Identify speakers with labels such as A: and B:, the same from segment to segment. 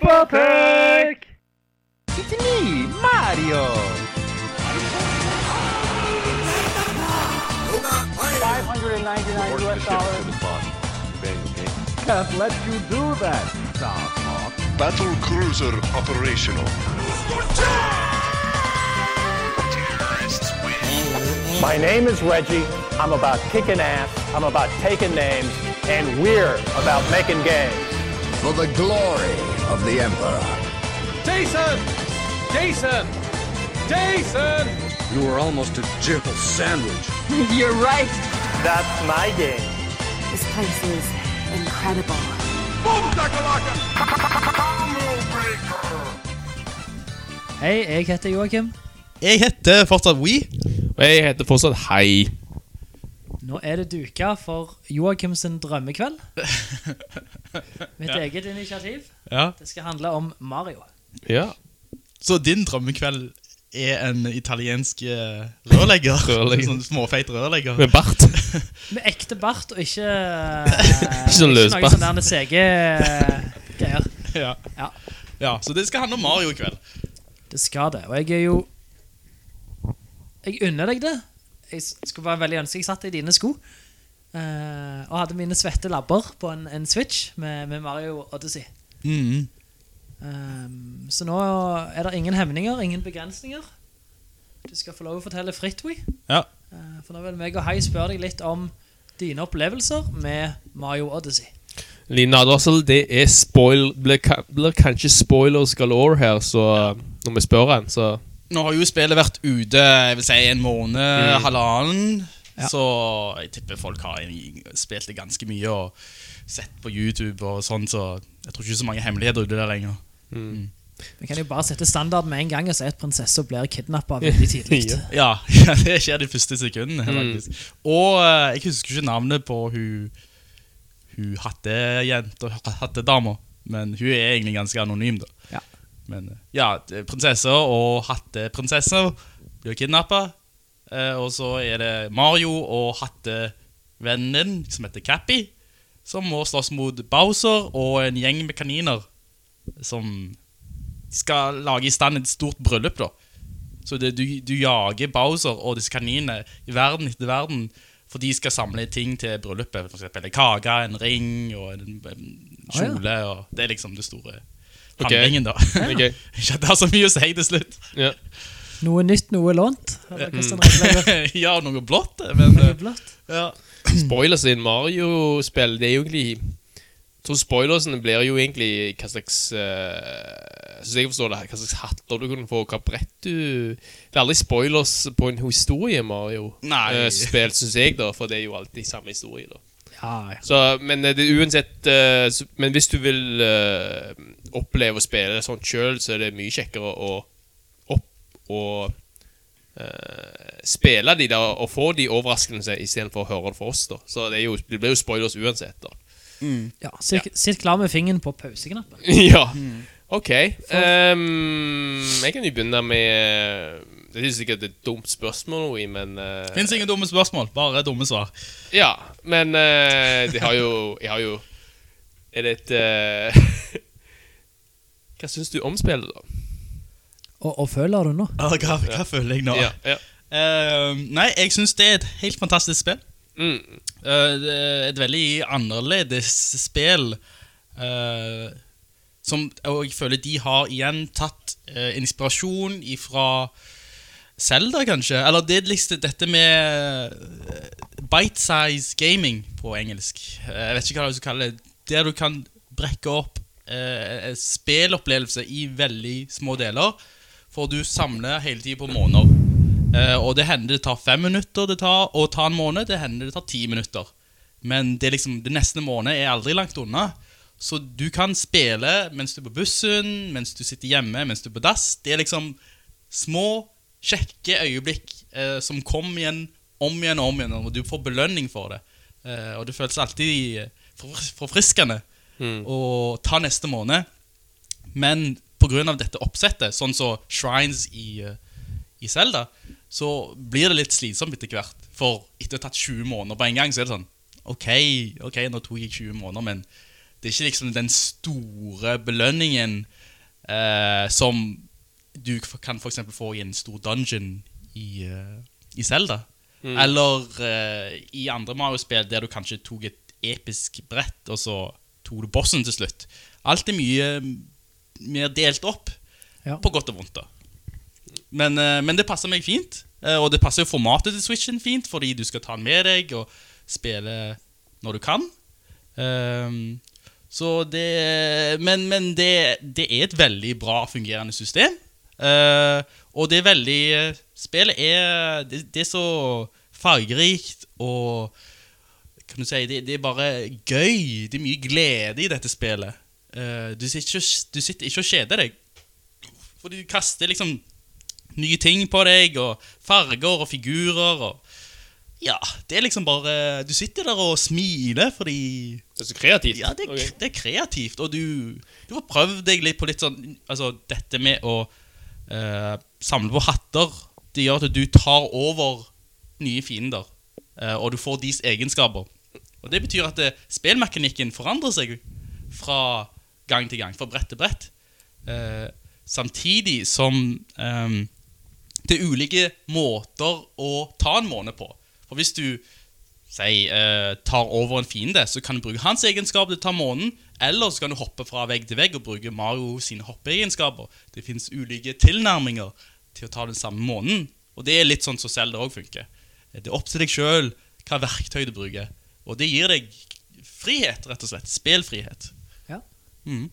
A: Supertech! It's me, Mario! Can't let you do that, Star Fox.
B: Battle cruiser operational.
C: My name is Reggie. I'm about kicking ass. I'm about taking names. And we're about making games.
D: for the glory of the Emperor.
E: Jason! Jason! Jason!
F: You are almost a jibble sandwich.
G: You're right.
C: That's my game.
H: This place is incredible.
I: Hei, jeg heter Joakim.
J: Jeg heter fortsatt We.
E: Og jeg heter fortsatt Hei.
I: Nå er det duka for Joakim sin drømmekveld. Mitt eget initiativ.
J: Ja.
I: Det skal handle om Mario.
E: Ja.
J: Så din drømmekveld er en italiensk eh, rørlegger?
E: Rørlegger.
J: Sånn småfeit rørlegger?
E: Med bart.
I: Med ekte bart og ikke
E: sånn løs
I: Ikke
E: bart.
I: noe sånn der CG greier.
J: Ja.
I: Ja.
J: ja. Så det skal handle om Mario i kveld.
I: Det skal det. Og jeg er jo Jeg unner deg det. Jeg s- skulle bare veldig ønske jeg satt i dine sko. eh, og hadde mine svette labber på en, en Switch med, med Mario Odyssey.
E: Mm.
J: Mhm.
I: Ehm, så nå er det ingen hemninger, ingen begrensninger. Du skal få lov å fortelle fritt, Wii.
J: Ja.
I: Eh, for nå vil meg og Hei spørre deg litt om dine opplevelser med Mario Odyssey.
E: Line Advarsel, det er spoil... Blir, ka- blir kanskje spoilers galore her, så når vi spør han, så
J: Nå har jo spillet vært ute jeg vil si, en måned,
E: Mhm.
J: halvannen.
I: Ja.
J: Så jeg tipper folk har i- spilt det ganske mye og sett på YouTube og sånn, så jeg tror ikke så mange hemmeligheter ute der lenger.
I: Vi kan jo bare sette standard med en gang og si at prinsessa blir kidnappa veldig tidlig.
E: Ja.
J: Ja, det skjer de første sekundene faktisk. Og eh, jeg husker ikke navnet på hun Hun hadde jenta, hadde dama Men hun er egentlig ganske anonym da
I: Ja.
J: Men eh, ja, det- prinsesser og hatteprinsesser Blir kidnappet eh, Og så er det Mario og hattevennen din Som heter Cappy Som må slåss mot Bowser Og en gjeng med kaniner Som skal lage i stand et stort bryllup da så det, du, du jager Bowser og disse kaninene i verden etter verden, for de skal samle ting til bryllupet. For eksempel en kake, en ring og en, en
I: Å, ja.
J: kjole. Og det er liksom det store
E: Ok.
J: handlingen, da.
E: Ok.
J: Ikke at det har så mye å si til slutt.
E: Ja.
I: Noe nytt, noe lånt. Eller hvordan regler det
J: ja, noe blått, men
I: er
J: eh,
I: blått.
J: ja.
E: Spoilers i en Mario-spill, det er jo egentlig Jeg tror spoilersene blir jo egentlig hva slags uh, Synes jeg forstår det her, hva slags hatter du kunne få, hva brett du Det er aldri spoilers på en historie, Mario.
J: Nei.
E: eh, spill, synes jeg, da, for det er jo alltid samme historie, da.
I: Ja, ja.
E: Så, men eh, det er uansett eh, s- Men hvis du vil eh, oppleve å spille sånt sjøl, så er det mye kjekkere å opp og eh, spille de der og få de overraskelsene istedenfor å høre det fra oss. da Så det, er jo, det blir jo spoilers uansett, da.
I: ja, sitt, sitt klar med fingeren på pauseknappen.
E: ja. Mm. OK. ehm, jeg kan jo begynne med Det er sikkert et dumt spørsmål, Oi, men eh,
J: Fins ingen dumme spørsmål, bare dumme svar.
E: Ja, men eh, det har jo Jeg har jo Er det et eh, Hva syns du om spillet, da?
I: Og, og føler du nå?
J: Ah, Hva, hva føler jeg nå?
E: Ja, ja.
J: Eh, nei, jeg syns det er et helt fantastisk spill.
E: Mm,
J: Eh, det er et veldig annerledes spill eh, som, Og jeg føler de har igjen tatt eh, inspirasjon ifra Zelda, kanskje. Eller det er liksom dette med eh, bite-size gaming på engelsk. Eh, jeg vet ikke hva du skal kalle det. Der du kan brekke opp uh, spillopplevelse i veldig små deler. For du samler hele tiden på måneder. Eh, og det hender det tar fem minutter det tar, å ta en måned. Det hender det tar ti minutter. Men det, er liksom, det neste måned er aldri langt unna. Så du kan spille mens du er på bussen, mens du sitter hjemme, mens du er på dass. Det er liksom små, kjekke øyeblikk eh, som kommer igjen om igjen og om igjen, og du får belønning for det. Eh, og det føles alltid eh, forfris- forfriskende å ta neste måned. Men pga. dette oppsettet, sånn som shrines i, eh, i Zelda, så blir det litt slitsomt etter hvert. For etter å ha tatt 20 måneder på en gang, så er det sånn OK, ok, nå tok jeg 20 måneder, men Det er ikke liksom den store belønningen eh, som du f- kan for eksempel få i en stor dungeon i, eh, i Zelda. Eller eh, i andre Mario-spill der du kanskje tok et episk brett, og så tok du bossen til slutt. Alt er mye mm, mer delt opp,
I: Ja.
J: på godt og vondt. da. Men, eh, men det passer meg fint. eh, Og det passer jo formatet til Switchen fint, fordi du skal ta den med deg og spille når du kan. Ehm, så det Men, men det, det er et veldig bra fungerende system. Eh, og det er veldig eh, Spillet er Det, det er så fargerikt og kan du si, det, det er bare gøy. Det er mye glede i dette spillet. Eh, du, sitter ikke, du sitter ikke og kjeder deg. For du kaster liksom nye ting på deg, og farger og figurer og Ja, det er liksom bare Du sitter der og smiler fordi
E: Det er så kreativt.
J: Ja, det er,
E: Ok.
J: det er kreativt, og du, du får prøvd deg litt på litt sånn Altså, dette med å eh, samle på hatter, det gjør at du tar over nye fiender, eh, og du får deres egenskaper. Og det betyr at eh, spillmekanikken forandrer seg fra gang til gang, fra brett til brett. Eh, samtidig som ehm, det er ulike måter å ta en måned på. For hvis du si, eh, tar over en fiende, så kan du bruke hans egenskap til å ta månen, eller så kan du hoppe fra vegg til vegg og bruke Mario sine hoppeegenskaper. Det finnes ulike tilnærminger til å ta den samme månen, og det er litt sånn som Zelda òg funker. Det er opp til deg sjøl hva verktøy du bruker, og det gir deg frihet, rett og slett. Spillfrihet.
I: Ja.
J: Mhm.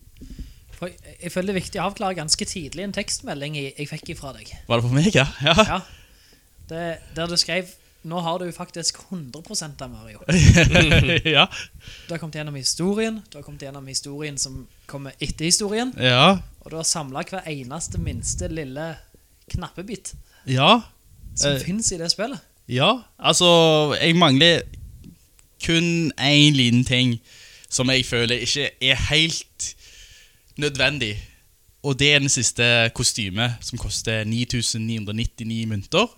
I: For jeg, jeg føler det er viktig å avklare ganske tidlig en tekstmelding jeg, jeg fikk ifra deg.
J: Var det for meg, ja? Ja.
I: Ja. Det, der du skrev Nå har du faktisk 100 av Mario.
J: ja.
I: Du har kommet gjennom historien, du har kommet gjennom historien som kommer etter historien,
J: ja.
I: og du har samla hver eneste minste lille knappebit
J: ja.
I: som
J: Eh.
I: finnes i det spillet.
J: Ja, altså Jeg mangler kun én liten ting som jeg føler ikke er helt nødvendig. Og det er den siste kostyme, som koster 9999 mynter.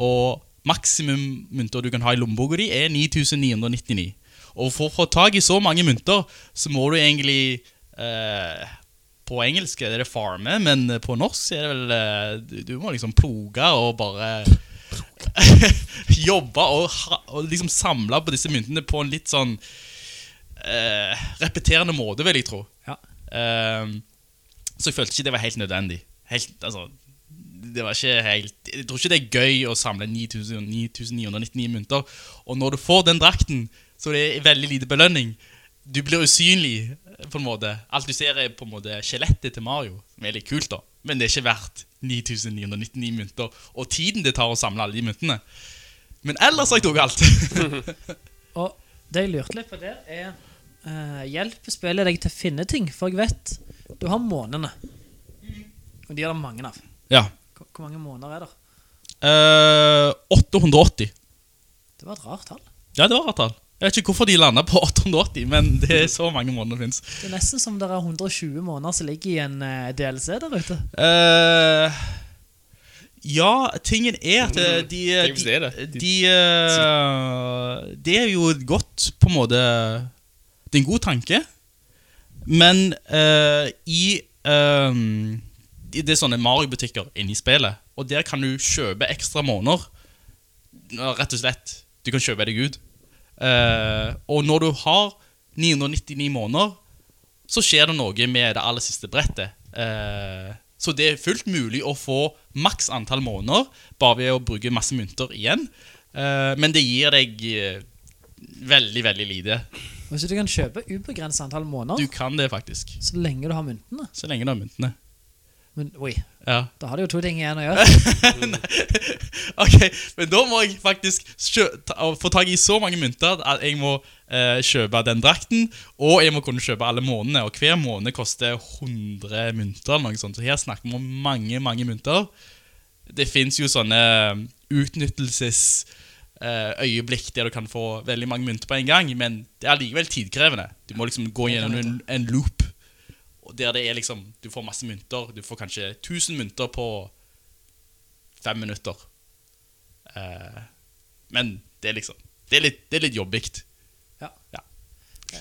J: Og maksimum mynter du kan ha i lommeboka di, er 9999. Og for å få tak i så mange mynter, så må du egentlig eh, På engelsk er det farme, men på norsk er det vel eh, du- Du må liksom ploge og bare Jobbe og, ha- og liksom samle på disse myntene på en litt sånn eh, repeterende måte, vil jeg tro.
I: Ja.
J: Ehm, så jeg følte ikke det var helt nødvendig. Helt, altså, det var ikke helt Jeg tror ikke det er gøy å samle 9000 9999 mynter. Og når du får den drakten, så det er veldig lite belønning. Du blir usynlig, på en måte. Alt du ser, er på en måte skjelettet til Mario. som er litt kult, da. Men det er ikke verdt 9999 mynter og tiden det tar å samle alle de myntene. Men ellers har jeg tatt alt.
I: Og det jeg lurte litt på der, er eh, Hjelp spillet deg til å finne ting, for jeg vet du har månene. Og de er det mange av.
J: ja.
I: Hvor hvor mange måneder er det?
J: Eh, 880.
I: Det var et rart tall.
J: Ja, det var rart tall. Jeg vet ikke hvorfor de landa på 880, men det er så mange måneder det fins.
I: Det er nesten som det er 120 måneder som ligger i en eh, DLC der ute.
J: Eh, ja, tingen er at eh, de
E: Mm. Tenk hvis det er
J: de,
E: det.
J: de eh, Det er jo et godt på en måte Det er en god tanke, men eh, i ehm, i- Det er sånne Mario-butikker inne i spillet, og der kan du kjøpe ekstra måneder. Ja, Rett og slett. Du kan kjøpe deg ut. Eh, og når du har 999 måneder, så skjer det noe med det aller siste brettet. Eh, så det er fullt mulig å få maks antall måneder bare ved å bruke masse mynter igjen. Eh, men det gir deg eh, veldig, veldig lite.
I: Hvis du kan kjøpe ubegrenset antall
J: Du
I: måneder,
J: kan det faktisk,
I: så lenge du har myntene
J: så lenge du har myntene.
I: Men oi,
J: Ja.
I: da har du jo to ting igjen å gjøre.
J: ok, men da må jeg faktisk kjø- ta, å få tak i så mange mynter at jeg må eh, kjøpe den drakten, og jeg må kunne kjøpe alle månedene, og hver måned koster 100 mynter eller noe sånt, så her snakker vi om mange, mange mynter. Det finnes jo sånne eh, utnyttelses eh, øyeblikk der du kan få veldig mange mynter på en gang, men det er likevel tidkrevende. Du må liksom gå gjennom en, en loop, og der det er liksom, du får masse mynter, du får kanskje 1000 mynter på fem minutter. Eh, men det er liksom Det er litt, det er litt jobbikt.
I: Ja.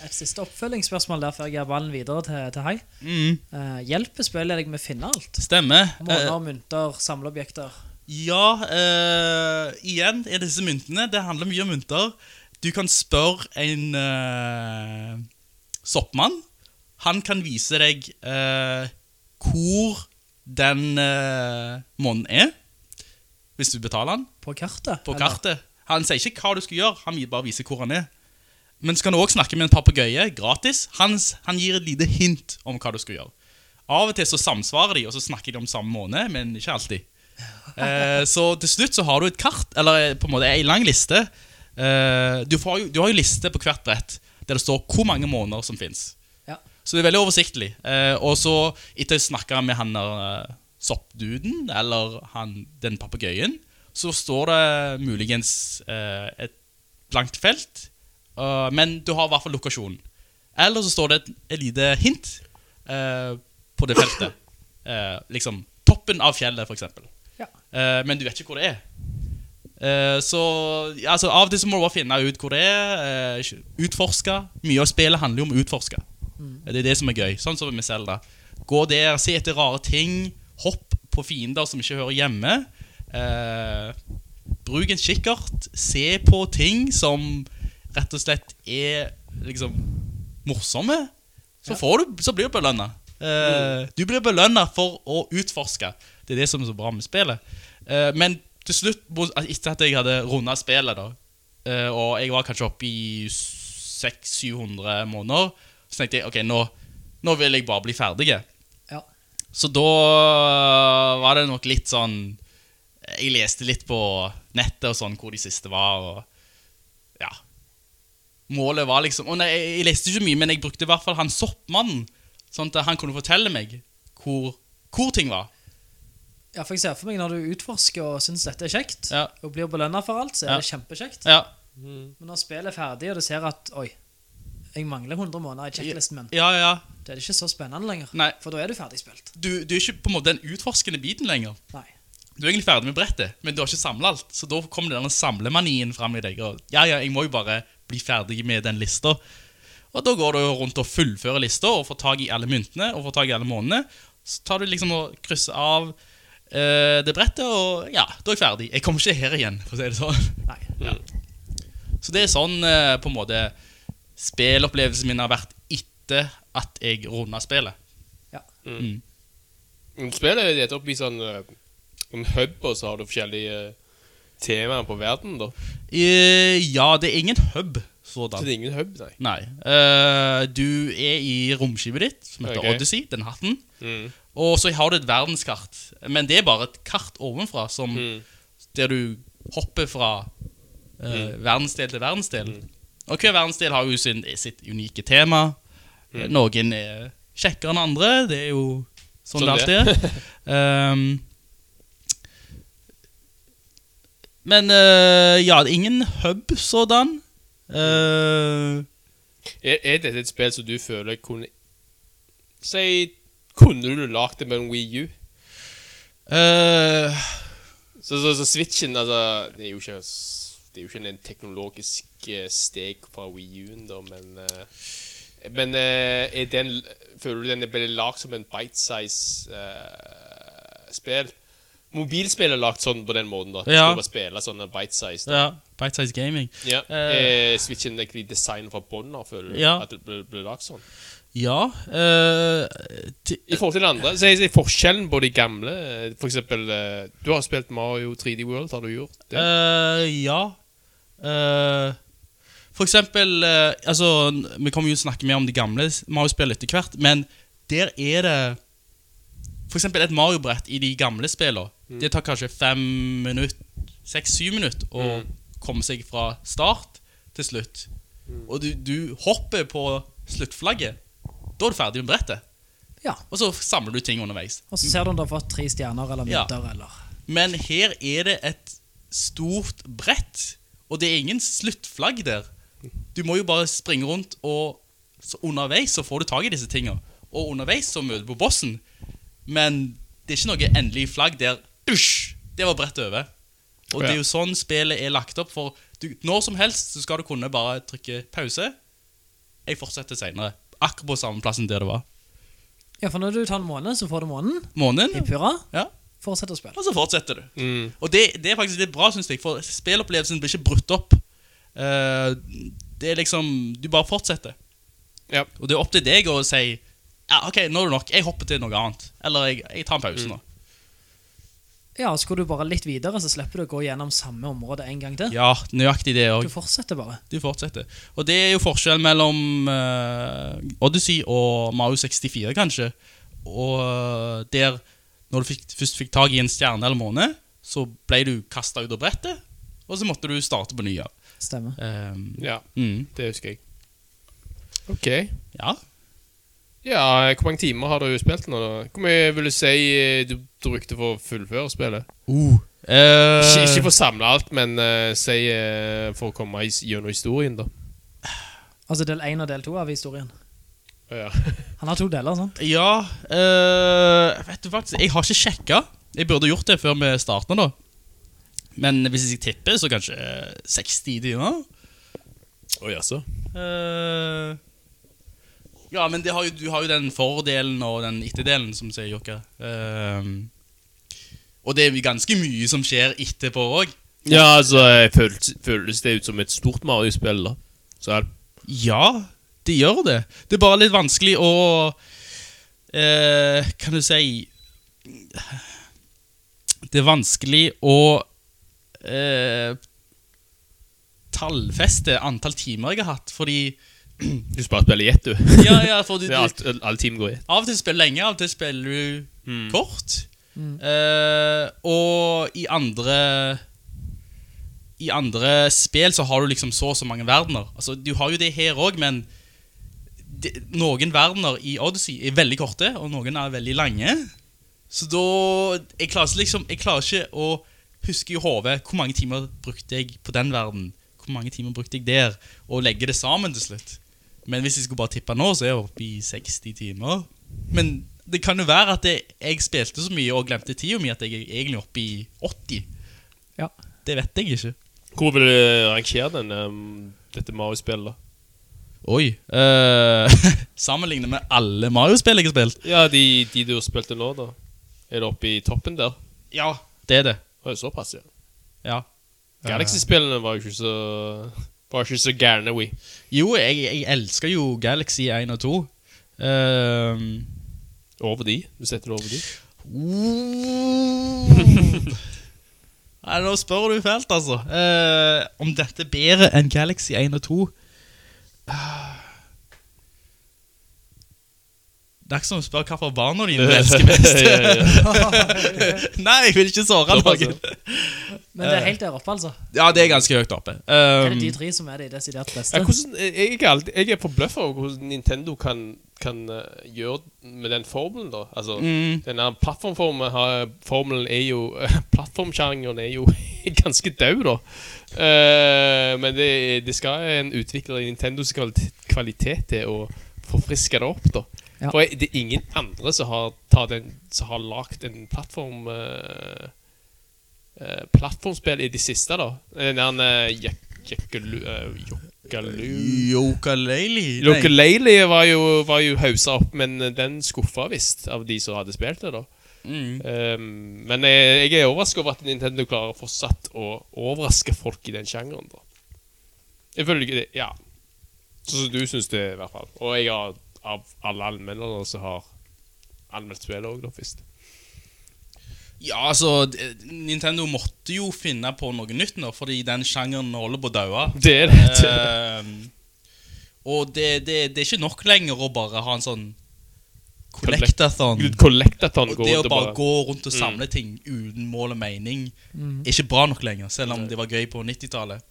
I: Et siste oppfølgingsspørsmål der før jeg gir ballen videre til, til Hai.
J: Mm.
I: Eh, hjelper spillet deg med å finne alt?
J: Stemmer. Eh,
I: Måner, mynter, samleobjekter.
J: Ja, eh, igjen er disse myntene Det handler mye om mynter. Du kan spørre en eh, soppmann. Han kan vise deg eh, hvor den uh, månen er, hvis du betaler han
I: På kartet?
J: på
I: eller?
J: kartet. Han sier ikke hva du skal gjøre, han vil bare vise hvor han er. Men så kan du òg snakke med en papegøye gratis. Hans, han gir et lite hint om hva du skal gjøre. Av og til så samsvarer de, og så snakker de om samme måned, men ikke alltid. Eh, så til slutt så har du et kart, eller eh, på en måte ei lang liste. Eh, du, får jo, du har jo liste på hvert brett der det står hvor mange måneder som fins.
I: Ja.
J: Så det er veldig oversiktlig. Eh, og så, etter å snakke med han der eh, soppduden, eller han, den papegøyen, så står det muligens eh, et blankt felt, eh, men du har i hvert fall lokasjonen. Eller så står det et, et lite hint eh, på det feltet. Eh, liksom toppen av fjellet, for eksempel.
I: Ja.
J: Eh, men du vet ikke hvor det er. Eh, Så ja, altså, Av og til så må du bare finne ut hvor det er. eh, ikke- Utforske. Mye av spillet handler jo om å utforske. Det er det som er gøy. Sånn som med Zelda. Gå der, se etter rare ting. Hopp på fiender som ikke hører hjemme. Eh, bruk en kikkert. Se på ting som rett og slett er liksom morsomme. Så, får du, så blir du belønna. Eh, du blir belønna for å utforske. Det er det som er så bra med spillet. Eh, men til slutt, bo- altså, etter at jeg hadde runda spillet, da, eh, og jeg var kanskje oppe i 600-700 måneder, så tenkte jeg ok, nå, nå vil jeg bare bli ferdig.
I: Ja.
J: Så da var det nok litt sånn Jeg leste litt på nettet og sånn hvor de siste var. Og, ja. Målet var liksom og nei, jeg, jeg leste ikke mye, men jeg brukte i hvert fall han soppmannen. Sånn at han kunne fortelle meg hvor, hvor ting var.
I: ja, for jeg ser for meg når du utforsker og syns dette er kjekt,
J: Ja.
I: og blir belønna for alt, så er
J: Ja.
I: det kjempekjekt.
J: Ja,
I: Men når spillet er ferdig, og du ser at Oi, jeg mangler 100 måneder i checklisten min,
J: ja, ja.
I: da er det ikke så spennende lenger.
J: Nei.
I: For da er du ferdigspilt.
J: Du, du er ikke på en måte den utforskende biten lenger.
I: Nei.
J: Du er egentlig ferdig med brettet, men du har ikke samla alt. Så da kommer den samlemanien fram i deg. Og, ja, ja, jeg må jo bare bli ferdig med den lista. Og da går du rundt og fullfører lista og får tak i alle myntene og får tak i alle månedene. Så tar du liksom og krysser av eh, det brettet, og ja, da er jeg ferdig. Jeg kommer ikke her igjen, for å si det sånn.
I: Nei.
J: Så det er sånn eh, på en måte spillopplevelsen min har vært etter at jeg runda spillet.
E: Men Spillet er delt opp i sånn eh, en hub, og så har du forskjellige eh, temaer på verden, da.
J: Eh, ja, det er ingen hub.
E: Så
J: Sådan.
E: det er ingen hub, nei.
J: Nei. Eh, du er i romskipet ditt, som heter
E: Ok.
J: Odyssey, den hatten. Og så har du et verdenskart. Men det er bare et kart ovenfra, som, der du hopper fra eh, verdensdel til verdensdel. Og hver verdensdel har jo sin, sitt unike tema. Eh, Noen er kjekkere enn andre. Det er jo sånn,
E: Sånn
J: det alltid er. Ehm, men eh, ja, det er ingen hub sådan. Eh,
E: Er, er dette et spill som du føler kunne Si Kunne du lagd det med en Wii U?
J: eh,
E: Så, så, så Switchen, altså Det er jo ikke Det er jo ikke en teknologisk eh, steg fra Wii U-en, da, men eh, Men eh, er den Føler du den er blitt lagd som en bite-size eh, spill? Mobilspill er lagd sånn på den måten, da. Du
J: Ja.
E: skal bare spille sånn sånne bite-size. da.
J: ja, Bite Size Gaming.
E: Ja.
J: Eh,
E: er Switchen egentlig designet fra bånn av, føler du?
J: Ja.
E: At det ble, ble lagd sånn?
J: Ja eh, ti-
E: I forhold til det andre, så er det forskjellen på de gamle eh, For eksempel eh, Du har spilt Mario 3D World, har du gjort det?
J: eh, Ja. Eh, for eksempel eh, Altså, n- vi kommer jo til å snakke mer om de gamle Mario-spillene etter hvert, men der er det For eksempel et Mario-brett i de gamle spillene. Det tar kanskje fem minutter, seks-syv minutter å komme seg fra start til slutt. Og du, du hopper på sluttflagget. Da er du ferdig med brettet.
I: Ja.
J: Og så samler du ting underveis.
I: Og så ser du om du har fått tre stjerner eller
J: Ja.
I: mynter eller
J: Men her er det et stort brett, og det er ingen sluttflagg der. Du må jo bare springe rundt, og så underveis så får du tak i disse tinga. Og underveis så møter du på bossen, men det er ikke noe endelig flagg der. Dusj! Det var brettet over. Og det er jo sånn spillet er lagt opp, for du, når som helst så skal du kunne bare trykke pause. Jeg fortsetter senere. Akkurat på samme plassen der det var.
I: Ja, for når du tar en måned, så får du måneden.
J: Månen.
I: Hipp hurra.
J: Ja.
I: Fortsett å spille.
J: Og så fortsetter du. Og det, det er faktisk litt bra, syns jeg, for spillopplevelsen blir ikke brutt opp. Eh, det er liksom Du bare fortsetter.
E: Ja.
J: Og det er opp til deg å si Ja, OK, nå er det nok. Jeg hopper til noe annet. Eller jeg, jeg tar en pause nå.
I: Ja, og så går du bare litt videre, så slipper du å gå gjennom samme område en gang til.
J: Ja, nøyaktig det òg.
I: Du fortsetter bare.
J: Du fortsetter. Og det er jo forskjellen mellom eh, Odyssey og Mario 64, kanskje. Og eh, der, når du fikk, først fikk tak i en stjerne eller måne, så ble du kasta ut av brettet, og så måtte du starte på ny. Ja.
I: Stemmer.
J: Ehm,
E: Ja,
J: mm,
E: det husker jeg. OK.
J: ja.
E: Ja, hvor mange timer har du spilt nå, da? Hvor mye vil du si eh, du brukte for å fullføre spillet?
J: Eh,
E: Uh. Ikke, ikke for å samle alt, men eh, si eh, for å komme his- gjennom historien, da.
I: Altså del 1 og del 2 av historien.
E: Ja.
I: Han har to deler, sant?
J: Ja eh, Vet du faktisk, jeg har ikke sjekka. Jeg burde gjort det før vi starta, da. Men hvis jeg tipper, så kanskje eh, 60 timer.
E: Å jaså?
J: Eh, ja, men det har jo, du har jo den fordelen og den etterdelen, som sier Jokka. Ehm, og det er jo ganske mye som skjer etterpå òg.
E: Ja, altså, jeg føles, føles det ut som et stort Mario-spill, da. Så er det-
J: Ja, det gjør det. Det er bare litt vanskelig å eh, Kan du si Det er vanskelig å eh, tallfeste antall timer jeg har hatt, fordi
E: du skal bare spille i ett, du.
J: Ja, ja, for du,
E: Det
J: du,
E: er alt, alle timer går i ett.
J: Av og til spiller du lenge, av og til spiller du kort. Eh, og i andre I andre spill så har du liksom så og så mange verdener. Altså, du har jo det her òg, men det, noen verdener i Odyssey er veldig korte, og noen er veldig lange. Så da Jeg klarer, ikke liksom, jeg klarer ikke å huske i hodet hvor mange timer brukte jeg på den verden. Hvor mange timer brukte jeg der? Og legge det sammen til slutt. Men hvis jeg skulle bare tippe nå, så er jeg oppe i 60 timer. Men det kan jo være at jeg, jeg spilte så mye og glemte tida mi at jeg er egentlig oppe i 80.
I: Ja.
J: Det vet jeg ikke.
E: Hvor vil du rangere denne, dette Mario-spillet, da?
J: Oi. Uh, Sammenlignet med alle Mario-spill jeg har spilt.
E: Ja, de, de du spilte nå, da. Er det oppe i toppen der?
J: Ja, det er det.
E: Å, såpass, ja.
J: Ja.
E: Galaxy-spillene var jo ikke så Var ikke så gærne, we.
J: Jo, jeg, jeg elsker jo Galaxy 1 og 2. Ehm,
E: Over de. Du setter det over de.
J: Nei, nå spør du fælt, altså. Eh, om dette er bedre enn Galaxy 1 og 2 Ah. Det er ikke som å spørre hvilke barna dine du elsker
E: Ja, ja, ja.
J: best. Nei, jeg vil ikke såre
E: Såpass,
J: noen.
I: Men det er helt der oppe, altså.
J: Ja, det er ganske høyt oppe.
I: Det er
J: Eh. Um,
I: de tre som er de desidert
E: Ja,
I: beste.
E: hvordan, jeg, er ikke alltid, jeg er forbløffa over hvordan Nintendo kan, kan eh, gjøre med den formelen. da Altså, Den her plattformformen har- formelen er jo Plattformsjangeren er jo ganske død, da. Eh, men det, det skal en utvikler i Nintendos kvalit- kvalitet til å forfriske det opp. da
I: Ja.
E: For jeg, det er ingen andre som har, tar den, som har lagt en plattform eh, eh, plattformspill i de siste, da. Den der eh, Jek- Jekkalu... eh, Jokkalu
J: Yokalele? Nei.
E: Lokalele var jo, var jo hausa opp, men den skuffa visst av de som hadde spilt det, da.
J: Mm.
E: Ehm, men jeg, jeg er overraska over at Nintendo klarer fortsatt å overraske folk i den sjangeren, da. Ifølge det Ja. Sånn som du syns det, i hvert fall. Og jeg har av alle anmeldere som har anmeldt spillet òg, da, først.
J: Ja, altså d- Nintendo måtte jo finne på noe nytt nå, fordi den sjangeren holder på å daue.
E: Det er det.
J: Ehm, og det, det, det er ikke nok lenger å bare ha en sånn collectathon.
E: Collectathon
J: Og
E: går
J: det å
E: rundt og
J: bare
E: bare
J: gå rundt og samle ting uten mål og mening
I: Mm.
J: er ikke bra nok lenger, selv om det var gøy på 90-tallet.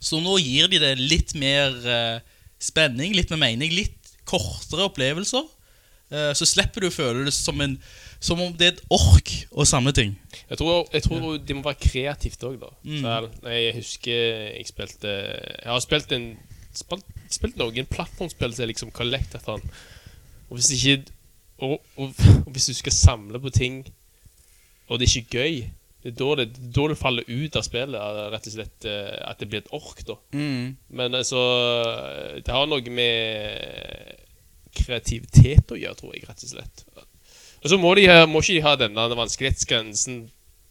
J: Så nå gir de det litt mer eh, spenning, litt mer mening, litt kortere opplevelser. Eh, så slipper du å føle det som, en, som om det er et ork å samle ting.
E: Jeg tror, jeg tror de må være kreativt òg, da. Så jeg- jeg husker jeg spilte Jeg har spilt en spilt, spilt noen plattformspill som er liksom collectathon. Og hvis ikke og, og, og hvis du skal samle på ting, og det er ikke gøy, Det er da det, da det faller ut av spillet, er rett og slett eh, at det blir et ork, da. Men altså Det har noe med kreativitet å gjøre, tror jeg, rett og slett. Og så må, de, ha- må ikke de ha denne vanskelighetsgrensen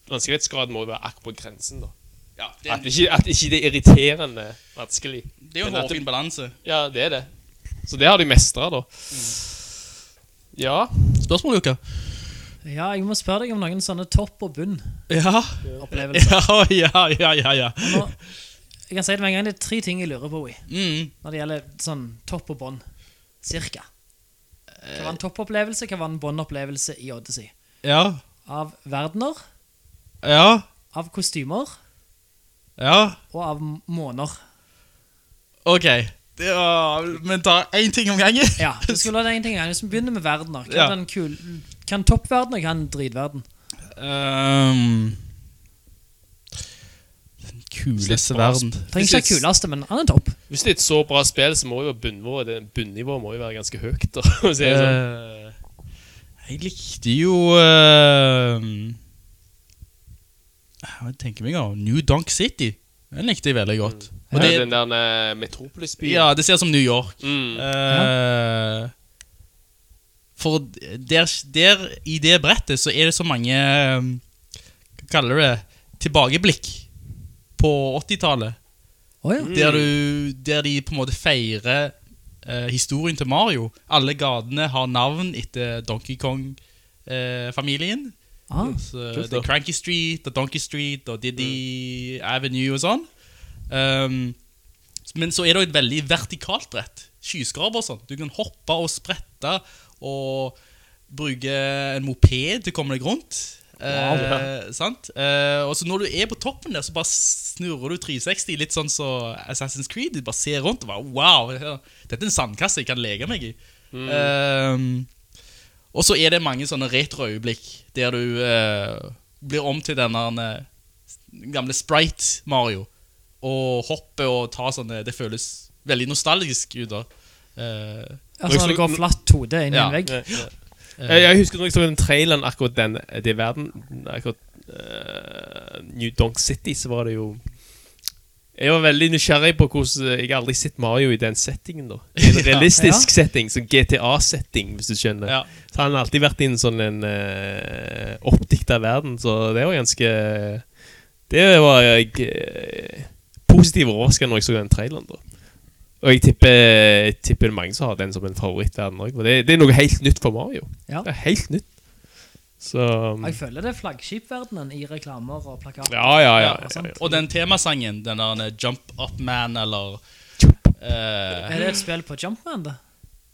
E: Vanskelighetsgraden må jo være akkurat på grensen, da.
J: Ja, det,
E: At
J: er,
E: ikke, at ikke det er irriterende vanskelig.
J: det er jo en
E: Men at det-
J: hårfin balanse.
E: Ja, det er det. Så det har de mestra, da.
J: Mm.
E: Ja.
J: Spørsmål, Luka?
I: Ja, jeg må spørre deg om noen sånne topp og bunn
J: Ja.
I: opplevelser.
J: Ja, ja, ja, ja. ja.
I: Nå, jeg kan si det med en gang, det er tre ting jeg lurer på i,
J: Mm.
I: når det gjelder sånn topp og bånd. Cirka. Hva var en toppopplevelse, hva var en båndopplevelse i Odyssey?
J: Ja.
I: Av verdener,
J: Ja.
I: av kostymer
J: Ja.
I: og av m- måner.
J: OK. Det var, men ta én ting om gangen.
I: Ja, du skulle ha det en ting i gang. Hvis vi begynner Liksom, med verdener, hva
J: Ja.
I: er den kul... Hva er en toppverden, og hva er en dritverden?
J: Ehm, den kuleste verden.
I: Trenger ikke være kuleste, men han er topp.
E: Hvis det er et så bra spill, så må jo bunnivået det- bunnivået må jo være ganske høyt. Da. å si det sånn.
J: Eh, jeg likte jo ehm, Hva tenker jeg meg om? New Donk City. Den likte jeg veldig godt. Og
E: det,
J: det,
E: Mm. den der eh, Metropolis-byen.
J: ja, det ser ut som New York.
E: Mm.
J: Eh, For der, der I det brettet så er det så mange eh, Hva kaller du det? Tilbakeblikk på 80-tallet.
I: Å ja.
J: Mm. Der, du- der de på en måte feirer eh, historien til Mario. Alle gatene har navn etter Donkey eh, Kong-familien.
I: Ah,
J: Så
E: kult,
J: det er uh, Cranky Street og Donkey Street og Diddy Avenue og sånn. Um, men så er det jo et veldig vertikalt brett. Skyskraper og sånn. Du kan hoppe og sprette og bruke en moped til å komme deg rundt. Eh, sant? Eh, og så når du er på toppen der, så bare snurrer du 360, litt sånn som Assassin's Creed. Du bare ser rundt og bare Wow! Dette er en sandkasse jeg kan leke meg i. Um, og så er det mange sånne retroøyeblikk der du eh, blir om til denne eh, gamle Sprite Mario. Og hopper og tar sånne Det føles veldig nostalgisk ut. da Eh,
I: Altså når det går flatt hode inn i
J: Ja.
I: en vegg.
E: Ja, ja. Jeg, Eh, jeg husker når jeg så den traileren akkurat den eh, Det er verden akkurat, eh, New Donk City, så var det jo Jeg var veldig nysgjerrig på hvordan eh, Jeg har aldri sett Mario i den settingen. da I En realistisk setting, sånn som GTA-setting, hvis du skjønner.
J: Ja.
E: Så han har alltid vært i en sånn en uh, oppdikta verden, så det var ganske Det var jeg eh, positivt overraska når jeg så den traileren. da og jeg tipper, jeg tipper det er mange som har den som en favorittverden òg. Det, det er noe helt nytt for Mario.
I: Ja.
E: Det er helt nytt. Så um,
I: Jeg føler det er flaggskipverdenen i reklamer og plakater.
E: Ja, ja, ja.
I: Ja,
E: sånn. ja,
I: sant.
E: ja.
J: Og den temasangen, den der eh, Jump Up Man, eller eh,
I: Er det et spill på Jumpman, det?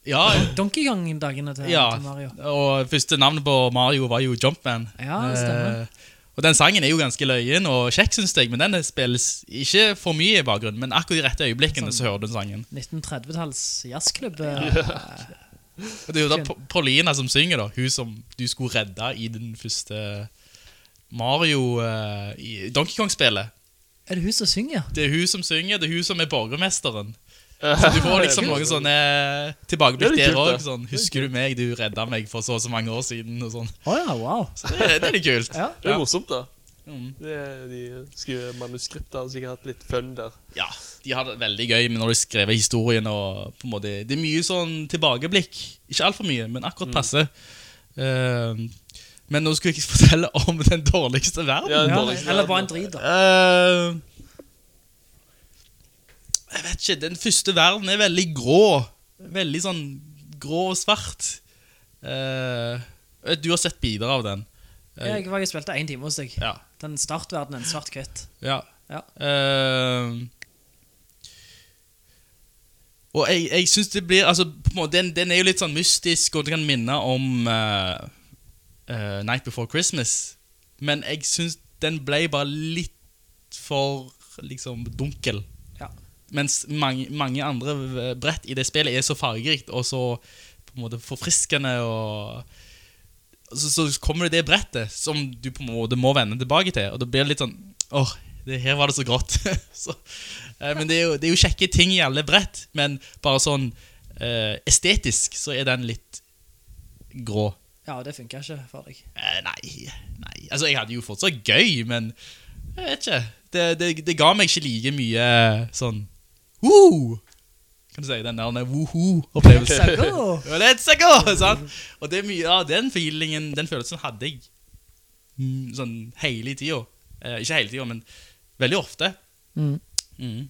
J: Ja.
I: Donkey Kong-dagene til,
J: ja.
I: til Mario.
J: Og første navnet på Mario var jo Jumpman.
I: Ja, det stemmer.
J: Eh, og den sangen er jo ganske løyen og kjekk, syns jeg, men den spilles ikke for mye i bakgrunnen. Men akkurat de rette øyeblikkene
I: Sånn.
J: så hører du den sangen.
I: 1930-talls jazzklubb.
J: Og Det er jo da Pa- Paulina som synger, da. Hun som du skulle redde i den første Mario eh, i Donkey Kong-spillet.
I: Er det hun som synger?
J: Det er hun som synger, det er hun som er borgermesteren. Så du får liksom noen sånne tilbakeblikk
E: Det
J: der
E: er litt kult,
J: òg.
E: da.
J: Sånn, 'Husker du meg? Du redda meg for så og så mange år siden.' Og sånn.
I: Å ja, wow.
J: Så det, det er litt kult.
I: Ja.
E: Det er morsomt, da.
J: Mm.
E: Det er de skriver manuskriptet har sikkert hatt litt fun der.
J: Ja, De har det veldig gøy med når de skriver historien. Og på en måte, det er mye sånn tilbakeblikk. Ikke altfor mye, men
E: Mm.
J: akkurat passe. Eh, men nå skulle jeg ikke fortelle om den dårligste verden.
E: Ja,
I: Ja,
E: dårligste
I: eller
E: verden,
I: bare en
E: da.
I: drit, da.
J: Eh, Jeg vet ikke, den første verden er veldig grå Veldig sånn grå og svart Eh, jeg vet, Du har sett bilder av den Eh,
I: Jeg var jeg spilte én time hos deg.
J: Ja,
I: Den startverdenen, svart-hvitt.
J: ja
I: Ja.
J: Eh, Og jeg, jeg synes det blir altså, på en måte, den, den er jo litt sånn mystisk Og det kan minne om eh, eh, Night Before Christmas Men jeg synes den ble bare litt for liksom dunkel
I: Ja.
J: Mens mange, mange andre eh, brett i det spillet er så fargerikt og så på en måte forfriskende. Og så, så kommer det det brettet som du på en måte må vende tilbake til. Og da blir det litt sånn Åh, det, her var det så grått. så, eh, men det er, jo, det er jo kjekke ting i alle brett, men bare sånn eh, estetisk så er den litt grå.
I: Ja, det funka ikke for deg.
J: Eh, Nei, nei. Altså, jeg hadde jo fortsatt gøy, men jeg vet ikke. Det, det, det ga meg ikke like mye sånn Woo! Kan du si den der woohoo-opplevelsen?
I: Let's go!
J: Ja, Let's go! Sant? Og det er mye av den feelingen, den følelsen hadde jeg mm, sånn hele tida. Eh, ikke hele tida, men veldig ofte.
I: Mm.
J: Mm.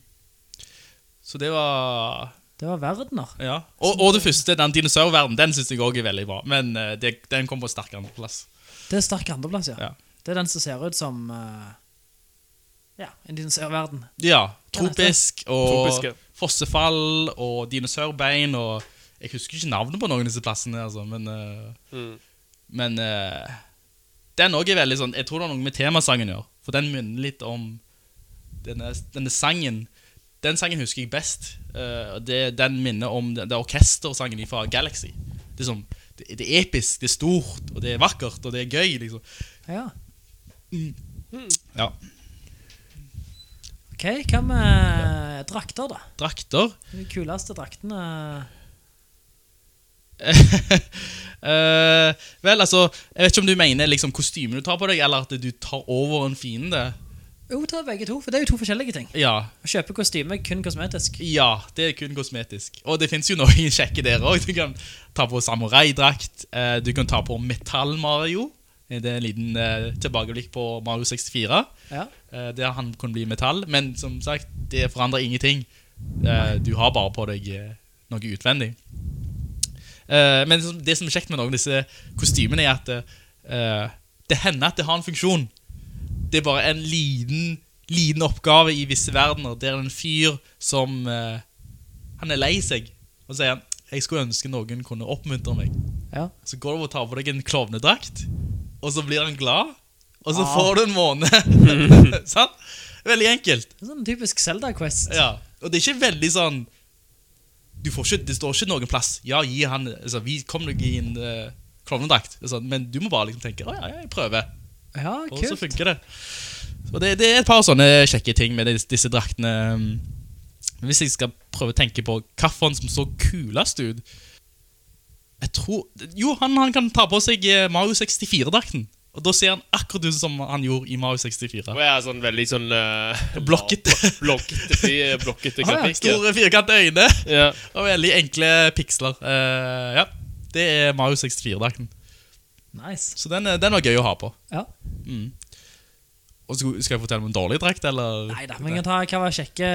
J: Så det var
I: Det var verdener.
J: Ja. Og, og det første, den dinosaurverdenen, den syns jeg òg er veldig bra. Men eh, det, den kom på sterkere plass.
I: Det er sterk andreplass, ja.
J: Ja.
I: Det er den som ser ut som eh, Ja, en dinosaurverden.
J: Ja, tropisk og
E: Tropiske.
J: fossefall og dinosaurbein og Jeg husker ikke navnet på noen av disse plassene, altså, men eh,
E: Mm.
J: Men eh, den òg er veldig sånn Jeg tror det har noe med temasangen å gjøre, for den minner litt om denne, denne sangen. Den sangen husker jeg best. eh, og det, den minner om det, det er orkestersangen fra Galaxy. Det er, sånn, det, det er episk, det er stort, og det er vakkert, og det er gøy, liksom.
I: Ja.
J: Ja.
I: OK, hva med eh, drakter, da?
J: Drakter
I: De kuleste draktene
J: Eh, vel, altså Jeg vet ikke om du mener liksom, kostymet du tar på deg, eller at du tar over en fiende.
I: Jo, ta begge to, for det er jo to forskjellige ting.
J: Ja,
I: Å kjøpe kostyme er kun kosmetisk.
J: ja det er kun kosmetisk. Og det fins jo noen kjekke der òg. Du kan ta på samuraidrakt. eh, du kan ta på Metall-Mario. Det er en liten eh, tilbakeblikk på Mario 64,
I: Ja.
J: eh, der han kunne bli metall. Men som sagt, det forandrer ingenting. Eh, du har bare på deg eh, noe utvendig. Eh, men som- det som er kjekt med noen av disse kostymene, er at eh, det hender at det har en funksjon. Det er bare en liten, liten oppgave i visse verdener. Der en fyr som eh, Han er lei seg, og sier han jeg skulle ønske noen kunne oppmuntre meg.
I: Ja.
J: Så går du og tar på deg en klovnedrakt, og så blir han glad, og så får du en måned. Sant? Veldig enkelt.
I: Det er Sånn typisk Zelda-quest.
J: Ja, og det er ikke veldig sånn du får ikke, Det står ikke noen plass Ja, gi han altså, Vi kommer nok i en uh, klovnedrakt altså, Men du må bare liksom tenke Å ja, ja, jeg prøver
I: Ja,
J: Og så
I: kult.
J: funker det Så det, det er et par sånne kjekke ting Med disse, disse draktene Men Hvis jeg skal prøve å tenke på Kafferen som så kulest ut Jeg tror Jo, han, han kan ta på seg eh, Mario 64-drakten Og da ser han akkurat ut som han gjorde i Mario 64
E: Og jeg er sånn veldig sånn uh,
J: Blokkete.
E: Blokkete, fri- blokkete
I: ja,
E: grafikk. Ah, ja.
J: Store firkante øyne
E: Ja.
J: Og veldig enkle piksler. Eh, ja, det er Mario 64-drakten.
I: Nice.
J: Så den, eh, den var gøy å ha på.
I: Ja.
J: Mm. Og så Skal jeg fortelle om en dårlig drakt, eller?
I: Nei da, vi kan ta hva var kjekke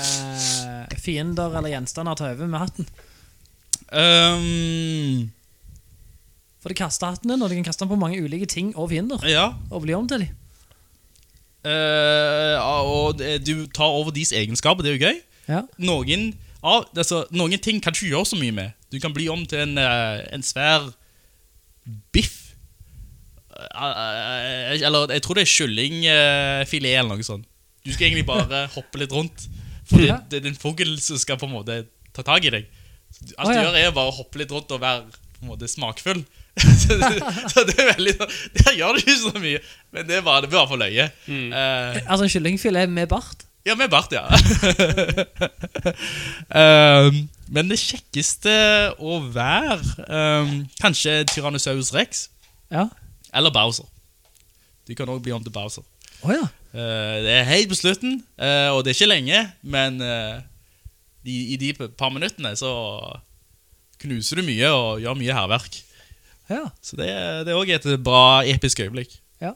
I: eh, fiender eller gjenstander å ta over med hatten.
J: Ehm,
I: For de kaster hatten din, og de kan kaste den på mange ulike ting og fiender.
J: ja.
I: Og bli om til dem.
J: Eh, og det- du tar over deres egenskaper, det er jo gøy.
I: Ja.
J: Noen, ja, altså, noen ting kan du ikke gjøre så mye med. Du kan bli om til en, eh, en svær biff. Eh, eh, Eller jeg tror det er kyllingfilet eller noe sånt. Du skal egentlig bare hoppe litt rundt. For det,
I: Ja.
J: det er din fugl som skal på en måte ta tak i deg. Så du- Alt
I: Å,
J: du
I: ja.
J: gjør, er bare å hoppe litt rundt og være på en måte smakfull. så, så det er veldig sånn Der gjør du ikke så mye, men det er bare, det er bare for løye. Eh,
I: Altså en kyllingfilet med bart.
J: ja, med bart, ja. Ehm, men det kjekkeste å være ehm, Kanskje Tyrannosaurus rex
I: Ja.
J: eller Bowser. Du kan òg bli om til Bowser.
I: Å ja.
J: Eh, det er helt på slutten, eh, og det er ikke lenge, men eh, i, i de par minuttene så knuser du mye og gjør mye hærverk.
I: ja.
J: Så det det er òg et bra episk øyeblikk.
I: Ja.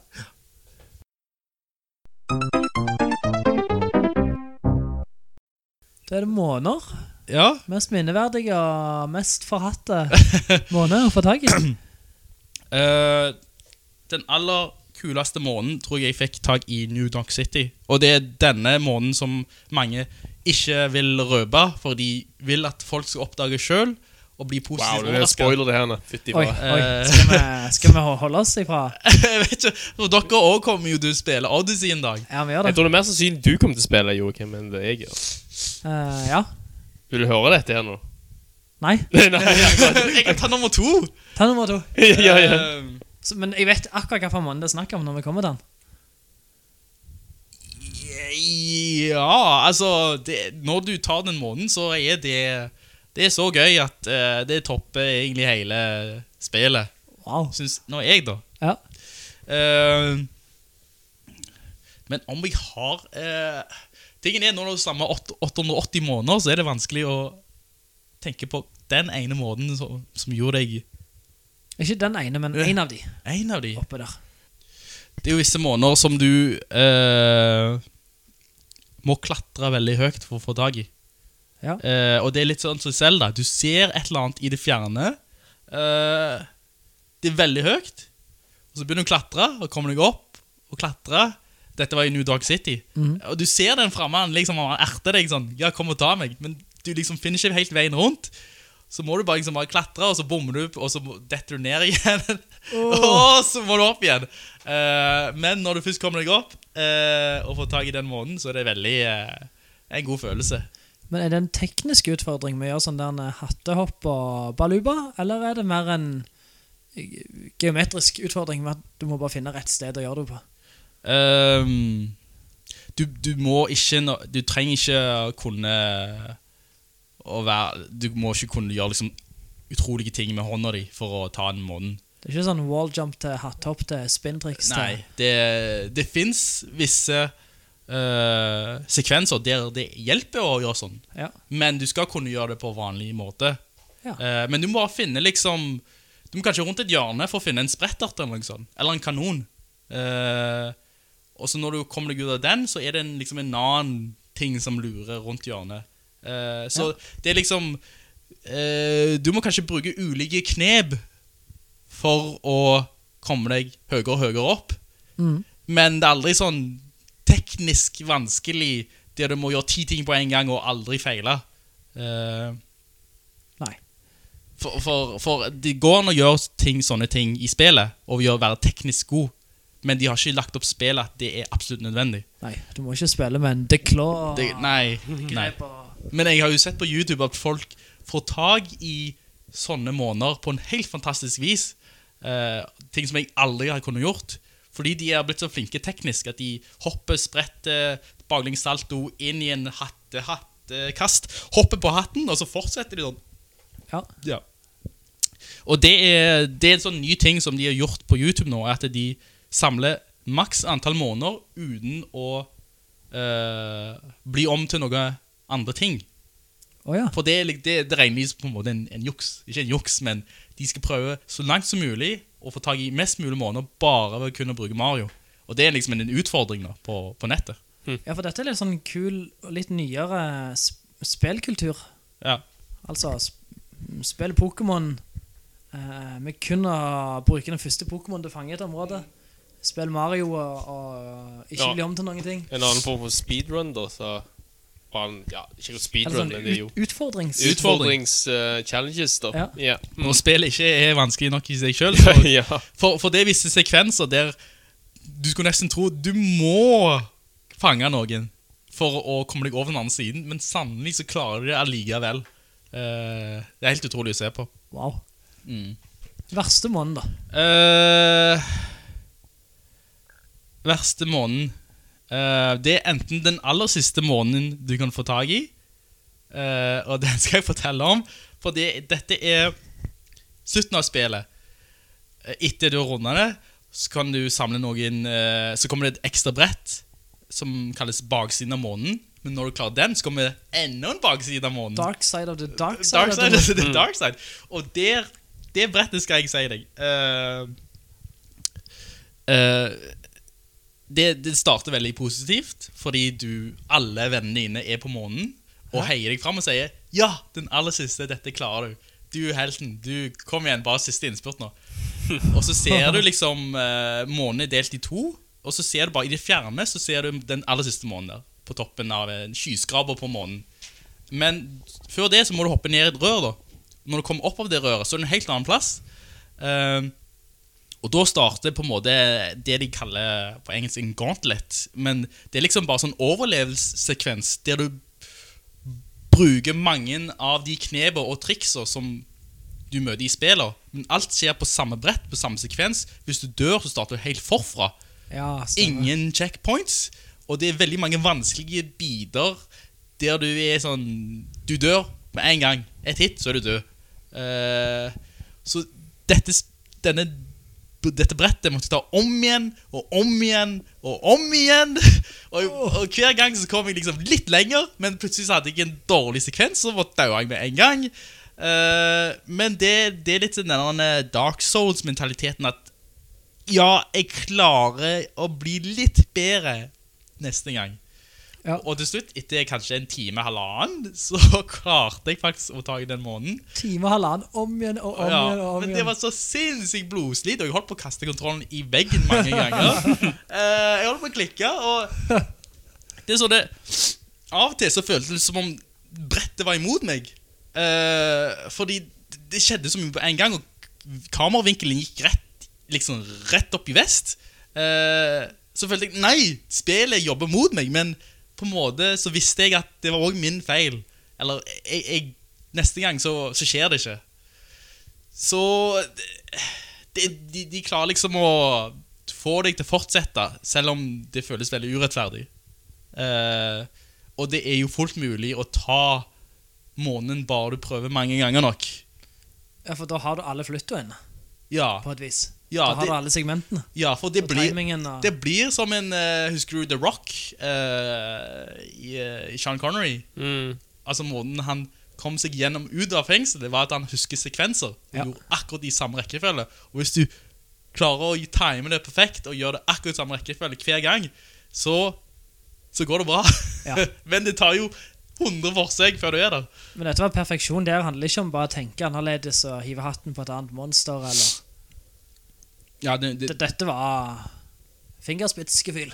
I: Da er det måner.
J: Ja,
I: Mest minneverdige og mest forhatte måner å få tak i.
J: Eh, den aller kuleste måneden tror jeg jeg fikk tak i New York City. Og det er denne måneden som mange ikke vil røpe, for de vil at folk skal oppdage sjøl og bli
E: Wow,
J: positivt
E: det er en
J: overrasket.
E: spoiler, det her. nå. Fytti
I: Oi,
E: bra.
I: oi. Skal vi, skal vi holde oss ifra
J: Jeg vet ikke, for Dere òg kommer jo til å spille Odyssey en dag.
I: Ja, vi gjør
E: Jeg
I: det.
E: tror det er mer sannsynlig du kommer til å spille, Joakim, enn det jeg gjør.
I: Eh, ja.
E: Vil du høre dette her nå?
I: Nei.
E: Nei, akkurat.
J: Jeg kan ta nummer to.
I: Ta nummer to.
E: ja, ja.
J: Eh,
I: Så, men jeg vet akkurat hvilken måned det er snakk om når vi kommer til den.
J: Ja, altså det, Når du tar den måneden, så er det Det er så gøy at eh, det topper egentlig hele spillet.
I: Wow.
J: Syns nå jeg, da.
I: Ja.
J: Eh, men om jeg har eh, Tingen er Når du stammer 880 måneder, så er det vanskelig å tenke på den ene måneden som, som gjorde deg
I: Ikke den ene, men én av de
J: en av de.
I: oppe der.
J: Det er jo visse måneder som du eh, må klatre veldig høyt for å få tak i.
I: Ja.
J: Eh, og det er litt sånn som Zelda. Du ser et eller annet i det fjerne. Eh, det er veldig høyt. Og så begynner du å klatre, og kommer deg opp og klatre. Dette var i New Dog City. Og du ser den framme, han liksom han erter deg sånn. Ja, kom og ta meg. Men du liksom finner ikke helt veien rundt. Så må du bare, liksom bare klatre, og så bommer du, og så må- detter du ned igjen. og så må du opp igjen. Eh, men når du først kommer deg opp eh, og får tak i den måneden, så er det veldig eh, en god følelse.
I: Men er det en teknisk utfordring med å gjøre sånn der en hattehopp og baluba, eller er det mer en geometrisk utfordring med at du må bare finne rett sted å gjøre det på?
J: Ehm, du, du må ikke nå- Du trenger ikke kunne å være Du må ikke kunne gjøre liksom utrolige ting med hånda di for å ta en måned.
I: Det er ikke sånn wall jump til hattehopp til spintricks
J: Nei,
I: til
J: det, det fins visse eh, sekvenser der det hjelper å gjøre sånn,
I: Ja.
J: men du skal kunne gjøre det på vanlig måte.
I: Ja.
J: Eh, men du må bare finne liksom Du må kanskje rundt et hjørne for å finne en sprettert eller noe sånt. Eller en kanon. Eh, og så når du kommer deg ut av den, så er det en, liksom en annen ting som lurer rundt hjørnet. Eh, så det er liksom eh, Du må kanskje bruke ulike knep for å komme deg høyere og høyere opp. Men det er aldri sånn teknisk vanskelig der du må gjøre ti ting på en gang og aldri feile. Eh,
I: Nei.
J: for, for, for det går an å gjøre ting, sånne ting i spillet og gjøre, være teknisk god, men de har ikke lagt opp spillet at det er absolutt nødvendig.
I: Nei, du må ikke spille med en declaw
J: Det, nei, nei. Men jeg har jo sett på YouTube at folk får tag i sånne måneder på en helt fantastisk vis. Eh, ting som jeg aldri har kunnet gjort. Fordi de er blitt så flinke teknisk at de hopper, spretter, baklengs salto inn i en hatte, hattekast, hopper på hatten, og så fortsetter de sånn.
I: Ja.
J: Ja. Og det er, det er en sånn ny ting som de har gjort på YouTube nå, er at de samler maks antall måneder uten å eh, bli om til noe andre ting.
I: Å ja.
J: For det, er lik- det, det regnes på en måte en, en juks. Ikke en juks, men de skal prøve så langt som mulig å få tak i mest mulig måneder bare ved å kunne bruke Mario. Og det er liksom en, en utfordring da, på, på nettet.
I: ja, for dette er litt sånn kul og litt nyere sp spillkultur.
J: Ja.
I: Altså, sp spill Pokémon eh, med kun å bruke den første Pokémon du fanger i et område. Spill Mario og, og ikke
E: Ja.
I: bli om til noen ting.
E: En annen form for speedrun, da, så var han Ja, ikke
I: Eller
E: speedrun,
I: sånn
E: men det er jo
I: ut, utfordrings...
J: Utfordring.
E: Utfordrings-challenges, da.
I: Ja.
E: Ja. Mm.
J: Når spillet ikke er vanskelig nok i seg sjøl, så
E: ja.
J: For, for det er visse sekvenser der du skulle nesten tro du må fange noen for å komme deg over den andre siden, men sannelig så klarer du det allikevel. Eh, det er helt utrolig å se på.
I: Wow.
J: Mm.
I: Verste måneden, da.
J: Eh, verste måneden Eh, Det er enten den aller siste måneden du kan få tak i, eh, og den skal jeg fortelle om, for det, dette er slutten av spillet. Eh, Etter du har runda det, så, kan du samle noen, eh, så kommer det et ekstra brett som kalles baksiden av månen. Men når du klarer den, så kommer det enda en bakside av månen.
I: Dark side of the dark side. of
J: Dark
I: the moon.
J: Side, altså, det er Dark Side. Og der, det brettet skal jeg si deg. Eh, eh, det, det starter veldig positivt, fordi du, alle vennene dine er på månen, og heier deg fram og sier, ja, den aller siste, dette klarer du. Du er helten, du, kom igjen, bare siste innspurt nå. Og så ser du liksom eh, månen er delt i to, og så ser du bare i det fjerne, så ser du den aller siste månen der, på toppen av en skyskraber på månen. Men før det så må du hoppe ned i et rør da Når du kommer opp av det røret Så er det en helt annen plass Eh, Og da starter på en måte Det de kaller på engelsk en gauntlet Men det er liksom bare sånn overlevelsessekvens Der du bruker mange av de kneber og trikser Som du møter i spiller Men alt skjer på samme brett På samme sekvens Hvis du dør så starter du helt forfra
I: Ja, stemmer.
J: Ingen checkpoints, og det er veldig mange vanskelige biter der du er sånn Du dør med en gang. Et hit, så er du død. Eh, så dette s- denne, dette brettet måtte jeg ta om igjen og om igjen og om igjen. Og, og hver gang så kom jeg liksom litt lenger, men plutselig så hadde jeg en dårlig sekvens, så daua jeg med en gang. Eh, men det, det er litt sånn den der eh, Dark Souls-mentaliteten at ja, jeg klarer å bli litt bedre neste gang.
I: Ja.
J: Og til slutt, etter kanskje en time, halvannen, så klarte jeg faktisk å ta i den måneden.
I: Time og halvannen om igjen og om
J: Ja,
I: igjen. og om
J: men
I: igjen
J: det var så sinnssykt blodslit, og jeg holdt på å kaste kontrollen i veggen mange ganger. Eh, jeg holdt på å klikke, og det er så det Av og til så føltes det som om brettet var imot meg. Eh, fordi det- det skjedde så mye på en gang, og kameravinkelen gikk rett, liksom, rett opp i vest. Eh, så følte jeg Nei, spillet jobber mot meg, men på en måte så visste jeg at det var òg min feil. Eller jeg, jeg, neste gang så, så skjer det ikke. Så de, de, de klarer liksom å få deg til å fortsette, selv om det føles veldig urettferdig. Eh, og det er jo fullt mulig å ta månen bare du prøver mange ganger nok.
I: Ja, For da har du alle flyttoene,
J: Ja,
I: på et vis.
J: Ja,
I: da har
J: det-
I: du alle segmentene.
J: ja for det
I: Og
J: blir,
I: timingen og-
J: det blir som en eh, Husker du The Rock eh, i, eh, i Sean Connery?
E: Mm.
J: Altså måten han kom seg gjennom ut av fengselet, var at han husker sekvenser. Og
I: Ja.
J: gjorde akkurat i samme rekkefølge. Og hvis du klarer å time det perfekt og gjøre det akkurat i samme rekkefølge hver gang, så, så går det bra.
I: Ja.
J: Men det tar jo 100 forsøk før du er der.
I: Men dette var perfeksjon. Det handler ikke om bare å tenke annerledes og hive hatten på et annet monster. eller...
J: Ja, det,
I: D- Dette var fingerspitzgefühl.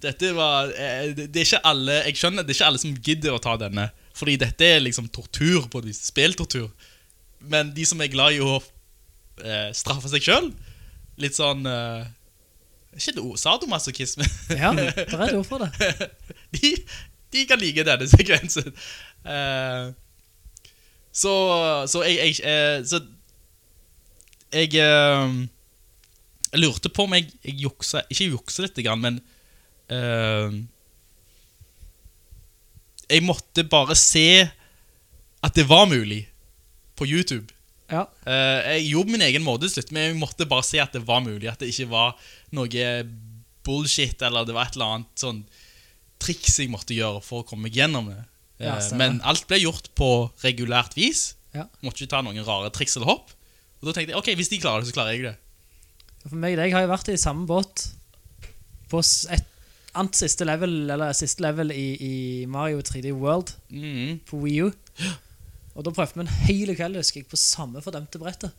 J: dette var eh, det, det er ikke alle Jeg skjønner det er ikke alle som gidder å ta denne. Fordi dette er liksom tortur på et vis. Spilltortur. Men de som er glad i å eh, straffe seg sjøl, litt sånn eh, Ikke det ord, sadomasochisme.
I: Ja, det er et ord for det.
J: de, de kan like denne sekvensen. Eh, så, så jeg, jeg eh, Så jeg, eh, jeg lurte på om jeg, jeg juksa Ikke juksa litt, grann, men eh, Jeg måtte bare se at det var mulig på YouTube.
I: Ja,
J: Eh, jeg gjorde min egen måte til slutt, men jeg måtte bare se at det var mulig. At det ikke var noe bullshit, eller det var et eller annet sånn triks jeg måtte gjøre for å komme meg gjennom det. Eh,
I: Ja, stemmer.
J: men alt ble gjort på regulært vis.
I: Ja.
J: Måtte ikke ta noen rare triks eller hopp. Og da tenkte jeg ok, hvis de klarer det, så klarer jeg det.
I: For meg og deg har jo vært i samme båt på s- et annet siste level, eller siste level i, i Mario 3D World
J: Mhm.
I: på Wii U. Og da prøvde vi en hel kveld, husker jeg, på samme fordømte brettet.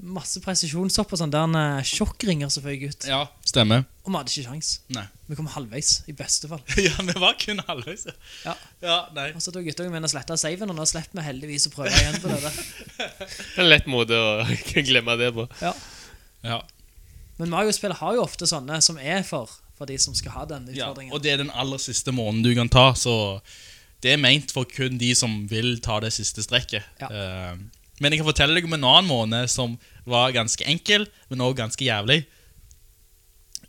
I: Masse presisjonshopp og sånn der eh, sjokkringer som føyk ut.
J: Ja, stemmer.
I: Og vi hadde ikke sjans.
J: Nei.
I: Vi kom halvveis, i beste fall.
J: ja, vi var kun halvveis.
I: Ja.
J: ja, nei.
I: Og så tok guttungen min og sletta saven, og nå slipper vi heldigvis å prøve igjen på det der.
E: Det er en lett måte å glemme det på.
I: Ja.
J: Ja.
I: Men Mario-spill har jo ofte sånne som er for, for de som skal ha den
J: Ja,
I: utfordringen.
J: og det er den aller siste måneden du kan ta, så det er ment for kun de som vil ta det siste strekket.
I: Ja.
J: Eh, men jeg kan fortelle deg om en annen måned som var ganske enkel, men også ganske jævlig.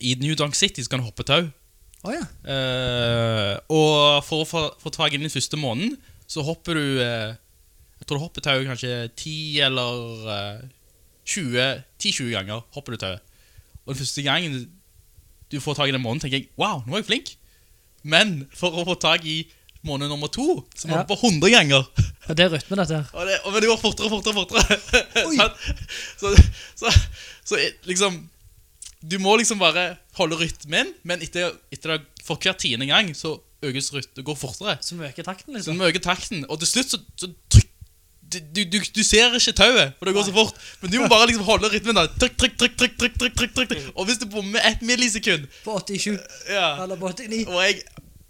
J: I New Donk City så kan du hoppe tau.
I: Å ja.
J: Eh, og for å få, få tak i den første måneden, så hopper du eh, Jeg tror du hopper tauet kanskje 10 eller eh, 20 10-20 ganger. hopper du tauet Og den første gangen du får tak i den måneden, tenker jeg wow, nå er jeg flink. Men for å få tak i måned nummer to, så må
I: Ja.
J: du på 100 ganger.
I: Og det er rytme, dette her.
J: Og det, og men det går fortere og fortere og fortere.
I: Oi.
J: Sant? så, så, så eh, liksom Du må liksom bare holde rytmen, men etter, etter det, for hver tiende gang så økes rytmen går fortere.
I: Som øker takten,
J: Så
I: liksom.
J: du må øke takten, og til slutt så, så trykk du, du, du, du ser ikke tauet, for det går så fort. Men du må bare liksom holde rytmen. da Trykk, trykk, trykk, trykk, trykk, trykk, trykk, trykk, trykk. Og hvis du bommer ett millisekund
I: På 87
J: ja.
I: eller på 89.
J: Og jeg,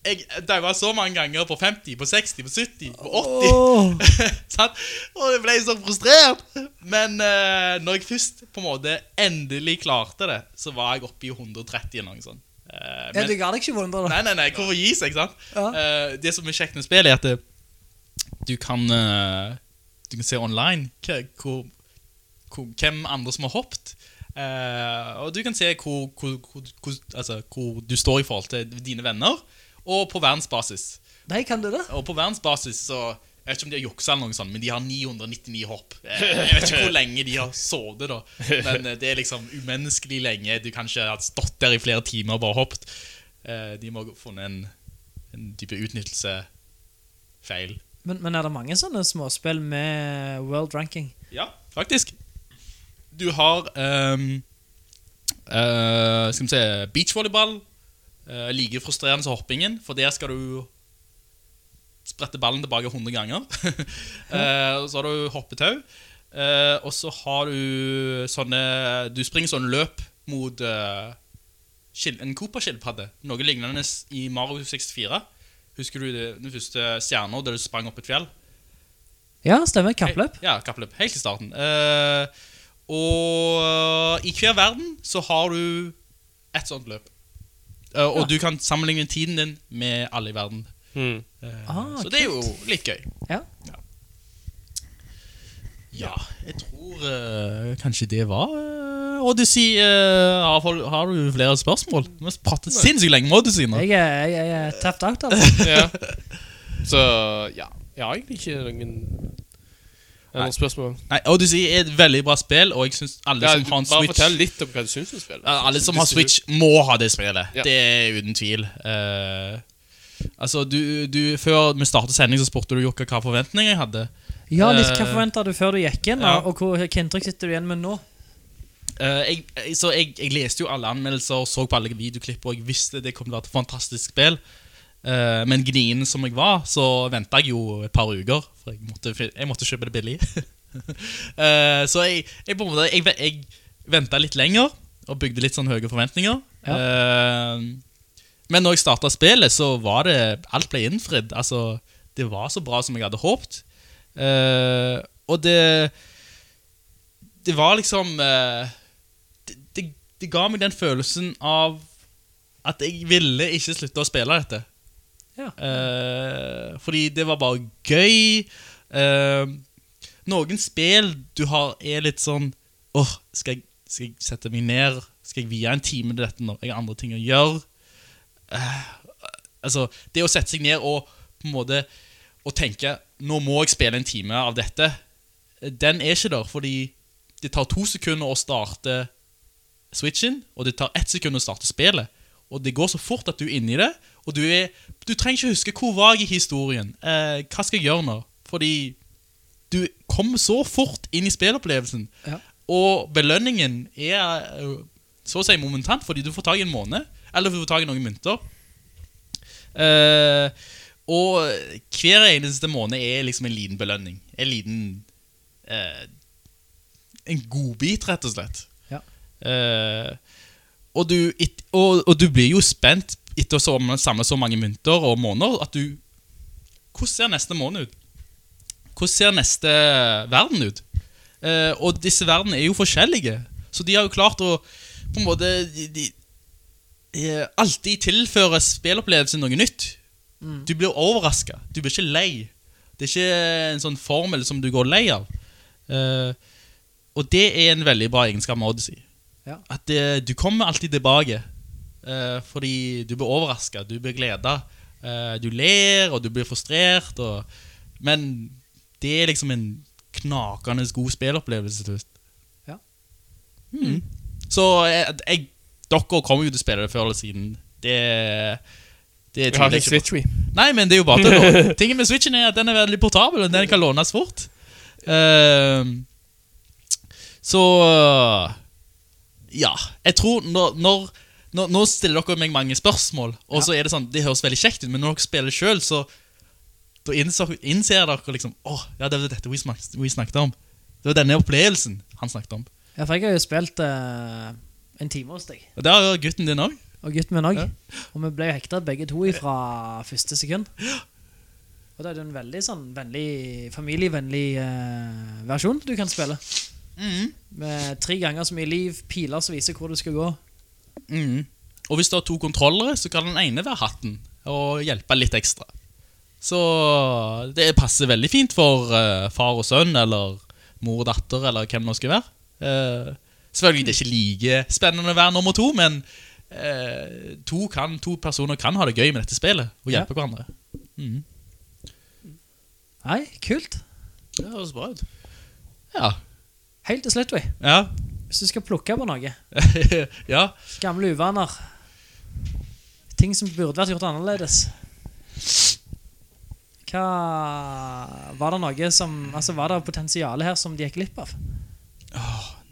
J: jeg daua så mange ganger på 50, på 60, på 70, på 80.
I: Åh.
J: Sant? Og jeg ble så frustrert. Men eh, når jeg først på en måte endelig klarte det, så var jeg oppe i 130 eller noe sånt. Eh,
I: Ja,
J: men-
I: du ga deg ikke vondre, da.
J: Nei, nei, nei, hvorfor gi seg, sant?
I: Ja.
J: Eh, det som er kjekt med spillet er at det, du kan eh, Du kan se online hva- hvor, hvor, hvem andre som har hoppet. Eh, og du kan se hvor, hvor, hvor, hvor, altså, hvor du står i forhold til dine venner, og på verdensbasis.
I: Nei, kan du det?
J: Og på verdensbasis så Jeg vet ikke om de har juksa, eller noe sånt, men de har 999 hopp. Eh, Jeg vet ikke hvor lenge de har sovet, da. men eh, det er liksom umenneskelig lenge. Du kan ikke ha stått der i flere timer og bare hoppet. Eh, De må ha funnet en, en type utnyttelsefeil.
I: Men, men er det mange sånne småspill med world ranking?
J: Ja, faktisk. Du har ehm, eh, Skal vi se Beachvolleyball. eh, like frustrerende som hoppingen, for der skal du sprette ballen tilbake 100 ganger. Eh, og så har du hoppetau. eh, og så har du sånne Du springer sånn løp mot eh, skil- en Cooper-skilpadde. Noe lignende i Mario 64. Husker du det- den første stjerna der du sprang opp et fjell?
I: Ja, stemmer. Kappløp.
J: Hei- Ja, kappløp. Helt i starten. Eh, og i hver verden så har du et sånt løp. Eh, og du kan sammenligne tiden din med alle i verden.
E: Mm.
J: Eh,
I: Ah,
J: så det er jo litt gøy.
I: Ja.
J: Ja, jeg tror eh, kanskje det var eh, Odyssey. eh, har, folk- har du flere spørsmål? Vi har pratet sinnssykt lenge med Odyssey nå.
I: Jeg er, jeg er tapped out, altså.
E: Ja. Så ja. Jeg har egentlig ikke noen noen spørsmål.
J: Nei, Odyssey er et veldig bra spill, og jeg syns alle
E: Ja,
J: som har en
E: bare
J: Switch
E: fortell litt om hva du syns om spillet.
J: Ja, Alle som har Switch, må ha det spillet.
E: Ja.
J: Det er uten tvil. Eh, altså, du, du Før vi startet sending, så spurte du Jokka hva forventninger jeg hadde.
I: Ja, litt Hva
J: Eh,
I: forventa du før du gikk inn,
J: ja.
I: og- og hvor- hvilket inntrykk sitter du igjen med nå?
J: Eh, jeg, jeg- så jeg, jeg leste jo alle anmeldelser og så på alle videoklipp, og jeg visste det kom til å være et fantastisk spill. Eh, men gnien som jeg var, så venta jeg jo et par uker, for jeg måtte, fi- jeg måtte kjøpe det billig. Eh, så jeg, jeg, på en måte- jeg, ve- jeg venta litt lenger og bygde litt sånn høye forventninger. Eh, men når jeg starta spillet, så var det Alt ble innfridd. Altså, det var så bra som jeg hadde håpet. Eh, og det det var liksom eh, det, det, det ga meg den følelsen av at jeg ville ikke slutte å spille dette.
I: Ja.
J: Eh, fordi det var bare gøy. Eh, noen spill du har, er litt sånn Åh, skal, jeg- skal jeg sette meg ned? Skal jeg vie en time til dette når jeg har andre ting å gjøre? Eh, altså, det å sette seg ned og på en måte og tenke Nå må jeg spille en time av dette. Den er ikke der, fordi det tar to sekunder å starte switchen, og det tar ett sekund å starte spillet. Og det går så fort at du er inni det, og du, er, du trenger ikke huske hvor var jeg i historien. Eh, hva skal jeg gjøre nå? Fordi du kommer så fort inn i spillopplevelsen.
I: Ja.
J: Og belønningen er eh, så å si momentant, fordi du får tak i en måned, eller du får tak i noen mynter. Eh, og hver eneste måned er liksom en liten belønning. En liten eh, En godbit, rett og slett.
I: Ja.
J: Eh, og, du, et, og, og du blir jo spent etter å samle- samle så mange mynter og måneder at du Hvordan ser neste måned ut? Hvordan ser neste verden ut? Eh, og disse verdenene er jo forskjellige, så de har jo klart å på en måte de, de, eh, alltid tilfører spillopplevelsen noe nytt. Du blir overraska. Du blir ikke lei. Det er ikke en sånn formel som du går lei av. Eh, og det er en veldig bra egenskap med Odyssey.
I: Ja.
J: At eh, du kommer alltid tilbake. eh, fordi du blir overraska, du blir gleda. Eh, du ler, og du blir frustrert. Og, men det er liksom en knakende god spillopplevelse til slutt.
I: Ja.
J: Mm. Så jeg, jeg, dere kommer jo til å spille det før eller siden. Det, det
E: Jeg har
J: tviler jeg på.
E: ikke Switch, vi.
J: Nei, men det er jo bare til å låne. Tingen med Switchen er at den er veldig portabel, og den kan lånes fort. Ehm, så Ja. Jeg tror når, når nå, nå stiller dere meg mange spørsmål, og så er det sånn, det høres veldig kjekt ut, men når dere spiller sjøl, så da innser, innser dere liksom Å, ja, det var dette vi snak- vi snakket om. Det var denne opplevelsen han snakket om.
I: Ja, for jeg har jo spilt eh, en time hos deg,
J: Og det har gutten din òg.
I: og gutten min òg.
J: Ja.
I: Og vi ble jo hekta begge to fra første sekund. Og det er jo en veldig sånn vennlig, familievennlig eh, versjon du kan spille. Med tre ganger så mye liv, piler som viser hvor du skal gå.
J: Mm. Og hvis du har to kontrollere, så kan den ene være hatten og hjelpe litt ekstra. Så det passer veldig fint for eh, far og sønn, eller mor og datter, eller hvem det nå skal være. Eh, selvfølgelig det er ikke like spennende å være nummer to, men eh, to, kan, to personer kan ha det gøy med dette spillet og hjelpe hverandre.
I: Nei, kult.
E: Det høres bra ut.
J: Ja.
I: Helt til slutt, vi.
J: Ja.
I: Hvis du skal plukke på noe.
J: ja.
I: Gamle uvaner. Ting som burde vært gjort annerledes. Hva Var det noe som Altså, var det potensialet her som de gikk glipp av?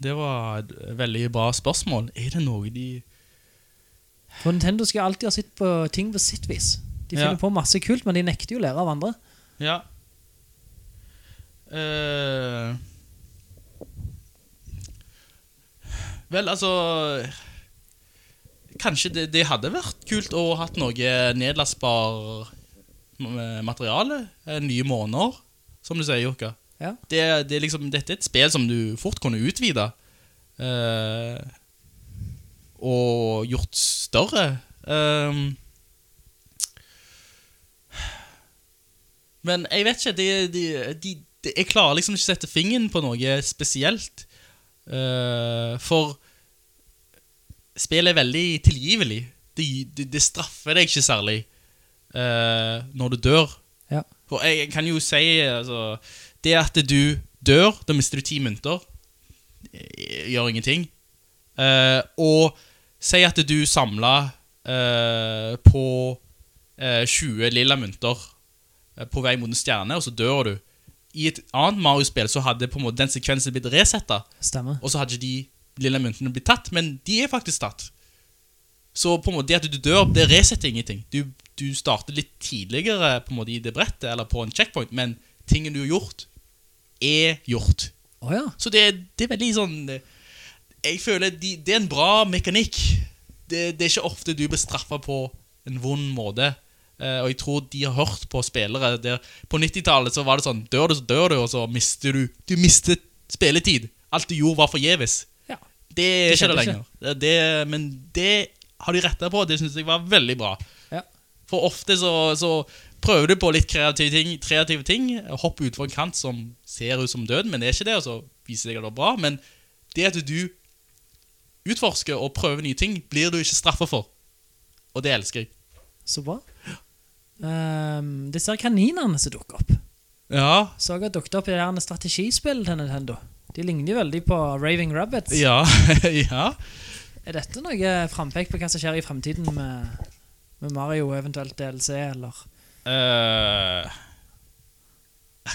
J: Det var et veldig bra spørsmål. Er det noe de
I: For Nintendo skal alltid ha sitt på ting på sitt vis. De finner
J: Ja.
I: på masse kult, men de nekter jo å lære av andre.
J: Ja. Eh, vel, altså Kanskje det, det hadde vært kult å hatt noe nedlastbar m- materiale. eh, Nye måneder, som du sier, Jokka.
I: Ja.
J: Det, det er liksom, dette er et spill som du fort kunne utvide. eh, og gjort større. Eh, Men jeg vet ikke de, de, de, de, Jeg klarer liksom ikke å sette fingeren på noe spesielt. Eh, for spillet er veldig tilgivelig. Det det- det straffer deg ikke særlig eh, når du dør.
I: Ja.
J: For jeg kan jo si altså, Det at du dør, da mister du ti mynter. Eh, Gjør ingenting. Eh, og si at du samla på eh, 20 lilla mynter eh, på vei mot en stjerne, og så dør du. I et annet Mario-spill så hadde på en måte den sekvensen blitt resetta,
I: Stemmer.
J: og så hadde ikke de lilla myntene blitt tatt, men de er faktisk tatt. Så på en måte det at du dør, det resetter ingenting. Du, du starter litt tidligere på en måte i det brettet, eller på en checkpoint, men tingen du har gjort, er gjort.
I: Å ja.
J: Så det, det er veldig sånn Jeg føler de, det er en bra mekanikk. Det, det er ikke ofte du blir straffa på en vond måte. Eh, og jeg tror de har hørt på spillere der På 90-tallet så var det sånn Dør du, så dør du, og så mister du Du mister spilletid. Alt du gjorde, var forgjeves.
I: ja.
J: Det er
I: Det
J: ikke det
I: skjedde
J: lenger. Det, det, men det har de retta på, og det syns jeg var veldig bra.
I: Ja.
J: For ofte så, så prøver du på litt kreative ting, kreative ting hopper utfor en kant som ser ut som døden, men det er ikke det, og så viser det seg at det er bra. Men det at du utforsker og prøver nye ting, blir du ikke straffa for. Og det elsker jeg.
I: Så bra. Ehm, disse her kaninene som dukker opp.
J: Ja.
I: Så jeg har dukket opp i det her strategispillet til Nintendo. De ligner jo veldig på Raving Rabbits.
J: Ja. ja.
I: Er dette noe frampek på hva som skjer i fremtiden med, med Mario, eventuelt DLC, eller
J: Eh,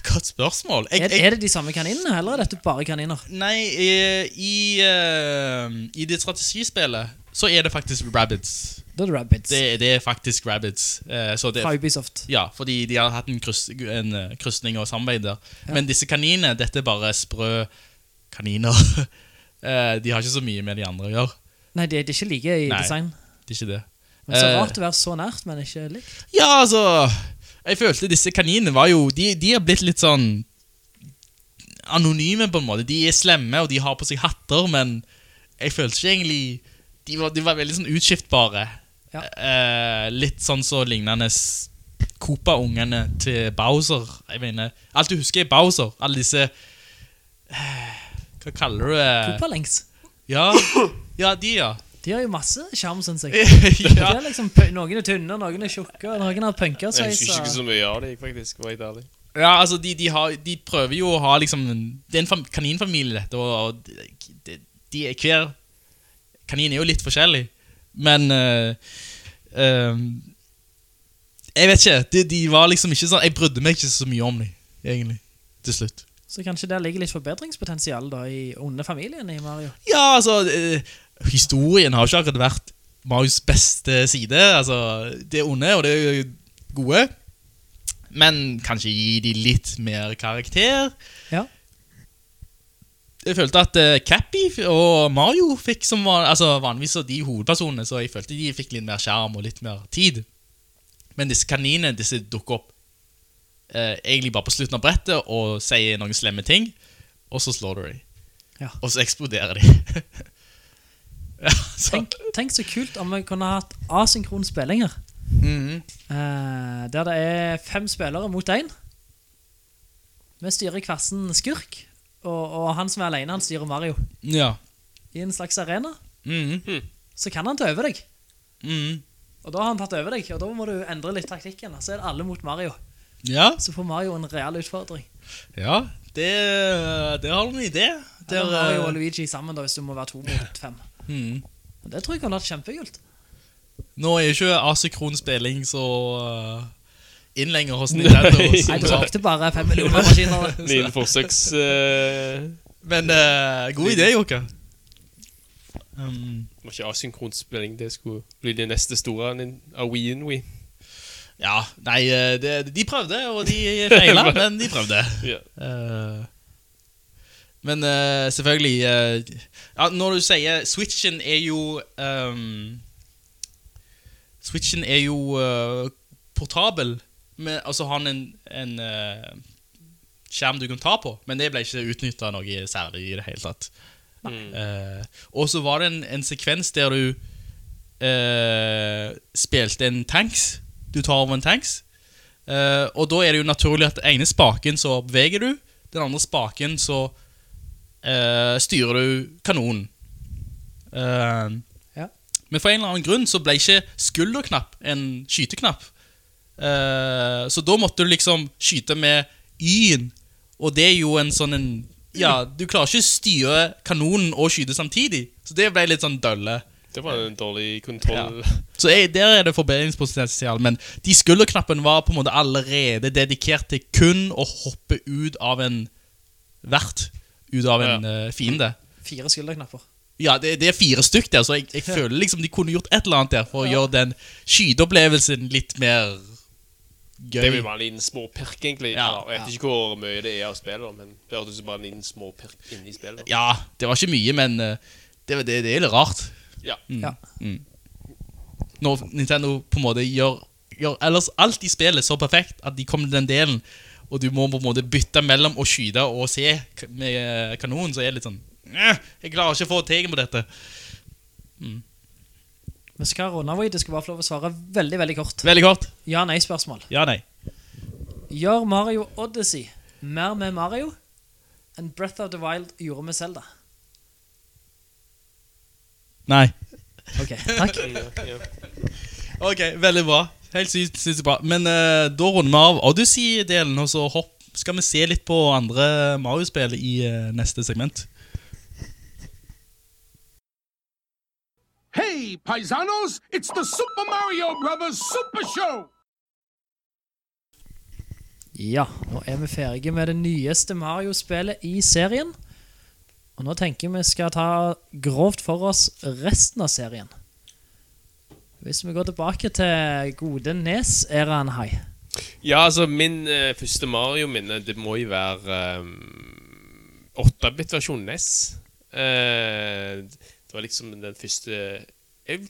J: godt spørsmål. Jeg-
I: er,
J: jeg-
I: er det de samme kaninene, eller er dette bare kaniner?
J: Nei, eh, i, eh, i det strategispillet så er det faktisk rabbits.
I: Da er det Rabbits
J: Det, det er faktisk rabbits. Eh, så det,
I: fra Ubisoft.
J: ja, fordi de har hatt en, kryss, en eh, krysning og samarbeid der. Men disse kaninene, dette er bare sprø kaniner. Eh, de har ikke så mye med de andre å gjøre.
I: Nei, det det er ikke like i
J: Nei.
I: design.
J: Det er ikke det.
I: Men så
J: Eh,
I: rart å være så nært, men ikke likt.
J: Ja, altså Jeg følte disse kaninene var jo De, de har blitt litt sånn Anonyme på en måte De er slemme og de har på seg hatter Men jeg følte ikke egentlig De var, de var veldig sånn utskiftbare
I: Ja.
J: eh, Litt sånn så lignende s- Koopa-ungene til Bowser Jeg mener Alt du husker er Bowser Alle disse eh, Hva kaller du det?
I: Koopalengs.
J: Ja, ja de ja
I: De har jo masse sjarm, syns jeg. De
J: Ja,
I: er liksom, p- noen er tynne, noen er tjukke, og noen har
E: Jeg husker ikke
I: punkersveis. og-
E: så mye av det, jeg, faktisk. Var jeg ærlig.
J: Ja, altså, de, de, har, de prøver jo å ha liksom en- Det er en fam- kaninfamilie, dette, og, og de, de er hver Kanin er jo litt forskjellig, men eh, eh, Jeg vet ikke. De, de var liksom ikke sånn Jeg brydde meg ikke så mye om dem, egentlig, til slutt.
I: Så kanskje der ligger litt forbedringspotensial da i onde familien i Mario.
J: Ja, altså eh, Historien har ikke akkurat vært Marius beste side. Altså, det onde og det gode. Men kanskje gi de litt mer karakter.
I: Ja.
J: Jeg følte at eh, Cappy og Mario fikk som van altså, vanligvis så de hovedpersonene, så jeg følte de fikk litt mer skjerm og litt mer tid. Men disse kaninene disse dukker opp eh, egentlig bare på slutten av brettet og sier noen slemme ting, og så slår du dem.
I: Ja.
J: Og så eksploderer de. ja, så,
I: Tenk, tenk så kult om vi kunne hatt asynkron spilling her.
J: Mhm.
I: Eh, der det er fem spillere mot én. Vi styrer hver sin skurk, og, og han som er alene, han styrer Mario.
J: ja.
I: I en slags arena.
J: Mhm.
I: Så kan han ta over deg.
J: Mhm.
I: Og da har han tatt over deg, og da må du endre litt taktikken. Så er det alle mot Mario.
J: Ja,
I: Så får Mario en real utfordring.
J: ja det, eh, det har du en idé. Der,
I: Eller Mario og
J: eh,
I: Luigi sammen, da, hvis du må være to mot fem.
J: hmm.
I: Og Det tror jeg kan være kjempekult.
J: Nå er jo ikke asynkron spilling så eh, inn lenger hos Nintendo.
E: Nei.
J: så-
I: Nei, det brukte bare fem millioner maskiner. da.
E: Mine forsøks... eh,
J: Men eh, god idé, Jokke. Um,
E: det var ikke asynkronspilling, det skulle bli det neste store nin- av Wien We.
J: ja, nei, eh, det, de prøvde, og de feila, men de prøvde.
E: Ja.
J: Eh, men eh, selvfølgelig eh, ja, Når du sier Switchen er jo ehm, Switchen er jo eh, portabel, men, altså har den en, en eh, skjerm du kan ta på, men det ble ikke utnytta noe særlig i det hele tatt. Eh, og så var det en, en sekvens der du eh, spilte en tanks. Du tar over en tanks. Eh, og da er det jo naturlig at den ene spaken så beveger du, den andre spaken så eh, styrer du kanonen. Eh,
I: Ja.
J: Men for en eller annen grunn så ble ikke skulderknapp en skyteknapp. Eh, så da måtte du liksom skyte med Y-en, og det er jo en sånn en Ja, du klarer ikke å styre kanonen og skyte samtidig, så det ble litt sånn dølle.
E: Det var en dårlig kontroll.
J: Så jeg, der er det forbedringspotensial, men de skulderknappene var på en måte allerede dedikert til kun å hoppe ut av en vert, ut av en eh, fiende.
I: Fire skulderknapper.
J: Ja, det, det er fire stykk der, så jeg, jeg føler liksom de kunne gjort et eller annet der for å gjøre den skyteopplevelsen litt mer gøy.
E: Det vil være en liten småpirk, egentlig.
J: Ja,
E: Eller, jeg vet ikke hvor mye det er av spillet, da, men det hørtes ut som bare en liten småpirk inni spillet. da.
J: Ja, det var ikke mye, men eh, det, det, det er litt rart.
E: Ja.
J: Mhm.
I: Ja.
J: Når Nintendo på en måte gjør, gjør ellers alt i spillet så perfekt at de kommer til den delen, og du må på en måte bytte mellom å skyte og se k- med eh, kanonen, så er det litt sånn "Nyeh, Jeg klarer ikke å få teken på dette.
I: Vi skal runde av, og du skal bare få lov å svare veldig veldig kort.
J: Veldig kort.
I: Ja-nei-spørsmål.
J: Ja, nei.
I: Gjør Mario Odyssey mer med Mario enn Breath of the Wild gjorde med Zelda?
J: Nei.
I: Ok, takk.
J: Ok, veldig bra. Helt sykt sykt bra. Men eh, da runder vi av Odyssey-delen, og så hopp. skal vi se litt på andre Mario-spill i eh, neste segment.
A: Hey, paisanos, it's the Super Mario Brothers Super Show!
I: Ja, nå er vi ferdige med det nyeste Mario-spillet i serien. Og nå tenker vi skal ta grovt for oss resten av serien. Hvis vi går tilbake til gode Nes-æraen, hei.
E: Ja, altså, min eh, første Mario-minne, det må jo være eh, ehm, 8-bit-versjon NES. E Eh, det var liksom den første jeg,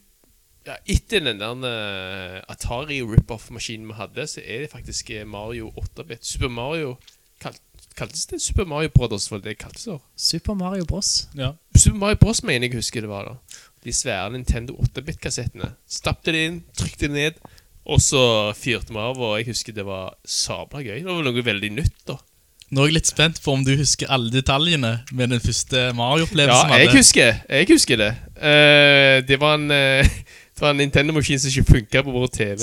E: ja, Etter den der eh, Atari rip-off-maskinen vi hadde, så er det faktisk eh, Mario 8-bit. Super Mario kalt, Kaltes det Super Mario Brothers, for det kaltes det?
I: Super Mario Bros.
J: Ja.
E: Super Mario Bros. mener jeg husker det var da. De svære Nintendo 8-bit-kassettene. Stappte det inn, trykte det ned, og så fyrte vi av, og jeg husker det var sabla gøy. Det var noe veldig nytt, da.
J: Nå er jeg litt spent på om du husker alle detaljene med den første
E: Ja,
J: Mario-opplevelsen. vi
E: jeg
J: hadde.
E: husker, jeg husker det. Eh, det var en eh, Det var en Nintendo-maskin som ikke funka på vår TV.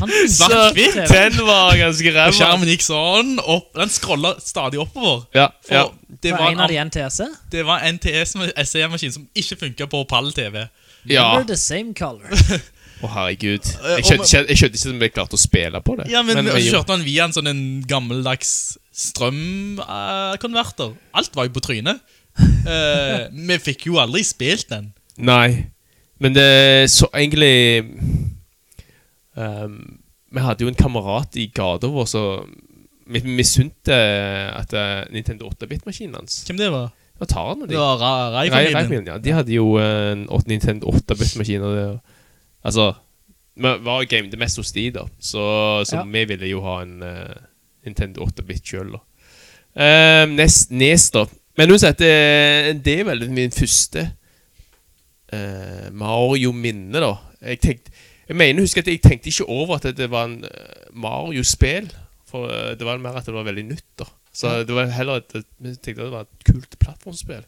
I: Han
J: Svart-hvitt?
I: TV.
E: Den var ganske
J: Og
E: ræva.
J: Skjermen gikk sånn opp. Den scrolla stadig oppover.
E: Ja,
J: For
E: ja.
J: det,
I: Det
J: var
I: var
J: en,
I: en av de
J: annen-
I: NTS-e.
J: det var en TS-maskin som ikke funka på pall-TV.
E: ja.
I: We're the same color.
E: Å, herregud. Jeg skjønte ikke jeg skjønte ikke at vi klarte å spille på det.
J: Eh, Ja, men,
E: Men-
J: og så kjørte han via en sånn en gammeldags strømkonverter. Alt var jo på trynet. Eh, vi fikk jo aldri spilt den.
E: Nei, men det så egentlig ehm, Vi hadde jo en kamerat i gata vår som vi vi misunte at eh, Nintendo 8-bit-maskinen hans
J: Hvem det var?
E: Hva tar han nå,
J: Det
E: de?
J: var Ra-
E: Rai-
J: Rai-familien.
E: Raifin, ja. De hadde jo en åt- Nintendo 8-bit-maskin. og det- Altså Vi var game det mest hos de, da. Så, så
I: Ja.
E: vi ville jo ha en eh, Nintendo 8-bit sjøl, da. Ehm, nes, nes, da. Men uansett, eh, det, det er vel min første eh, Mario-minne, da. Jeg tenkte Jeg mener, husk at jeg tenkte ikke over at det var en eh, Mario-spill. For eh, det var mer at det var veldig nytt, da. Så det var heller et, et, jeg tenkte at det var et kult plattformspill.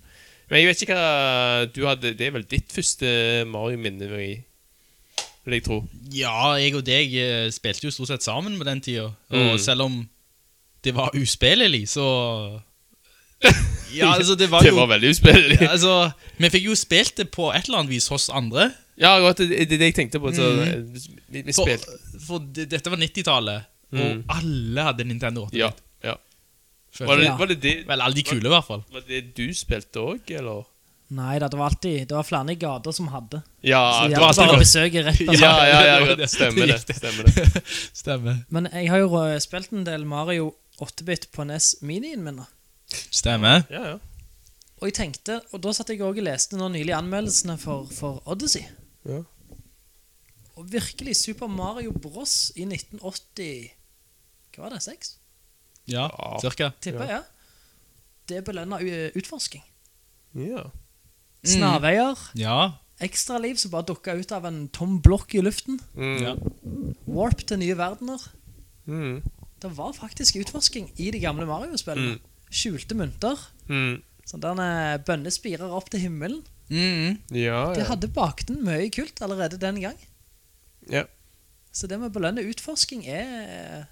E: Men jeg vet ikke hva du hadde Det er vel ditt første Mario-minne? Marie? vil jeg tro.
J: Ja, jeg og deg eh, spilte jo stort sett sammen på den tida. Og
E: Mm.
J: selv om det var uspillelig, så Ja, altså, det var
E: Det
J: jo
E: var veldig uspillelig.
J: Ja, altså, Vi fikk jo spilt det på et eller annet vis hos andre.
E: Ja, godt, det det er det jeg tenkte på. Så, eh, vi, vi
J: For,
E: spilte
J: for det, dette var 90-tallet,
E: Mm.
J: og alle hadde Nintendo 8.
E: Ja. ja.
J: føler
E: Var, det,
J: jeg.
E: var, det det,
J: Vel, alle de kule, i hvert fall.
E: var det du spilte òg, eller?
I: Nei da, det var alltid Det var flere i gata som hadde.
E: Ja,
I: Så
E: det
I: de hadde
E: var alltid
I: bare
E: godt.
I: besøket rett
E: Ja,
I: av.
E: ja, ja,
J: Det var
E: godt.
J: det.
E: stemmer
J: Det
E: det.
J: gikk det.
E: Stemmer det.
J: Stemmer.
I: Men jeg har jo eh, spilt en del Mario 8-bit på NES Minien min. da.
J: Stemmer.
E: Ja, ja.
I: Og jeg tenkte, og da satt jeg også og leste nå nylig anmeldelsene for, for Odyssey.
E: Ja.
I: Og virkelig Super Mario Bros. i 1980 Hva var det? Seks?
J: Ja,
E: Ja.
J: cirka.
I: Tipper jeg. Ja. Det belønna utforsking.
E: ja. Mm.
I: Snarveier,
J: Ja.
I: ekstraliv som bare dukka ut av en tom blokk i luften.
J: ja.
I: Warp til nye verdener.
E: Mm.
I: Det var faktisk utforsking i de gamle Mario-spillene. Skjulte Sånn mynter.
E: Mm.
I: Sånne bønnespirer eh, opp til himmelen.
J: Mm.
E: ja,
I: Det
E: ja.
I: hadde bakt den mye kult allerede den gang.
E: ja.
I: Så det med å belønne utforsking er,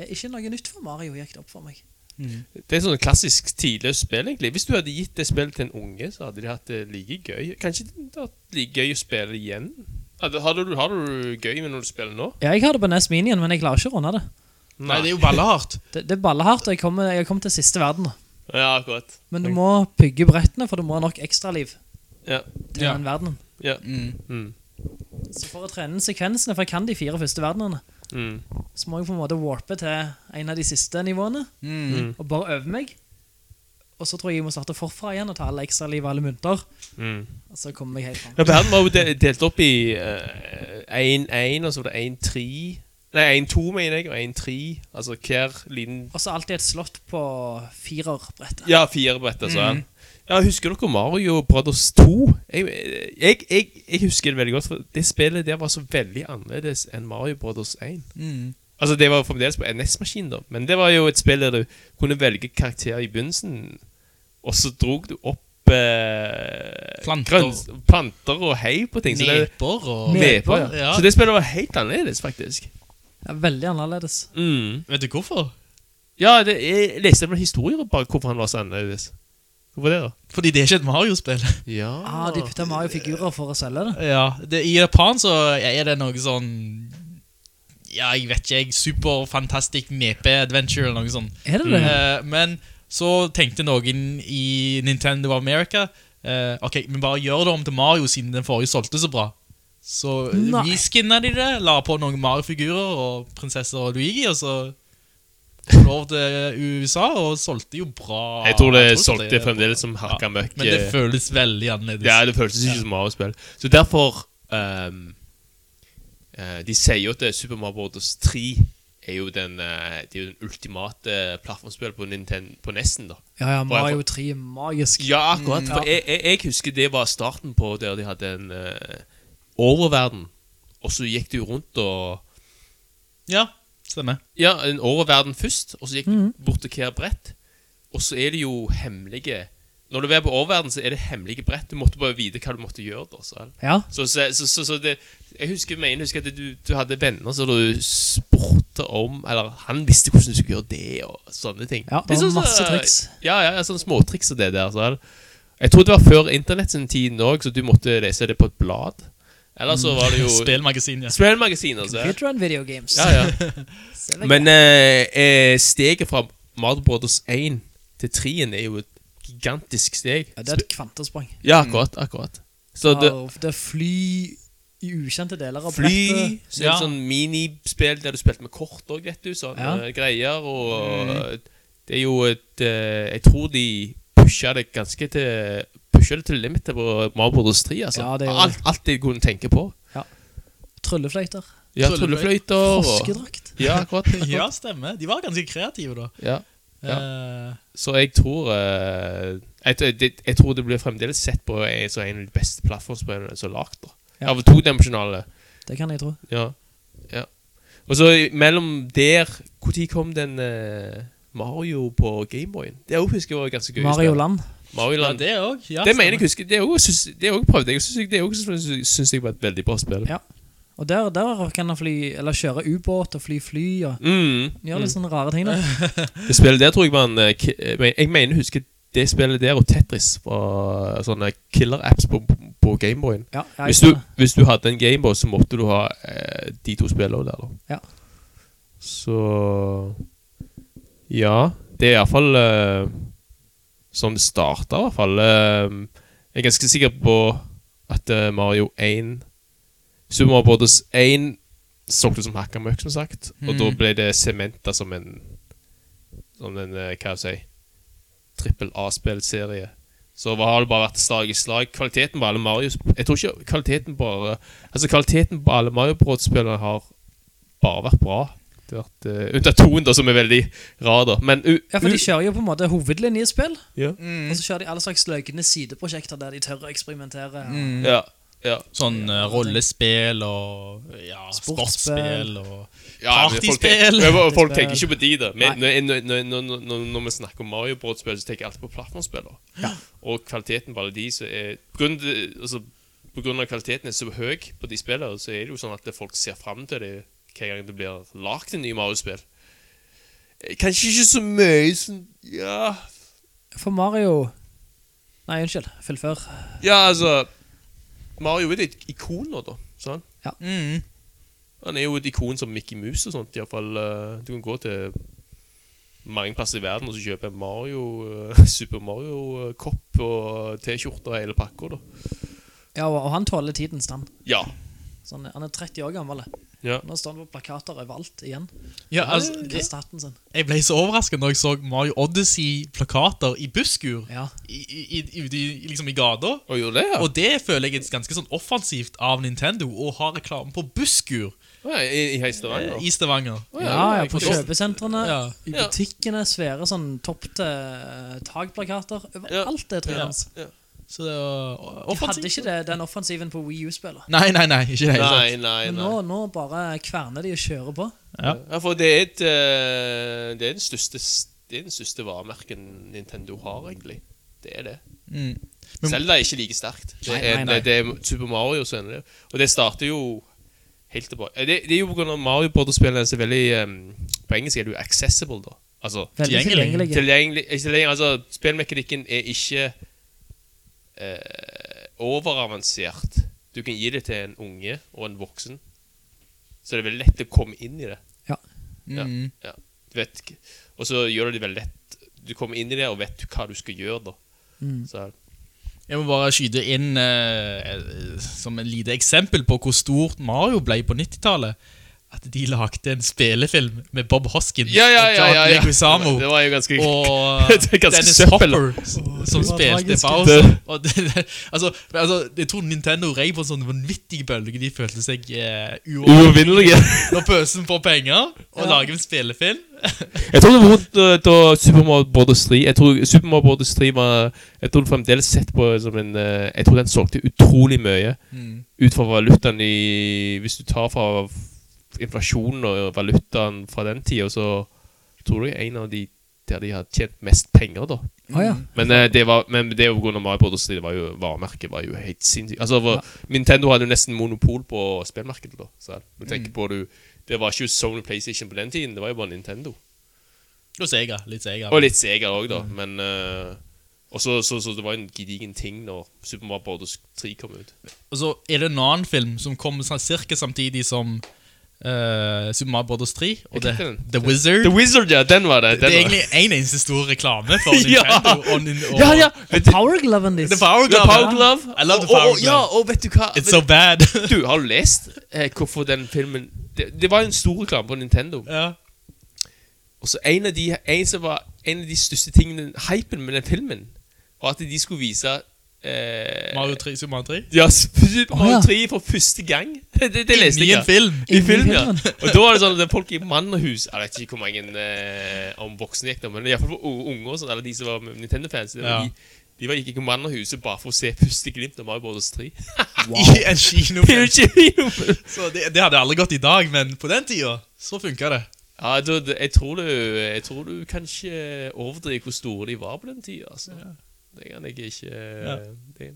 I: er ikke noe nytt for Mario, gikk det opp for meg.
E: Det er sånn klassisk tidløst spill, egentlig. Hvis du hadde gitt det spillet til en unge, så hadde de hatt det like gøy. Kanskje de hadde hatt like gøy å spille igjen? Hadde, har, du, har du gøy med når du spiller nå?
I: Ja, jeg har det på NES Minien, men jeg klarer ikke å runde det.
J: Nei, det er jo ballehardt.
I: Det, det er ballehardt, og jeg kommer, jeg kommer til siste verden. nå.
E: Ja, akkurat.
I: Men du må bygge brettene, for du må ha nok ekstraliv
E: Ja.
I: til
J: Ja.
I: den verdenen.
E: ja.
J: Mm.
I: Så for å trene sekvensene, for jeg kan de fire første verdenene,
E: Mm.
I: så må jeg på en måte warpe til en av de siste nivåene,
J: Mm.
I: og bare øve meg. Og så tror jeg jeg må starte forfra igjen og ta alle ekstraliv og alle mynter.
E: Mm.
I: Og så kommer jeg helt fram.
E: Ja, verden var jo del- delt opp i eh, 1-1, og så var det 1-3 Nei, 1-2, mener jeg, og 1-3. Altså hver liten
I: Og så alltid et slott på firerbrettet.
E: Ja, fire brett, altså. Ja, husker dere Mario Brothers 2? Jeg, jeg, jeg, jeg husker det veldig godt, for det spillet der var så veldig annerledes enn Mario Brothers 1.
J: Mm.
E: Altså, det var fremdeles på NS-maskin, da, men det var jo et spill der du kunne velge karakter i begynnelsen, og så drog du opp eh,
J: Planter.
E: grønns- planter og hei på ting. Så det,
J: Neper og
E: Neper,
I: Neper,
E: ja.
J: ja.
E: Så det spillet var helt annerledes, faktisk. Mm.
I: Ja, veldig annerledes.
J: Vet du hvorfor?
E: Ja, det, jeg leste vel historier bak hvorfor han var så annerledes. Hvorfor det, da?
J: Fordi det er ikke et Mario-spill.
E: Ja,
I: Ah, de putta Mario-figurer for å selge det.
J: Ja, det, I Japan så er det noe sånn Ja, jeg vet ikke. jeg, Superfantastic mepe-adventure eller noe sånt.
I: Er det det?
J: Eh, men så tenkte noen i Nintendo of America eh, Ok, men bare gjør det om til Mario, siden den forrige solgte så bra. Så
I: Nei.
J: reskinna de det, la på noen Mario-figurer og prinsesse og Luigi, og så kom det over til USA, og solgte jo bra.
E: Ah, Jeg tror det
J: tror
E: solgte fremdeles som hakka møkk. eh,
J: Men det føles veldig annerledes.
E: Ja, det føltes ikke som Mario-spill. Så derfor ehm, eh, De sier jo at det er Super Mario Bros. 3 er jo den, eh, det er jo den ultimate plattformspillet på, Ninten- på nesten, da.
I: Ja, ja, Mario 3 er magisk.
E: Ja, akkurat. For
I: Ja.
E: jeg, jeg, jeg husker det var starten på der de hadde en eh, oververden. Og så gikk du rundt og
J: ja stemmer.
E: Ja, en oververden først, og så gikk
I: Mm.
E: du bort til hver brett. Og så er det jo hemmelige Når du er på oververden, så er det hemmelige brett. Du måtte bare vite hva du måtte gjøre. da Så,
I: Ja,
E: så, så, så, så, så det jeg husker, jeg mener, jeg husker at du, du hadde venner som du spurte om Eller han visste hvordan du skulle gjøre det, og sånne ting.
I: Ja, det var
E: er sånn,
I: masse
E: eh,
I: triks.
E: Ja, ja, ja sånne småtriks og det der. Så. Jeg tror det var før internett sin tid òg, så du måtte lese det på et blad. Eller så var det jo
J: Spillmagasin, ja.
E: Spillmagasin, altså.
I: Computer and Video Games.
E: Ja, ja. Men eh, eh, steget fra Mario Brothers 1 til 3-en er jo et gigantisk
J: eh,
E: steg.
I: Ja, det er et kvantesprang.
E: Ja, akkurat. akkurat. Så det
I: Av det fly i ukjente deler av
E: fly
I: brettet.
E: så er det
J: Ja.
E: sånn minispill der du spilte med kort òg, vet du. Sånne
I: Ja. Mm.
E: eh, greier. Og det er jo et eh, Jeg tror de pusha det ganske til Pusha det til limitet på Mario Brothers 3. Altså.
I: Ja, det gjorde
E: alt, alt de kunne tenke på.
I: Tryllefløyter.
E: Ja,
J: Tryllefløyter.
E: Tryllefløyter og
I: Froskedrakt.
E: Ja, akkurat.
J: Ja, stemmer. De var ganske kreative da.
E: Ja.
J: Eh,
E: Så jeg tror eh, jeg, jeg, jeg tror det blir fremdeles sett på en- som en av de beste plattformspillene som er lagd. da.
I: Ja.
E: Av todimensjonale.
I: Det kan jeg tro.
E: Ja. ja. Og så i- mellom der Når kom den eh, Mario på Gameboyen? Det òg husker jeg var ganske gøy. å
I: Mario
E: spille.
I: Land.
E: Mario
J: ja,
E: Land. det
J: det òg. Ja,
E: mener jeg
J: stemmer.
E: husker. Det òg syns- det òg prøvde jeg. og syns jeg- Det òg syns- syns jeg var et veldig bra spill.
I: Ja. Og der, der kan han fly, eller kjøre ubåt og fly fly og
E: Mm. Eh.
I: gjøre litt sånne rare ting. da
E: Det spillet der tror jeg man eh, ki- eh, men- Jeg mener, husker det spillet der og Tetris var sånne killer-apps på, på Gameboyen.
I: Ja, ja, jeg
E: Hvis,
I: tror
E: du- hvis du hadde en Gameboy, så måtte du ha eh, de to spillene der, da.
I: Ja.
E: Så Ja. Det er iallfall uh, sånn det starta, i hvert fall. Eh, jeg er ganske sikker på at eh, Mario 1 Super Mario Brothers 1 solgte som hakka møkk, som sagt. Og da ble det sementa som en Som en, eh, hva skal jeg si Trippel A-spillserie. Så hva har det bare vært slag i slag. Kvaliteten på alle Mario Jeg tror ikke kvaliteten bare Altså kvaliteten på alle Mario Bros-spillerne har bare vært bra. Det har vært eh, Unntatt toen, da, som er veldig rar, da. Men u,
I: Ja, for de Mm.
E: u-
I: kjører jo på en måte hovedlinjespill,
E: ja.
I: og så kjører de alle slags løgne sideprosjekter der de tør å eksperimentere.
E: Ja, ja.
J: Sånn eh, rollespill og ja, sportsspill
I: Sportsspill.
J: og
E: Ja, men
J: Partyspill!
E: Folk, tenker- folk tenker ikke på de, da. Men når, når, når, når, når vi snakker om Mario Bros-spill, så tenker jeg alltid på plattformspill. da. Og kvaliteten på alle de som er på grunn, altså, på grunn av kvaliteten er så høy på de spillene, så er det jo sånn at folk ser fram til det hver gang det blir lagd en ny Mario-spill. Eh, Kanskje ikke så mye sånn Ja,
I: For Mario Nei, unnskyld. Fullfør.
E: ja altså Mario er et ikon nå, da. Sånn. Han er jo et ikon som Mickey Mouse og sånt. I hvert fall, eh, du kan gå til mange plasser i verden og så kjøpe en Mario, eh, Super Mario-kopp og T-skjorte og hele pakka. da.
I: Ja, og, og han tåler tidens tann.
E: Ja.
I: Så han, er- han er 30 år gammel.
E: Ja.
I: Nå står han på plakater overalt igjen.
J: Ja, altså,
I: Han
J: jeg-
I: Kaster hatten sin.
J: jeg ble så overrasket når jeg så Mario Odyssey-plakater i busskur
I: Ja.
J: i, i, i, i- liksom i gata.
E: Og gjorde det, ja?
J: Og det føler jeg er ganske sånn offensivt av Nintendo å ha reklame på busskur
E: Å, ja, I, i hele Stavanger.
J: eh, i Stavanger.
E: Å,
I: Ja, ja,
E: jeg
I: på
E: forstår.
I: kjøpesentrene,
J: Ja.
I: i
E: Ja.
I: butikkene, svære sånn toppte eh, takplakater.
E: Ja.
I: Overalt det trynet
J: Ja.
I: hans.
J: Så det var
I: De hadde ikke
J: offensivt.
I: det, den offensiven på Wii U-spillet.
J: Nei, nei, nei. Ikke det.
E: Nei, nei,
I: Men nå,
E: nei.
I: nå bare kverner de og kjører på.
E: Ja, for det er, et, eh, det er den største Det er den største varemerken Nintendo har, egentlig. Det er det.
J: Mm. Men-
E: Zelda er ikke like sterkt. Det
J: Nei,
E: er,
J: nei, nei.
E: Det, det er Super Mario som ender det. Og det starter jo helt tilbake Eh, det, det er jo på grunn av Mario Brothers-spillene som er veldig em, På engelsk er det jo accessible, da. Altså
I: Veldig
J: Tilgjengelig.
I: tilgjengelige.
E: tilgjengelig ikke tilgjengelig, Altså, spillmekanikken er ikke eh, overavansert. Du kan gi det til en unge og en voksen, så det er veldig lett å komme inn i det.
I: Ja.
E: Ja,
J: Mm.
E: ja. Du vet, k- og så gjør det det veldig lett. Du kommer inn i det og vet hva du skal gjøre, da.
J: Mm.
E: Så,
J: Jeg må bare skyte inn eh, eh, som en lite eksempel på hvor stort Mario ble på 90-tallet. At de lagde en spelefilm med Bob Hoskin
E: ja, ja, ja, ja, ja.
J: og John Leguizamo.
E: Det var jo ganske
J: og eh,
E: Det er ganske
J: Dennis
E: søppel.
J: Hopper s- som
I: det var
J: spilte
I: tragisk.
J: Bowser. Og det, det, altså, men altså, jeg tror Nintendo rei på en sånn vanvittig bølge. De følte seg eh, uovervinnelige
E: Uovervinnelige.
J: når pøsen får penger og lager en spillefilm.
E: Jeg tror det var rundt eh, da Super Mario Bros. 3 Jeg tror Super Mario Bros. 3 var Jeg tror det fremdeles sett på som en eh, Jeg tror den solgte utrolig mye ut fra valutaen i Hvis du tar fra f- inflasjonen og valutaen fra den tida, så tror jeg en av de der de har tjent mest penger, da.
I: Å ja.
E: Men, eh, det var, men det var på grunn av Mario Bros. 3. Det var jo, varemerket var jo helt sinnssykt. Altså, var- Nintendo hadde jo nesten monopol på spillmarkedet. da. Så, du tenker
J: Mm.
E: på du, Det var ikke Sony PlayStation på den tiden, det var jo bare Nintendo.
J: Og Sega. Litt Sega.
E: Og litt Sega òg,
J: Mm.
E: da. Men eh, og så, så, så det var en gedigen ting når Super Mario Bros. 3 kom ut.
J: Og så er det en annen film som kommer sånn cirka samtidig som eh, Super Mario Brothers 3. Og
E: Jeg
J: det,
E: likte den.
J: The Wizard.
E: The Wizard, ja! Den var det.
J: det
E: Den
J: er
E: var.
J: egentlig en eneste stor reklame for
E: Ja.
J: Nintendo. Og, nin- og,
E: Ja, ja! Vet du,
I: Power Gloven
J: The
I: deres.
J: Power
E: The
J: Glove.
E: Power Glove.
J: I love the
E: Og- og-
J: Power
E: og- Ja,
J: Glove.
E: og vet du hva?
J: It's
E: Vet,
J: so bad.
E: du, har du lest eh, hvorfor den filmen det, det var en stor reklame på Nintendo.
J: ja.
E: Og så en av de, en som var en av de største tingene, hypen med den filmen, var at de skulle vise eh,
J: Mario 3, Super Mario 3.
E: Ja, Super
I: Å,
E: Mario
I: ja.
E: 3 for første gang. Det, det leste
J: Inni
E: jeg.
J: en film.
E: I
I: Inni
E: film, ja.
I: filmen.
E: Og da var det sånn at folk i mann og hus Jeg vet ikke hvor mange eh, om voksne gikk der, men iallfall unge og sånn, eller de som var Nintendo-fans, det var
J: Ja.
E: de, de var gikk i mann og huset bare for å se første glimt av Mario Bros. 3.
J: I en kinofilm.
E: Wow.
J: Så det, det hadde aldri gått i dag, men på den tida så funka det.
E: Ja, du, det- jeg, tror du, jeg tror du kanskje overdriver hvor store de var på den tida. Altså. Det kan jeg ikke eh,
J: Ja.
E: det.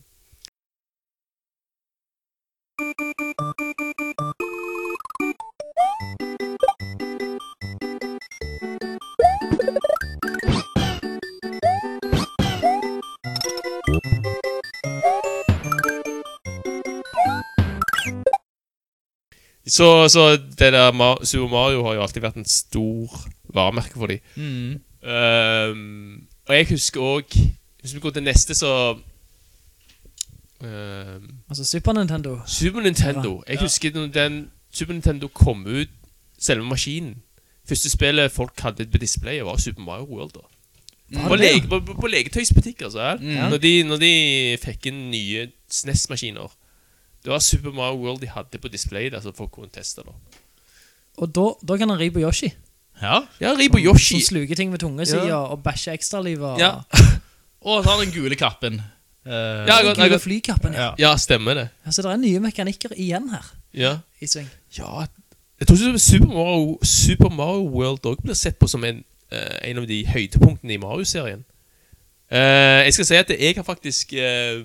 E: Så, så det der Ma- Super Mario har jo alltid vært en stor varemerke for dem. Mm. Ehm, og jeg husker òg Hvis vi går til neste, så ehm,
I: Altså Super Nintendo.
E: Super Nintendo. Jeg husker når den Super Nintendo kom ut, selve maskinen. Første spillet folk hadde på displayet, var Super Mario World. da På,
I: det, Mm. ja?
E: lege, på, på- på leketøysbutikker. Så her. Når, de, når de fikk inn nye SNES-maskiner Det var Super Mario World de hadde på displayet. Altså folk kunne teste da
I: Og da, da kan han ri på Yoshi.
J: Ja.
E: Ja, ri på Yoshi.
I: Som sluker ting med tungesider og bæsjer ekstraliv. Og
E: Ja.
J: Og så har den gule kappen. Eh,
E: Ja, jeg, jeg,
I: Gule
E: jeg,
I: flykappen. Ja.
J: Ja.
E: ja, stemmer det.
I: Ja, så det er nye mekanikker igjen her
E: Ja.
I: i sving.
E: Ja, jeg tror ikke Super Mario, Super Mario World også blir sett på som en, eh, en av de høydepunktene i Mario-serien. Eh, jeg skal si at jeg har faktisk eh,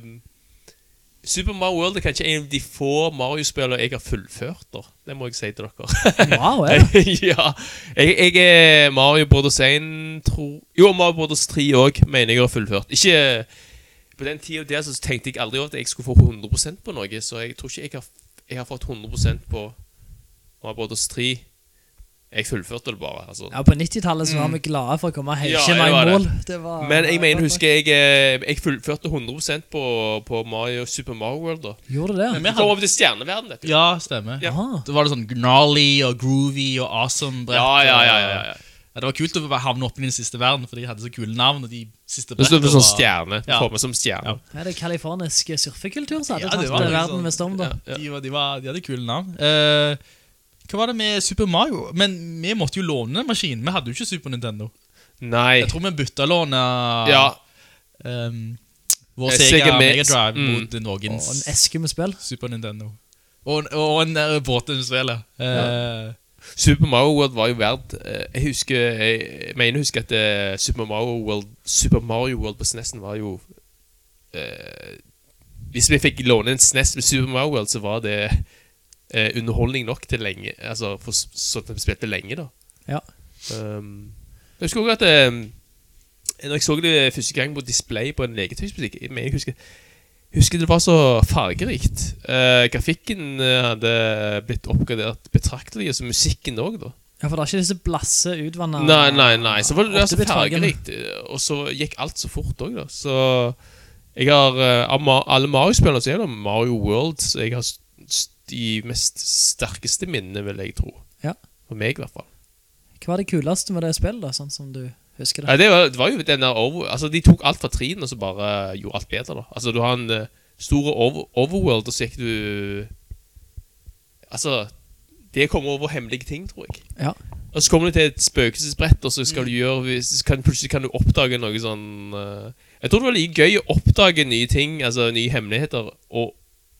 E: Super Mario World er kanskje en av de få Mario-spillene jeg har fullført. Da. Det må jeg si til dere.
I: Wow, er det?
E: ja. Jeg, jeg er Mario Brothers 1, tror Jo, Mario Brothers 3 òg, mener jeg har fullført. Ikke På den tida der så tenkte jeg aldri at jeg skulle få 100 på noe, så jeg tror ikke jeg har, jeg har fått 100 på Mario Brothers 3. Jeg fullførte det bare. altså
I: Ja, På 90-tallet så var vi glade for å komme
E: Mm. Ja,
I: helskjema
E: jeg var
I: i
E: det.
I: mål. Det var,
E: Men jeg mener, husker jeg eh, Jeg fullførte 100 på, på Mario Super Mario World. da
I: Gjorde det?
J: Men
I: ja?
J: vi
E: Vi kom
J: hadde,
E: over til stjerneverden, dette.
J: ja, stemmer.
E: Ja.
I: Ah.
J: Da var det sånn gnarly og groovy og awesome brett.
E: Ja, ja, ja, ja, ja.
J: Ja, Det var kult å bare havne opp i den siste verden, for de hadde så kule navn. og de siste
E: Det står
J: brettene
E: på sånn
J: var-
E: stjerne.
J: Ja.
E: Formet som stjerne.
J: Ja.
I: Er det californisk surfekultur som hadde
J: Ja,
I: tatt
J: det
I: det
J: var litt
I: verden
J: sånn-
I: med storm? da?
J: De, var, de, var, de hadde kule navn. Eh, hva var det med Super Mario? Men vi måtte jo låne den maskinen. Vi hadde jo ikke Super Nintendo.
E: Nei.
J: Jeg tror vi bytta låne
E: Ja,
J: ehm, vår
E: Eh,
J: Sega
E: Sega
J: Mega
E: Mix.
J: Drive
E: Mm.
J: mot noens
I: Og en eske med spill?
J: Super Nintendo. Og, en- og en eh, båt under spillet. Eh,
E: Super Mario World var jo verdt eh, Jeg husker Jeg mener jeg husker at eh, Super Mario World Super Mario World på SNES'en var jo eh, Hvis vi fikk låne en SNES med Super Mario World, så var det eh, underholdning nok til lenge. Altså for s- sånn at vi spilte lenge, da.
I: Ja.
E: Um, jeg husker også at um, Når jeg så det første gang på display på en leketøysbutikk jeg mener, jeg husker, husker det var så fargerikt. Eh, grafikken eh, hadde blitt oppgradert betraktelig, og så musikken òg, da.
I: Ja, For det er ikke disse blasse, utvanna
E: Nei, nei, nei. Så var det altså
I: åttebit-fargene.
E: fargerikt, eh, og så gikk alt så fort òg, da. Så jeg har eh, Av Ma- alle Mario-spillene så er det Mario World så jeg har s- s- de mest sterkeste minnene, vil jeg tro.
I: Ja.
E: For meg, i hvert fall.
I: Hva var det kuleste med det spillet, da, sånn som du husker det?
E: Ja, det, var, det var jo den der over, Altså, de tok alt fra trien og så bare gjorde alt bedre, da. Altså, du har en eh, store over, overworld, og så gikk du Altså, det kommer over hemmelige ting, tror jeg.
I: Ja.
E: Og så kommer du til et spøkelsesbrett, og så skal du gjøre hvis- kan, Plutselig kan du oppdage noe sånn eh, Jeg tror det var like gøy å oppdage nye ting, altså nye hemmeligheter, og,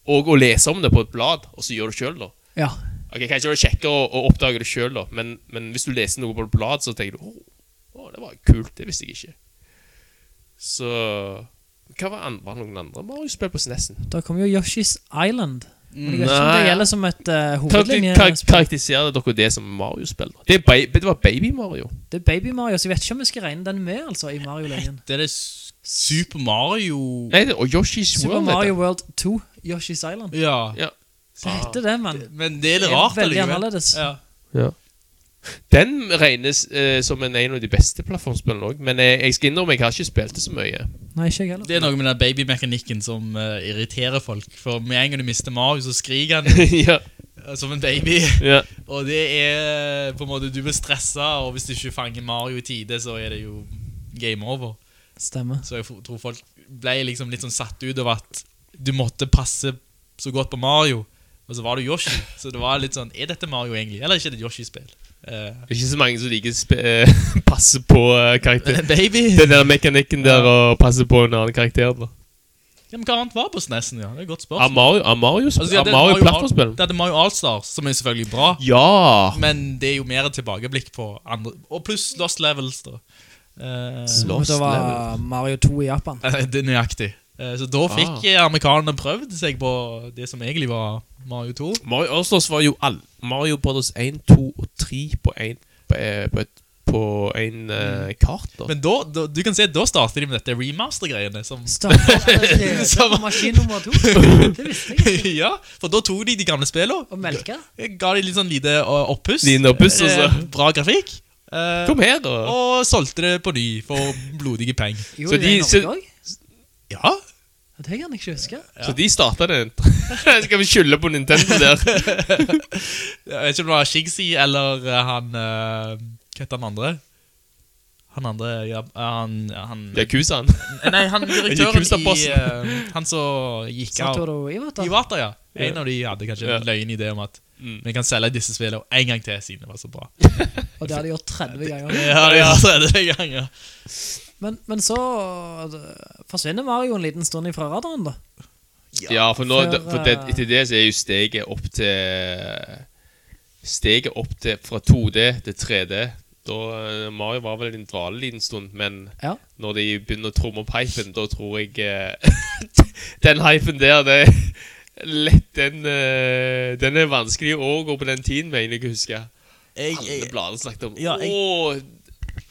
E: og å lese om det på et blad, og så gjør du sjøl, da.
I: ja.
E: Ok, Kanskje det er kjekkere å, å oppdage det sjøl, da, men, men hvis du leser noe på et blad, så tenker du Å, å, det var kult. Det visste jeg ikke. Så Hva var, andre, var det noen andre Mario-spill på E SNESen?
I: Da kom jo Yoshi's Island. Men jeg vet ikke om
E: Nei.
I: det gjelder som et uh,
E: Kar- kar-
I: hovedlinjespill.
E: Karakteriserer dere det som Mario-spill? da? Det, er ba- det var Baby-Mario.
I: Det er Baby Mario, så jeg vet ikke om vi skal regne den med altså, i Mario-linjen.
J: det er det s- Super Mario
E: Nei, det, og Yoshi's
I: Super
E: World.
I: Mario
E: Mario.
I: World 2, Yoshi's Island.
J: Ja.
E: Ja.
I: Så heter det, mann.
J: Men det er
I: Det
J: litt
I: er
J: rart.
I: veldig
J: allikevel.
I: annerledes.
J: Ja.
E: Ja. Den regnes eh, som en, en av de beste plattformspillene òg, men jeg, jeg skal innrømme jeg har ikke spilt det så mye.
I: Nei, ikke jeg heller.
J: Det er noe med den babymekanikken som eh, irriterer folk. For med en gang du mister Mario, så skriker han jo,
E: ja,
J: eh, som en baby.
E: ja.
J: Og det er eh, på en måte Du blir stressa, og hvis du ikke fanger Mario i tide, så er det jo game over.
I: Stemmer.
J: Så jeg fo- tror folk ble liksom litt sånn satt ut over at du måtte passe så godt på Mario. Og så var du Yoshi. Så det var litt sånn Er dette Mario egentlig? Eller er ikke det et Yoshi-spill? Eh,
E: Det er ikke så mange som liker sp eh, passe på eh, karakter.
J: baby!
E: Den der mekanikken der og passe på en annen karakter. da
J: Ja, men hva annet var på SNES-en? Ja? Det er et godt
E: Av
J: spørsmål.
E: Mario, av Mario, sp-
J: Altså, de
E: av
J: hadde
E: Mario
J: Mario
E: plattformspill?
J: All- de hadde Mario Allstars, som er selvfølgelig bra.
E: Ja!
J: Men det er jo mer et tilbakeblikk på andre Og pluss Lost Levels, da. Eh,
I: Men
E: Lost
I: Det
E: Level.
I: var Mario 2 i Japan.
J: Eh, Det er nøyaktig. Eh, Så da
E: Ah.
J: fikk eh, amerikanerne prøvd seg på det som egentlig var Mario 2.
E: Mario Allstars var jo all Mario Brothers 1, 2 og 3 på, en, på, eh, på et på en eh, kart. da.
J: Men da, da, du kan se, da starter de med dette remaster-greiene. som...
I: Starter allerede på maskin nummer to. Det visste jeg.
J: ja, for da tok de de gamle spillene
I: Og melka.
J: Ga de litt sånn lite uh, oppuss.
E: Liten oppuss, altså. og så-
J: Eh, Bra grafikk. eh,
E: Kom her, da!
J: og solgte det på ny for blodige penger.
I: Gjorde
E: Så
I: de det i
E: de- så-
I: Norge òg?
J: Ja,
I: Det kan jeg ikke huske.
E: Så de starta den. Skal vi skylde på Nintendo der?
J: Jeg vet ikke om det var Shigsy eller eh, han eh, Hva heter han andre? Han andre ja, Han, ja, han
E: Yakuzaen.
J: Nei, han direktøren i
E: Yakuza-bossen.
J: eh, Han som gikk av
I: Satoru Iwata.
J: Iwata, ja. En av de hadde kanskje
E: Ja.
J: en løgn idé om at
E: Mm.
J: vi kan selge disse spillene en gang til, siden det var så bra.
I: Og det har de gjort 30 ganger.
J: Ja, ja, så er det en gang, ja.
I: Men, men så eh, forsvinner Mario en liten stund ifra radaren, da.
E: Ja, for, nå,
I: Før,
E: for det,
I: eh,
E: etter det så er jo steget opp til Steget opp til fra 2D til 3D. Da eh, Mario var vel en dvale en liten stund, men
I: Ja.
E: når de begynner å tromme opp hypen, da tror jeg eh, Den hypen der, det er lett den, eh, den er vanskelig å overgå på den tiden, mener jeg å huske. Alle blader snakket om
J: Ja, jeg-
E: Åh,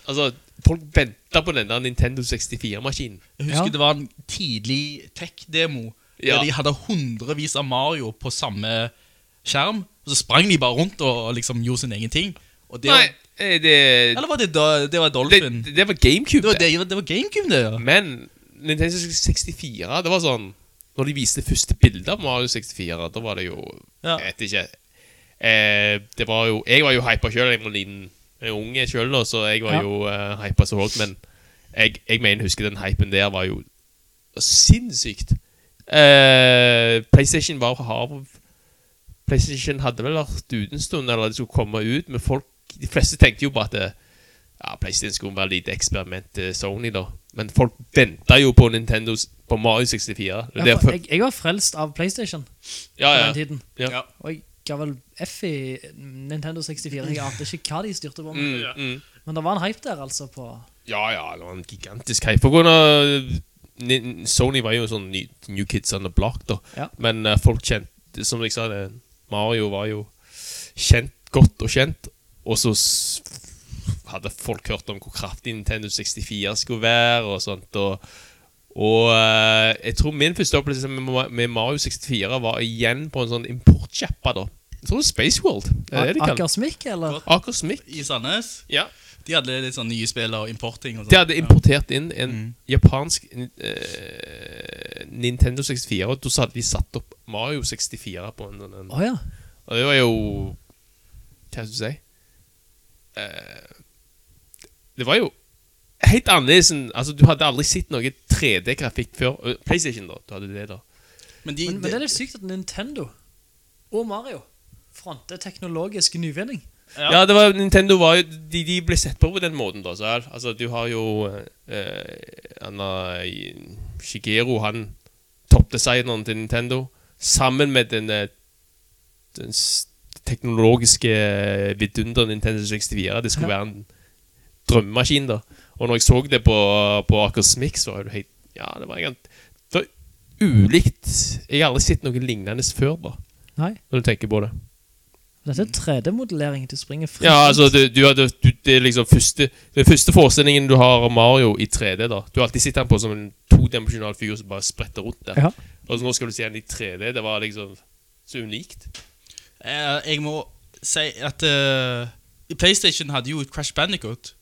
E: Altså, folk venta på denne Nintendo 64-maskinen.
J: Jeg husker
I: Ja.
J: det var en tidlig tech-demo
E: Ja.
J: Der de hadde hundrevis av Mario på samme skjerm Og så sprang de bare rundt og og liksom gjorde sin egen ting Og det
E: Nei, eh, det,
J: Eller var det, da, det var
E: det,
J: Dolphin? Det,
E: det var GameCube.
J: var, det, det var Gamecube det, ja
E: Men Nintendo 64 Det var sånn Når de viste første bilde av Mario 64, da var det jo
J: Ja.
E: Jeg vet ikke. Eh, det var jo Jeg var jo hypa sjøl. Jeg var en liten en unge sjøl, så jeg var
I: Ja.
E: jo eh, hypa så høyt. Men jeg, jeg mener, husker den hypen der var jo sinnssykt. Eh, PlayStation var har PlayStation hadde vel vært ute en stund, eller det skulle komme ut, men folk De fleste tenkte jo på at det, ja, PlayStation skulle være et lite eksperiment til Sony, da. Men folk venta jo på Nintendo på Mario 64. Det er
I: Ja,
E: derfor-
I: for jeg, jeg var frelst av PlayStation
E: ja,
I: på
E: ja.
I: den tiden.
E: Ja.
I: Og jeg ga vel F i Nintendo 64. Jeg ante ikke hva de styrte på med.
E: Mm, mm.
I: Men det var en hype der, altså. på
E: ja, ja, det var en gigantisk hype. På grunn av eh, Ni- Sony var jo sånn ny, New Kids on the Block, da.
I: Ja.
E: Men eh, folk kjente Som jeg sa, det, Mario var jo kjent, godt og kjent. Og så s- hadde folk hørt om hvor kraftig Nintendo 64 skulle være, og sånt. Og, og eh, jeg tror min første opplevelse med, Ma- med Mario 64 var igjen på en sånn importsjappa, da. Jeg tror det er Space World. Det er det de kaller det.
I: Akersmik, eller?
E: Akersmik.
J: I Sandnes
E: Ja.
J: De hadde litt sånn nye spill og importing og sånn.
E: De
J: sånt
E: hadde importert inn en japansk eh, Nintendo 64, og da hadde de satt opp Mario 64 på en sånn en-
I: Å ja.
E: Og det var jo Hva skal du si? Eh, det var jo helt annerledes enn Altså, du hadde aldri sett noe 3D-grafikk før. Eh, PlayStation, da. Du hadde det, da.
J: Men, de,
I: Men, men det er litt sykt at Nintendo og Mario fronter teknologisk nyvinning.
E: Ja, det var, Nintendo var jo de, de ble sett på på den måten, da. Så, her. altså, du har jo eh, han, eh, Shigeru, han toppdesigneren til Nintendo, sammen med den, eh, den s- teknologiske vidunder Nintendo 64. Det skulle være en drømmemaskin, da. Og når jeg så det på, på Akersmik, så var det helt Ja, det var, egentlig- det var ulikt. Jeg har aldri sett noe lignende før, da,
I: Nei.
E: når du tenker på det.
I: Dette er 3D-modellering. Du springer fritt.
E: Ja, altså du, du, hadde- du, Det er liksom første Den første forestillingen du har av Mario i 3D. da Du har alltid sett han på som en todimensjonal fyr som bare spretter rundt der.
I: Ja.
E: Og så nå skal du se han i 3D. Det var liksom så unikt.
J: Eh, Jeg må si at eh, PlayStation hadde jo Crash Bandicoot.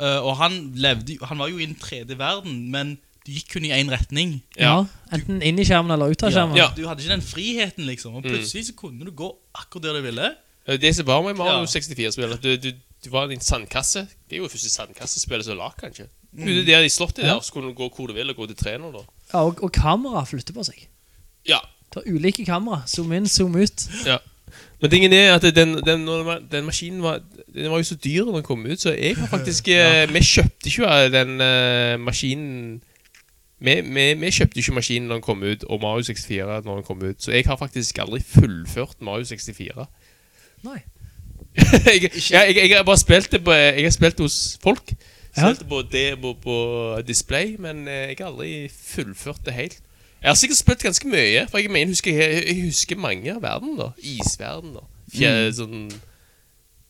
J: Eh, og han, levde, jo- han var jo i den tredje verden, men det gikk kun i én retning.
I: Ja. Enten inn i skjermen eller ut av skjermen.
E: Ja. Mm.
J: Du hadde ikke den friheten, liksom. Og plutselig så kunne du gå akkurat der du ville.
E: Eh, Det som var med
J: Ja.
E: Mario 64-spillet, at du, du, du var i en sandkasse. Det er jo det første sandkassespillet som er lagd, kanskje. Ute der i slottet der, så kunne du gå hvor du vil, og gå til trener, da.
I: Ja, og, og kamera flytter på seg.
E: Ja.
I: Du har ulike kamera. Zoom inn, zoom ut.
E: ja. Men tingen er at den, den, når den var- den maskinen var Den var jo så dyr når den kom ut, så jeg har faktisk eh, Vi kjøpte ikke eh, den eh, maskinen vi, vi, vi kjøpte ikke maskinen når den kom ut, og Mario 64 når den kom ut, så jeg har faktisk aldri fullført Mario 64.
I: Nei.
E: jeg, jeg, jeg, jeg har bare spilt det på Jeg har spilt hos folk.
I: Ja.
E: Spilt det på demo på display, men eh, jeg har aldri fullført det helt. Jeg har sikkert spilt ganske mye, for jeg mener, husker, jeg, jeg husker mange av verden. da Mm. Isverden, da. Fjell, Sånn,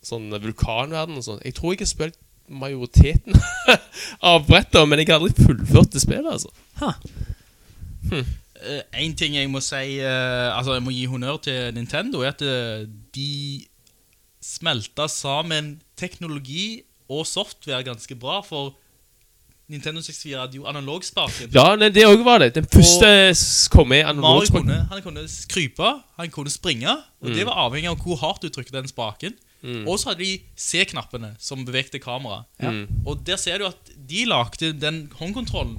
E: sånn vulkanverden og sånn. Jeg tror jeg har spilt majoriteten av brettene, men jeg har aldri fullført det spillet, altså.
I: Huh.
J: Én Eh, ting jeg må si eh, Altså jeg må gi honnør til Nintendo, er at eh, de smelta sammen teknologi og software ganske bra. For Nintendo 64 hadde jo analogspaken.
E: Ja, nei, det òg var det. Den første s- kom med analog
J: Mario
E: språk.
J: kunne, han kunne krype, han kunne springe, og det var avhengig av hvor hardt du trykket den spaken. Og så hadde de C-knappene som bevegte kameraet. Og der ser du at de lagde den håndkontrollen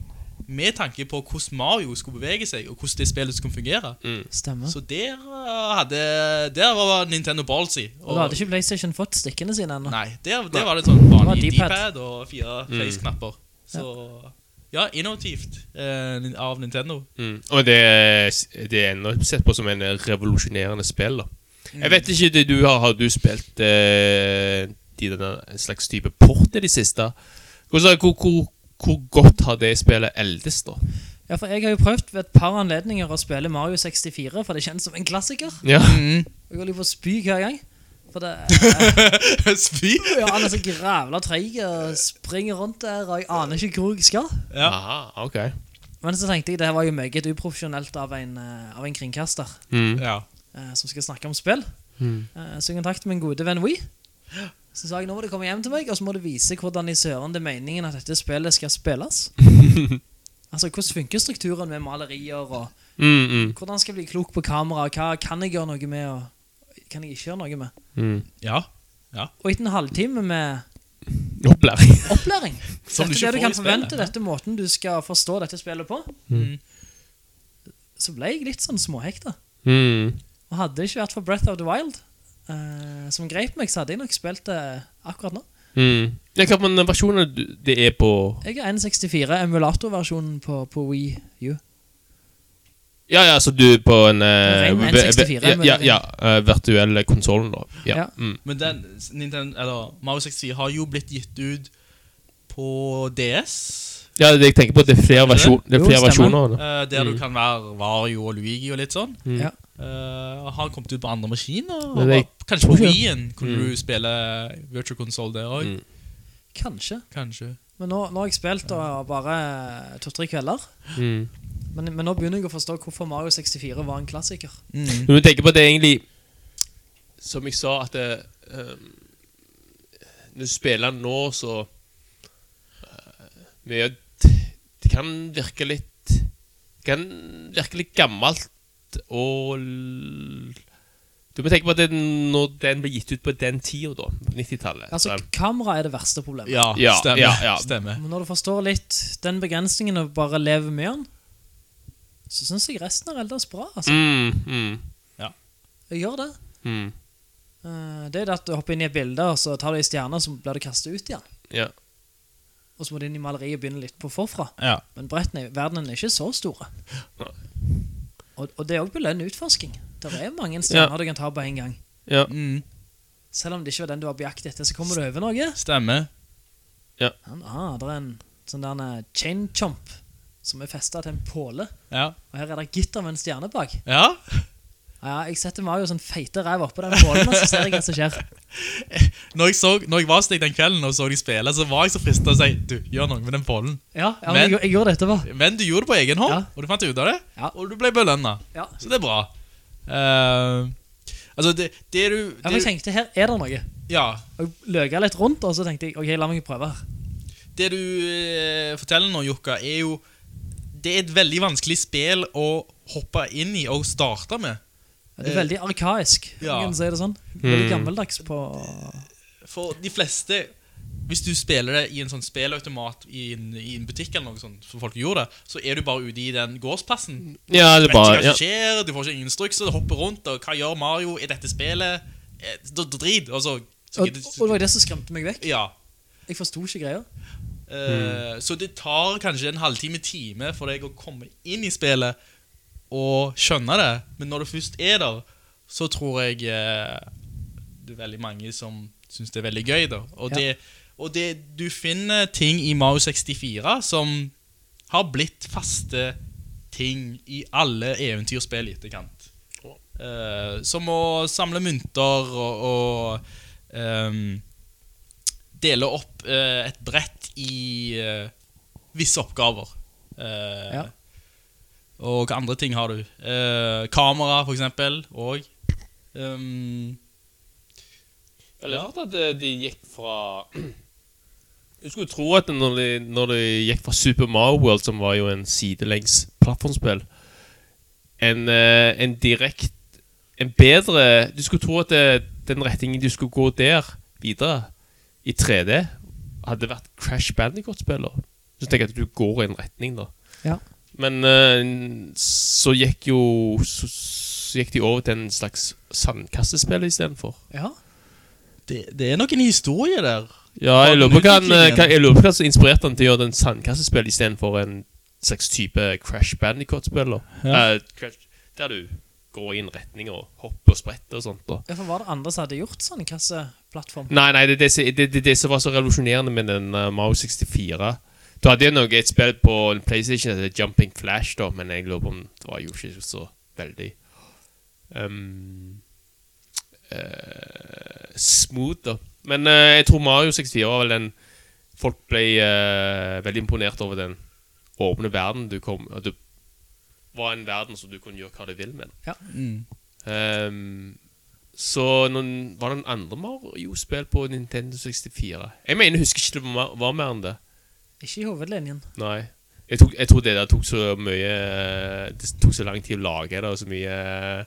J: med tanke på hvordan Mario skulle bevege seg, og hvordan det spillet skulle fungere.
I: Stemmer.
J: Så der, eh, hadde, der var Nintendo ballsy.
I: Og da hadde ikke PlayStation fått stikkene sine ennå.
J: Nei, der, der var det sånn vanlig
I: Det var D-pad.
J: D-pad og fire
E: Mm.
J: face-knapper. Så ja, innovativt eh, av Nintendo.
E: Mm. Og det, det er ennå sett på som en revolusjonerende spill, da. Jeg vet ikke, det du har, har du spilt eh, de denne, en slags type port i det siste? Hvordan, hvor, hvor, hvor godt har det spillet eldes, da?
I: Ja, for jeg har jo prøvd ved et par anledninger å spille Mario 64, for det kjennes som en klassiker.
E: Ja.
I: Jeg holder jo på å spy hver gang. For det,
J: Spy!
I: ja, han er så grævla treig og springer rundt der, og jeg aner ikke hvor jeg skal.
E: Aha, ok.
I: Men så tenkte jeg det her var jo meget uprofesjonelt av en, eh, av en kringkaster
E: Mm.
J: Ja.
I: eh, som skal snakke om spill.
J: Mm.
I: Eh, Så jeg kontaktet min gode venn We. Så sa jeg nå må du komme hjem til meg, og så må du vise hvordan i søren det er meningen at dette spillet skal spilles. altså, hvordan funker strukturen med malerier, og
E: Mm, mm,
I: hvordan skal jeg bli klok på kamera, og hva kan jeg gjøre noe med, og kan jeg ikke gjøre noe med?
E: mm.
J: ja.
I: Og etter en halvtime med
E: Opplæring.
I: opplæring.
J: Som du
I: dette
J: ikke
I: er det du
J: får
I: kan
J: i spillet. Mm.
I: forvente, dette er måten du skal forstå dette spillet på. Mm. Så ble jeg litt sånn småhekta.
E: Mm.
I: Og hadde det ikke vært for Breath of the Wild, eh, som grep meg, så hadde jeg nok spilt det akkurat nå.
E: Mm. Det er klart, men versjonen du- det er på
I: Jeg er 1.64 emulatorversjonen på, på Wii U.
E: Ja, ja, så du er på en eh,
I: Ren
E: ve- ve-
I: 64,
E: Ja,
I: men-
E: ja, ja eh, virtuell konsollen, da. Ja.
I: Ja.
E: Mm.
J: Men den, Nintendo, eller, Mario 64 har jo blitt gitt ut på DS,
E: ja, det jeg tenker på, det er flere, versjon, det Mm.
I: Jo,
E: er flere
I: stemmer.
E: versjoner. Da.
J: eh, der du kan være Wario og Luigi og litt sånn.
I: Ja.
J: Eh, har kommet ut på andre maskiner.
E: Mm. Men
J: Og
E: det-
J: bare- kanskje på
E: tror ikke. Mm.
J: Wien kunne du spille Virtual Console der òg.
I: Kanskje.
J: Kanskje.
I: Men nå, nå har jeg spilt og bare to-tre kvelder.
E: Mm.
I: Men, men nå begynner jeg å forstå hvorfor Mario 64 var en klassiker.
E: Når du tenker på det egentlig Som jeg sa at det, ehm, Når du spiller den nå så eh, mye, Det kan virke litt Det kan virke litt gammelt Og l- Du må tenke på at det, når den ble gitt ut på den tida da På 90-tallet
I: Altså,
E: så-
I: kamera er det verste problemet.
J: Ja,
E: Ja,
J: stemmer.
E: ja, ja.
J: stemmer.
I: Men når du forstår litt den begrensningen og bare lever med den, så syns jeg resten er ellers bra. Altså.
E: mm, mm,
I: Jeg gjør det.
E: mm,
I: Eh, Det er det at du hopper inn i et bilde, og så tar du ei stjerne, og så blir du kastet ut igjen.
E: ja.
I: Og så må du inn i maleriet og begynne litt på forfra.
J: Ja.
I: Men brettene, i verdenen er ikke så store. Og, og det er òg belønn utforsking. Det er mange stjerner du kan ta på en gang.
E: Ja.
J: Mm,
I: Selv om det ikke var den du var på jakt etter, så kommer du over noe.
J: stemmer.
I: Ah, det er en sånn der en chain chomp som er festa til en påle.
J: Ja.
I: Og her er det gitter med en stjerne bak.
J: ja.
I: Ja, jeg setter Mario sånn feite ræv oppå den pålen, og så ser jeg hva som skjer.
J: Når jeg, så, når jeg var hos deg den kvelden og så de spille, så var jeg så frista til å si Du, gjør noe med den bollen.
I: Ja, ja
J: Men-
I: men, jeg, jeg gjorde det etterpå.
J: Men du gjorde det på egen hånd,
I: Ja.
J: og du fant ut av det.
I: Ja.
J: Og du ble belønna.
I: Ja.
J: Så det er bra. Eh, altså, det, det du
I: Ja,
J: det,
I: for jeg tenkte her er det noe.
J: ja,
I: Og jeg løka litt rundt, og så tenkte jeg ok, la meg prøve her.
J: det du eh, forteller nå, Jokka, er jo Det er et veldig vanskelig spill å hoppe inn i og starte med.
I: Ja, Det er veldig arkaisk, om
J: ja.
I: jeg kan si det sånn. Veldig
E: Mm.
I: gammeldags på
J: For de fleste Hvis du spiller det i en sånn spillautomat i en, i en butikk, eller noe sånt, som folk gjorde, så er du bare ute i den
I: Mm.
J: gårdsplassen.
E: ja,
J: Du vet
E: det er bare
J: ikke hva
E: ja.
J: som skjer, du får ikke ingen instrukser, du hopper rundt, og hva gjør Mario i dette spillet? Eh, d- d- Drit, og så... så
I: og, og det var jo det som skremte meg vekk.
J: Ja.
I: Jeg forsto ikke greia.
J: eh, Så det tar kanskje en halvtime, time for deg å komme inn i spillet og skjønne det, men når du først er der, så tror jeg eh, det er veldig mange som synes det er veldig gøy da. Og,
I: Ja.
J: det, og det, du finner ting i Mario 64 som har blitt faste ting i alle eventyrspill i etterkant. Eh, som å samle mynter og, og ehm, deler opp eh, et brett i eh, visse oppgaver. Eh,
I: Ja.
J: Og hva andre ting har du? Eh, kamera, for eksempel, og ehm,
E: Eller rart at eh, de gikk fra Du skulle tro at når de, når de gikk fra Super Mario World, som var jo en sidelengs plattformspill, en, eh, en direkte En bedre Du skulle tro at eh, den retningen du skulle gå der videre, i 3D, hadde vært Crash Bandicoot-spiller. Så tenker jeg at du går i en retning, da.
I: Ja.
E: Men eh, så gikk jo så, så gikk de over til en slags sandkassespill istedenfor.
I: Ja.
J: det, det er nok en historie der.
E: Ja, jeg
J: den
E: lurer på hva han, eh,
J: utviklingen.
E: hva- jeg lurer på hva som inspirerte han til å gjøre den sandkassespill istedenfor en slags type Crash Bandicoot-spiller.
J: Ja.
E: Eh, Crash- der du går i en retning og hopper og spretter og sånt. Da.
I: Derfor var det andre som hadde gjort sånn kasseplattform.
E: Nei, nei, det er det, som- det, det, det som var så revolusjonerende med den uh, Mao 64. Du hadde jo noe, et spill på en PlayStation som het Jumping Flash, da, men jeg lurer på om det var jo ikke så veldig um, eh, smooth, da. Men eh, jeg tror Mario 64 var vel den Folk ble eh, veldig imponert over den åpne verden du kom at Det var en verden som du kunne gjøre hva du vil med.
I: Ja.
E: Ehm, så noen, var det en andre Mario-spill på Nintendo 64? Jeg mener, jeg husker ikke det var- var mer enn det.
I: Ikke i hovedlinjen.
E: Nei. Jeg, tok, jeg tror det der tok så mye Det tok så lang tid å lage det, og så mye eh,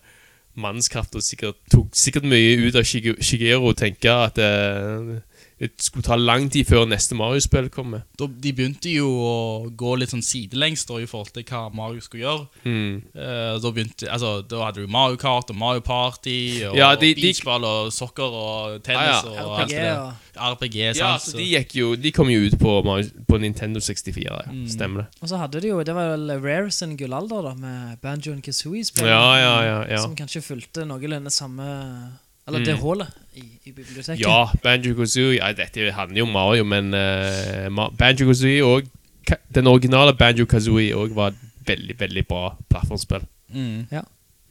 E: mannskraft, og sikkert tok sikkert mye ut av Shige- Shigeru å tenke at eh, det skulle ta lang tid før neste Mario-spill kommer.
J: Da, de begynte jo å gå litt sånn sidelengs da, i forhold til hva Mario skulle gjøre.
E: Hmm.
J: Eh, da, begynte, altså, da hadde du Mario Kart og Mario Party og
E: Ja, de- de-
J: beachball og soccer og tennis
E: Ah, ja.
J: og alt
I: RPG
J: det der.
I: og-
J: RPG,
E: Ja,
J: sant?
E: så de, gikk jo, de kom jo ut på, Mario, på Nintendo 64, ja. stemmer det.
I: Og så hadde de jo, det var vel Rare sin gullalder, da, med Banjoen Kazooie-spillet.
E: Ja, ja, ja, ja. Mm.
I: Som kanskje fulgte noenlunde samme Eller det hullet i, i biblioteket.
E: Ja, Banjo-Kazooie ja, Dette handler jo om Mario, men eh, Ma- Banjo-Kazooie og ka- den originale Banjo-Kazooie også var et veldig, veldig bra plattformspill.
J: Mm.
I: Ja.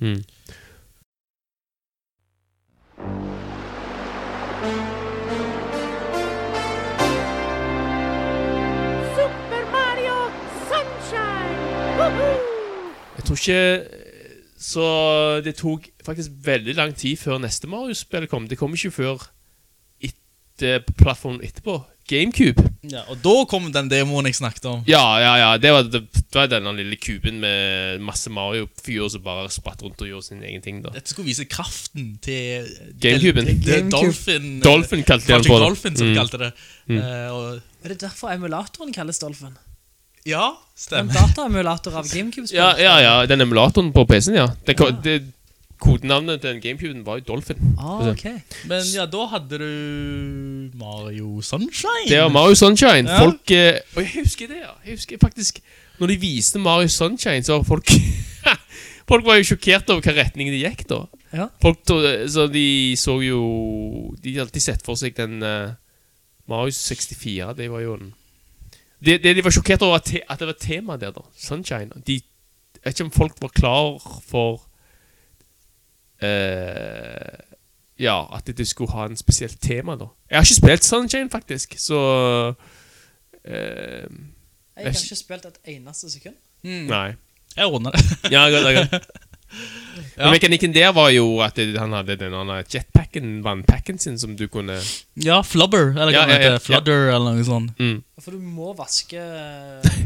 E: Mm.
H: Super Mario Sunshine! Woohoo!
E: Jeg tror ikke Så det tok faktisk veldig lang tid før neste Mario-spill kom. Det kom ikke før etter plattformen etterpå. GameCube.
J: Ja, og da kom den demoen jeg snakket om.
E: Ja, ja, ja. Det var, det var denne lille kuben med masse Mario-fyr som bare spratt rundt og gjorde sin egen ting, da.
J: Dette skulle vise kraften til
E: Gamecuben.
J: Del- del-
I: Gamecube.
J: Dolphin. eh,
E: Dolphin kalte de den
J: Project
E: på det.
J: Dolphin, som de
E: Mm.
J: kalte det. Eh, og,
I: Er det derfor emulatoren kalles Dolphin?
J: ja,
I: En
J: stemmer.
I: dataemulator av GameCube-spill?
E: Ja, ja, ja, den emulatoren på PC-en, ja. Den, ko- det, kodenavnet til den GameCuben var jo Dolphin.
I: Ah, ok.
J: Men ja, da hadde du Mario Sunshine.
E: Det var Mario Sunshine.
J: Ja.
E: Folk eh, Og jeg husker det, ja. Jeg husker faktisk Når de viste Mario Sunshine, så var folk Folk var jo sjokkert over hva retning det gikk, da.
I: Ja.
E: Folk to, så de så jo De hadde alltid sett for seg den eh, Mario 64. Det var jo en Det, det de var sjokkert over, at, te, at det var tema der, da. Sunshine. De, jeg vet ikke om folk var klar for eh, Ja, at det skulle ha en spesielt tema, da. Jeg har ikke spilt Sunshine, faktisk, så eh,
I: Jeg har ikke spilt et eneste sekund.
E: Nei.
J: Jeg ordna det.
E: Ja, godt, godt. Men Mekanikken der var jo at det- han hadde den andre jetpacken, vannpacken sin, som du kunne
J: Ja, Flubber, eller hva det
E: Ja, ja, Mm. ja,
J: heter. Fludder, eller noe sånt.
I: For du må vaske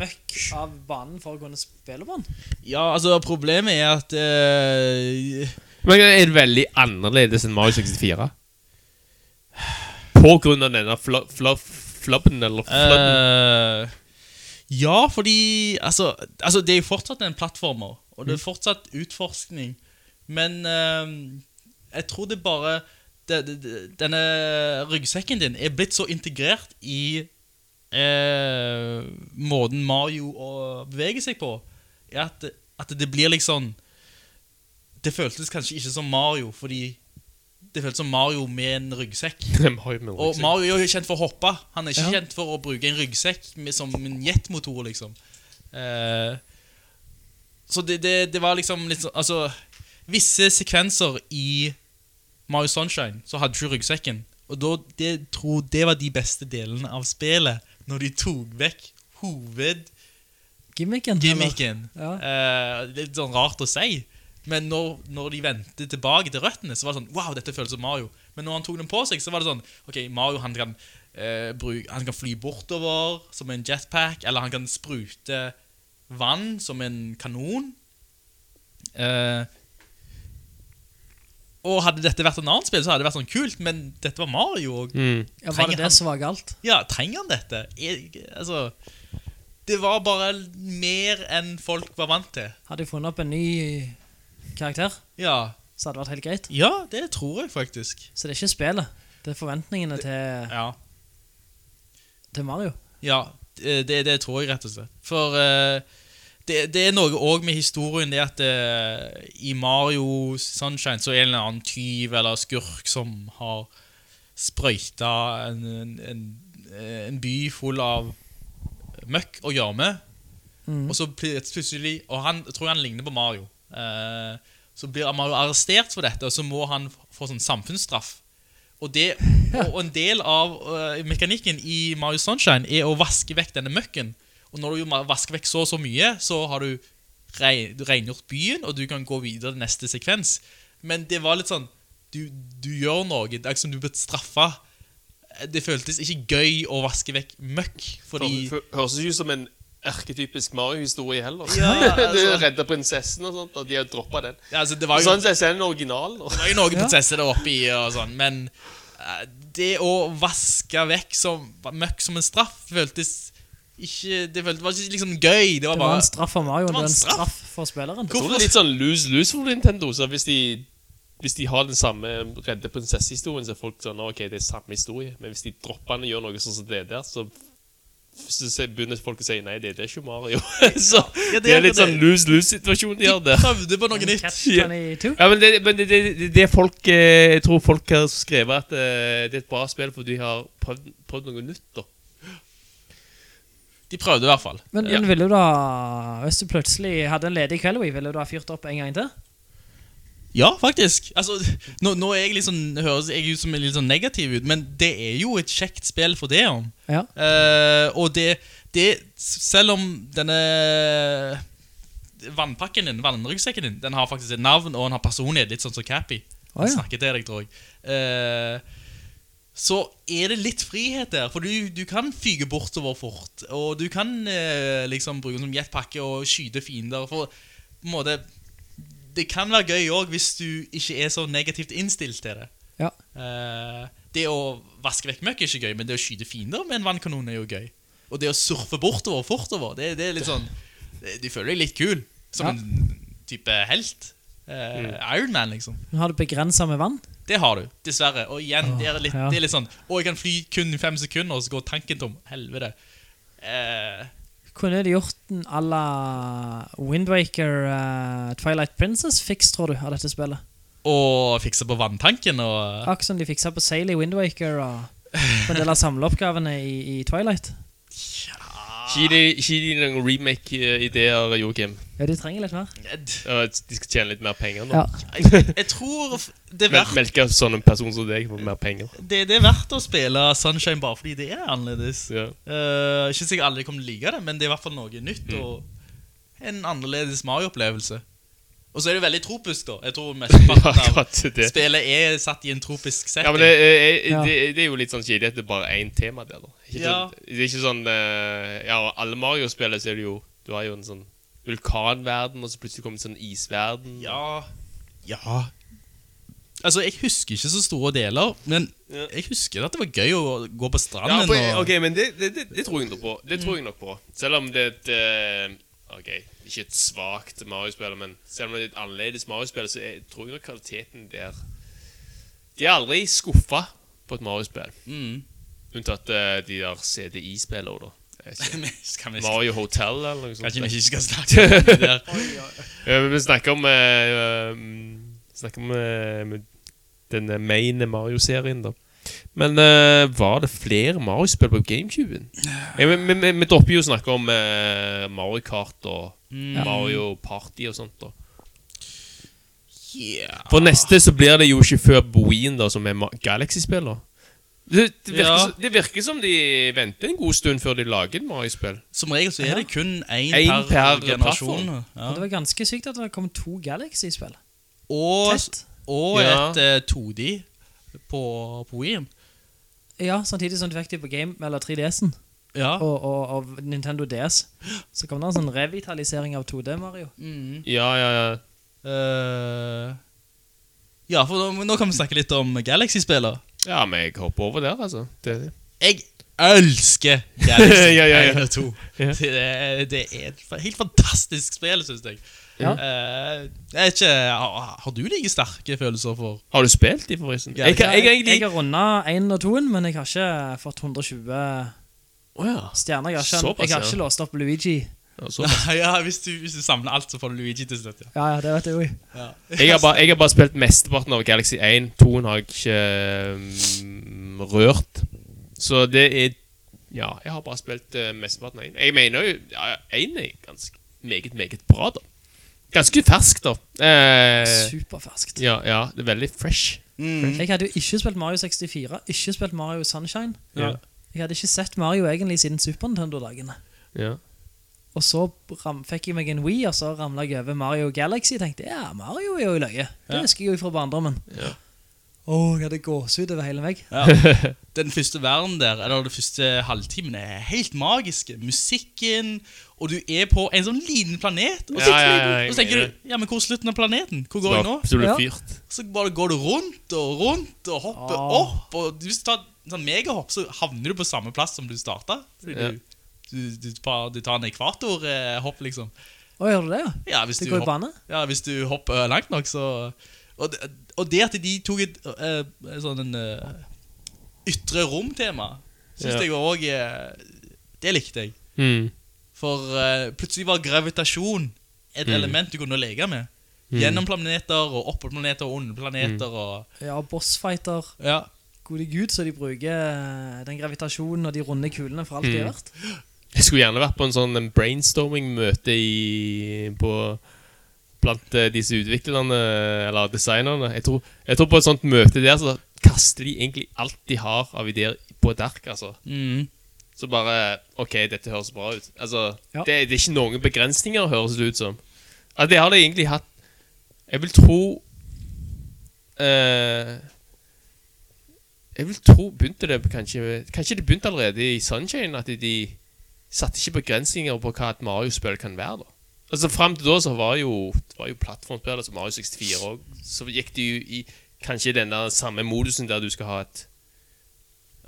I: møkk av banen for å kunne spille på den.
J: Ja, altså, problemet er at eh,
E: Men det er veldig annerledes enn Mario 64. På grunn av denne flo, flo, flubben, eller flubben.
J: eh, Ja, fordi altså, altså, det er jo fortsatt en plattformer, og det er fortsatt utforskning. Men eh, jeg tror det bare det, det, det- Denne ryggsekken din er blitt så integrert i eh, måten Mario å- beveger seg på, er at, at det blir liksom Det føltes kanskje ikke som Mario, fordi det føltes som Mario med en ryggsekk.
E: Mario med
J: Og
E: ryggsekk.
J: Mario er jo kjent for å hoppe. Han er ikke
I: Ja.
J: kjent for å bruke en ryggsekk med, som en jetmotor, liksom. Eh, så det, det, det var liksom litt sånn Altså, visse sekvenser i Mario Sunshine så hadde du ikke ryggsekken. Og da, det, tror det var de beste delene av spillet, når de tok vekk hovedgimmicken.
I: Gimmicken. eller? Ja.
J: Eh, det er litt sånn rart å si, men når, når de vendte tilbake til røttene, så var det sånn Wow, dette føles som Mario. Men når han tok den på seg, så var det sånn Ok, Mario han kan, eh, bruke, han kan fly bortover som en jetpack, eller han kan sprute vann som en kanon. Eh, og hadde dette vært en annen spill, så hadde det vært sånn kult, men dette var Mario. Og
I: ja, var
J: trenger
I: det
J: han-
I: det som var galt?
J: ja, trenger han dette? Jeg, altså Det var bare mer enn folk var vant til.
I: Hadde jeg funnet opp en ny karakter,
J: Ja,
I: så hadde det vært helt greit.
J: ja det tror jeg faktisk.
I: Så det er ikke spillet. Det er forventningene til,
J: Ja,
I: til Mario.
J: ja eh, det, det tror jeg rett og slett. For eh, det, det er noe òg med historien, det at eh, i Mario Sunshine så er det en eller annen tyv eller skurk som har sprøyta en, en, en, eh, en by full av møkk og gjørme. Og så blir det plutselig Og han jeg tror han ligner på Mario. Eh, så blir Mario arrestert for dette, og så må han få sånn samfunnsstraff. Og, det, og og en del av eh, mekanikken i Mario Sunshine er å vaske vekk denne møkken. Og når du ma- vasker vekk så og så mye, så har du, rei- du rengjort byen, og du kan gå videre til neste sekvens. Men det var litt sånn Du, du gjør noe. Det er ikke som du blir straffa. Det føltes ikke gøy å vaske vekk møkk. Fordi
E: For- for- Høres ikke ut som en erketypisk Mario-historie heller.
J: Ja,
E: det
J: altså.
E: redda prinsessen og sånt, og de har droppa den.
J: Ja, altså, det var jo
E: Sånn sett er den original. nå.
J: Det var jo noen prinsesser der oppe i og sånn, men eh, det å vaske vekk som, møkk som en straff føltes ikke Det føltes, var ikke liksom gøy. Det var
I: Det var
J: bare
I: en straff for Mario, det
J: Det var
I: var en
J: en straff.
I: straff for spilleren.
E: Jeg tror det er litt sånn lose-lose for Nintendo. Så hvis de hvis de har den samme redde prinsesse-historien, så er folk sånn Ok, det er samme historie. Men hvis de dropper den og gjør noe sånn som det der, så, så se- begynner folk å si nei, det, det er ikke Mario. så
J: Ja, det
E: det
J: er
E: er litt
J: det.
E: sånn lose-lose-situasjon de har der.
J: Prøvde på noe nytt.
I: Catch 22.
E: Ja, men det, men det, det, det- det folk eh, Jeg tror folk har skrevet at eh, det er et bra spill fordi de har prøvd, prøvd noe nytt. da
J: De prøvde i hvert fall.
I: Men, men ville du da, hvis du plutselig hadde en ledig kveld, Wii, ville du da fyrt opp en gang til?
J: Ja, faktisk. Altså, nå, nå er jeg liksom, høres jeg ut som en litt sånn negativ ut, men det er jo et kjekt spill for det om.
I: Ja.
J: Eh, og det, det Selv om denne vannpakken din, vannryggsekken din, den har faktisk et navn og den har personlighet, litt sånn som Cappy. Han
I: Å, ja.
J: snakker til deg, tror jeg. Eh, så er det litt frihet der, for du, du kan fyke bortover fort. Og du kan eh, liksom bruke den som jetpakke og skyte fiender. For på en måte Det kan være gøy òg hvis du ikke er så negativt innstilt til det.
I: Ja.
J: Eh, det å vaske vekk møkk er ikke gøy, men det å skyte fiender med en vannkanon er jo gøy. Og det å surfe bortover fortover, det, det er litt sånn Du føler deg litt kul. Som
I: Ja. Mm.
J: en type helt. Eh, Iron Man, liksom.
I: Men Har du begrensa med vann?
J: Det har du, dessverre. Og igjen, det er litt,
I: ja.
J: det er litt sånn Å, jeg kan fly kun i fem sekunder, og så går tanken tom. Helvete. Eh,
I: Kunne du gjort en à la Windwaker uh, Twilight Princess fiks, tror du, av dette spillet?
J: og fikse på vanntanken og
I: Akkurat som de fiksa på Sail i Windwaker og på en del av samleoppgavene i, i Twilight.
E: Gi de- gi de noen remake-ideer, Joakim.
I: Ja, de trenger litt mer.
J: jeg,
E: Og at De skal tjene litt mer penger nå.
I: Ja.
J: jeg tror det er,
E: Mel-
J: verdt,
E: Melke sånn en person som deg for mer penger.
J: det, det er verdt å spille Sunshine bare fordi det er annerledes.
E: Ja.
J: Eh, ikke sikkert alle kommer til å like det, men det er i hvert fall noe nytt
E: Mm.
J: og en annerledes Mario-opplevelse. Og så er det veldig tropisk, da. Jeg tror mesteparten av
E: Akkurat det.
J: spillet er satt i en tropisk setting.
E: Ja, men det, er- er-
I: Ja.
E: det, det er jo litt sånn kjedelig at det er bare én tema der, da. Ikke
J: Ja.
E: sånn, det er ikke sånn eh, Ja, og alle Mario-spillere så er det jo Du har jo en sånn vulkanverden, og så plutselig kommer en sånn isverden.
J: Ja Ja Altså, jeg husker ikke så store deler, men jeg husker at det var gøy å gå på
E: Ja,
J: stranden.
E: for,
J: og-
E: ok, men det, det, det, det tror jeg nok på. Det tror jeg nok på. Selv om det er et eh, Ok, ikke et svakt Mario-spill, men selv om det er et annerledes Mario-spill, så er, tror jeg nok kvaliteten der De er aldri skuffa på et Mario-spill.
J: Mm.
E: Unntatt eh, de der CDI-spillene, da. Jeg ser-
J: Men skal vi
E: Mario Hotel eller noe sånt.
J: Kanskje vi ikke skal snakke om det der.
E: Ja, men vi snakker om eh, um, Snakker om eh, med den eh, main Mario-serien, da. Men eh, var det flere Mario-spill på GameCuben? Ja, men- men- men Vi dropper jo å snakke om eh, Mario Kart og Mario Party og sånt. da
J: Yeah.
E: For neste så blir det jo ikke før Boeen, da, som er Ma- Galaxy-spill. da Det, det, virker,
J: Ja.
E: som- det virker som de venter en god stund før de lager et Mario-spill.
J: Som regel så er det kun én
E: En
J: per,
E: per
J: generasjon. Ja.
I: Og Det var ganske sykt at det kom to Galaxy-spill.
J: Og,
I: Tett.
J: og
E: Ja.
J: et eh, 2D på, på Wien.
I: Ja, samtidig som du fikk det på game eller 3DS-en
J: Ja.
I: og, og, og Nintendo DS. Så kom det en sånn revitalisering av 2D-Mario.
J: Mhm.
E: Ja, ja, ja.
J: Eh, ja, for nå, nå kan vi snakke litt om Galaxy-spiller.
E: Ja, men jeg hopper over der, altså. Det,
J: Jeg elsker Galaxy
E: Ja, ja, ja.
J: 1 og 2.
E: Ja.
J: Det, er- det er et fa- helt fantastisk spill, syns jeg.
I: Ja.
J: Eh, jeg er ikke, har, har du like sterke følelser for
E: har du spilt de, forresten?
J: Ja,
E: jeg, kan- jeg, jeg,
I: Jeg har runda 1 og 2-en, men jeg har ikke fått 120
E: Å ja.
I: stjerner. Jeg har ikke,
E: Såpass,
I: jeg har
E: ja.
I: ikke låst opp Luigi.
E: Ja, så-
J: Nei, ja, hvis, du, hvis du samler alt, så får du Luigi til slutt. Ja.
I: Ja, ja, det vet jeg jo.
E: jeg, har bare, jeg har bare spilt mesteparten av Galaxy 1. 2-en har jeg ikke mm, rørt. Så det er Ja, jeg har bare spilt eh, mesteparten av 1. Jeg mener jo ja, 1 er ganske meget, meget bra, da. Ganske fersk, da. Eh, Mm.
I: Superferskt.
E: ja, ja, det er veldig fresh.
I: Jeg hadde jo ikke spilt Mario 64, ikke spilt Mario Sunshine.
E: Ja.
I: Jeg hadde ikke sett Mario egentlig siden Super Nintendo-dagene.
E: Ja.
I: Og så ram, fikk jeg meg en Wii, og så ramla jeg over Mario Galaxy. Jeg tenkte ja, Mario er jo i løye. Det husker jeg jo fra barndommen.
E: Ja.
I: Å, jeg hadde gåsehud over hele meg.
J: Den første verden der, eller den første halvtimen, er helt magisk. Musikken Og du er på en sånn liten planet. Og så,
E: Ja, ja, ja, jeg
J: og så tenker
E: mener
J: du Ja, men hvor er slutten av planeten? Hvor går jeg nå?
E: Så blir
I: Ja.
E: det fyrt.
J: Så bare går du rundt og rundt og hopper
I: Ah.
J: opp. Og hvis du tar en sånn megahopp, så havner du på samme plass som du starta. Du,
E: Ja.
J: du, du, tar- du tar en ekvatorhopp, liksom.
I: Å, gjør du det, ja?
J: Ja, hvis
I: Det
J: du
I: går i
J: hopper-
I: bane?
J: Ja, hvis du hopper eh, langt nok, så Og det, og det at de tok et eh, eh, sånn en eh, ytre rom-tema, syns
E: Ja.
J: jeg òg Det likte jeg.
E: Mm.
J: For eh, plutselig var gravitasjon et element du kunne leke med. Gjennom planeter og oppå planeter og under planeter og
I: Ja, bossfighter.
J: Ja.
I: Gode gud, så de bruker eh, den gravitasjonen og de runde kulene for alt de
E: Mm.
I: har vært.
E: Jeg skulle gjerne vært på en sånn en brainstorming-møte i på Blant eh, disse utviklerne, eller designerne. Jeg tror, jeg tror på et sånt møte der, så kaster de egentlig alt de har av ideer på et ark, altså.
J: Mm.
E: Så bare OK, dette høres bra ut. Altså,
I: Ja.
E: det, det er ikke noen begrensninger, høres det ut som. Altså, det har de egentlig hatt Jeg vil tro eh, Jeg vil tro begynte det kanskje Kanskje det begynte allerede i Sunshine at de satte ikke begrensninger på hva et Mario-spill kan være. da Altså Fram til da så var jo, det var jo plattformspill, altså Mario 64 òg. Så gikk de jo i kanskje den der samme modusen der du skal ha et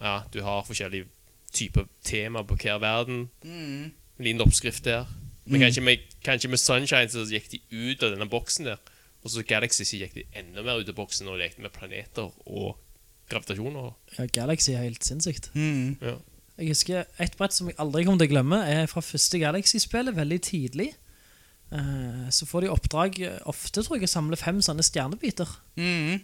E: Ja, du har forskjellige typer tema på hver verden.
I: Mm.
E: En liten oppskrift der. Men kanskje, med, kanskje med Sunshine så gikk de ut av denne boksen der. Og så Galaxy så gikk de enda mer ut av boksen og lekte med planeter og gravitasjoner.
I: Ja, Galaxy er helt sinnssykt.
J: Mm.
E: Ja.
I: Jeg husker Et brett som jeg aldri kommer til å glemme, er fra første Galaxy-spillet, veldig tidlig. Eh, Så får de oppdrag eh, ofte, tror jeg, å samle fem sånne stjernebiter.
J: Mm.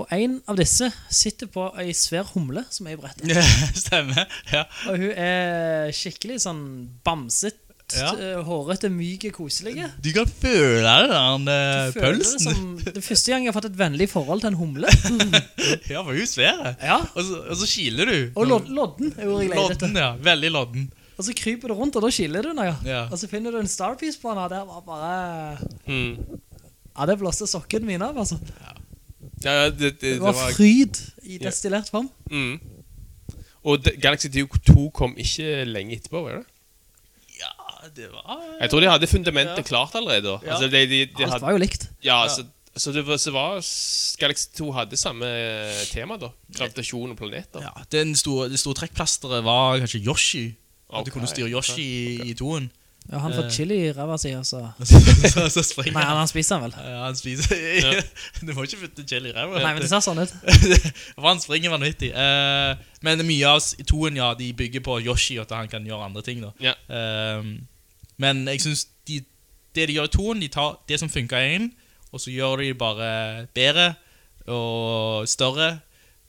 I: Og en av disse sitter på ei svær humle som er i brettet.
J: Stemmer. Ja.
I: Og hun er skikkelig sånn bamset,
J: Ja.
I: eh, hårete, myk og koselig.
J: Du kan føle det der den, eh,
I: Jeg føler Det,
J: pølsen.
I: som, det er første gang jeg har fått et vennlig forhold til en humle.
J: ja, for hun er svær.
I: Ja.
J: Og, så, og så kiler du. Sånn
I: Og lod- lodden. er ordet jeg leter etter.
J: Lodden, ja. Veldig lodden.
I: Og så kryper du rundt, og da skiller du den. Ja.
J: Ja.
I: Og så finner du en Starpiece på den, og det var bare
E: Mm.
I: Ja, det blåste sokkene mine av, altså. Det
E: Ja, ja, det, det, det
I: var
E: var
I: fryd i destillert form.
E: mm. Og det, Galaxy Duke 2 kom ikke lenge etterpå, var det?
J: Ja, det var eh,
E: Jeg tror de hadde fundamentet klart allerede. da. Altså, de, de, de
I: Alt
E: hadde,
I: var jo likt.
E: ja, Så, så det var, så var s- Galaxy 2 hadde samme tema, da. Gravitasjon og planeter.
J: ja, den store, Det store trekkplasteret var kanskje Yoshi. At
E: Ok,
J: du kunne styre Yoshi i- i toen.
I: Ja, han får chili i ræva si, og så
J: Så, så, så springer
I: Nei,
J: han.
I: han, han spiser den vel.
J: Ja, han spiser Du må ikke putte chili i ræva.
I: Nei, men det ser sånn ut.
J: For han springer vanvittig. Eh, men mye av s- toen ja, de bygger på Yoshi, at han kan gjøre andre ting. da
E: Ja.
J: Eh, Men jeg syns de, det de gjør i toen, de tar det som funka i én, og så gjør de det bare bedre og større.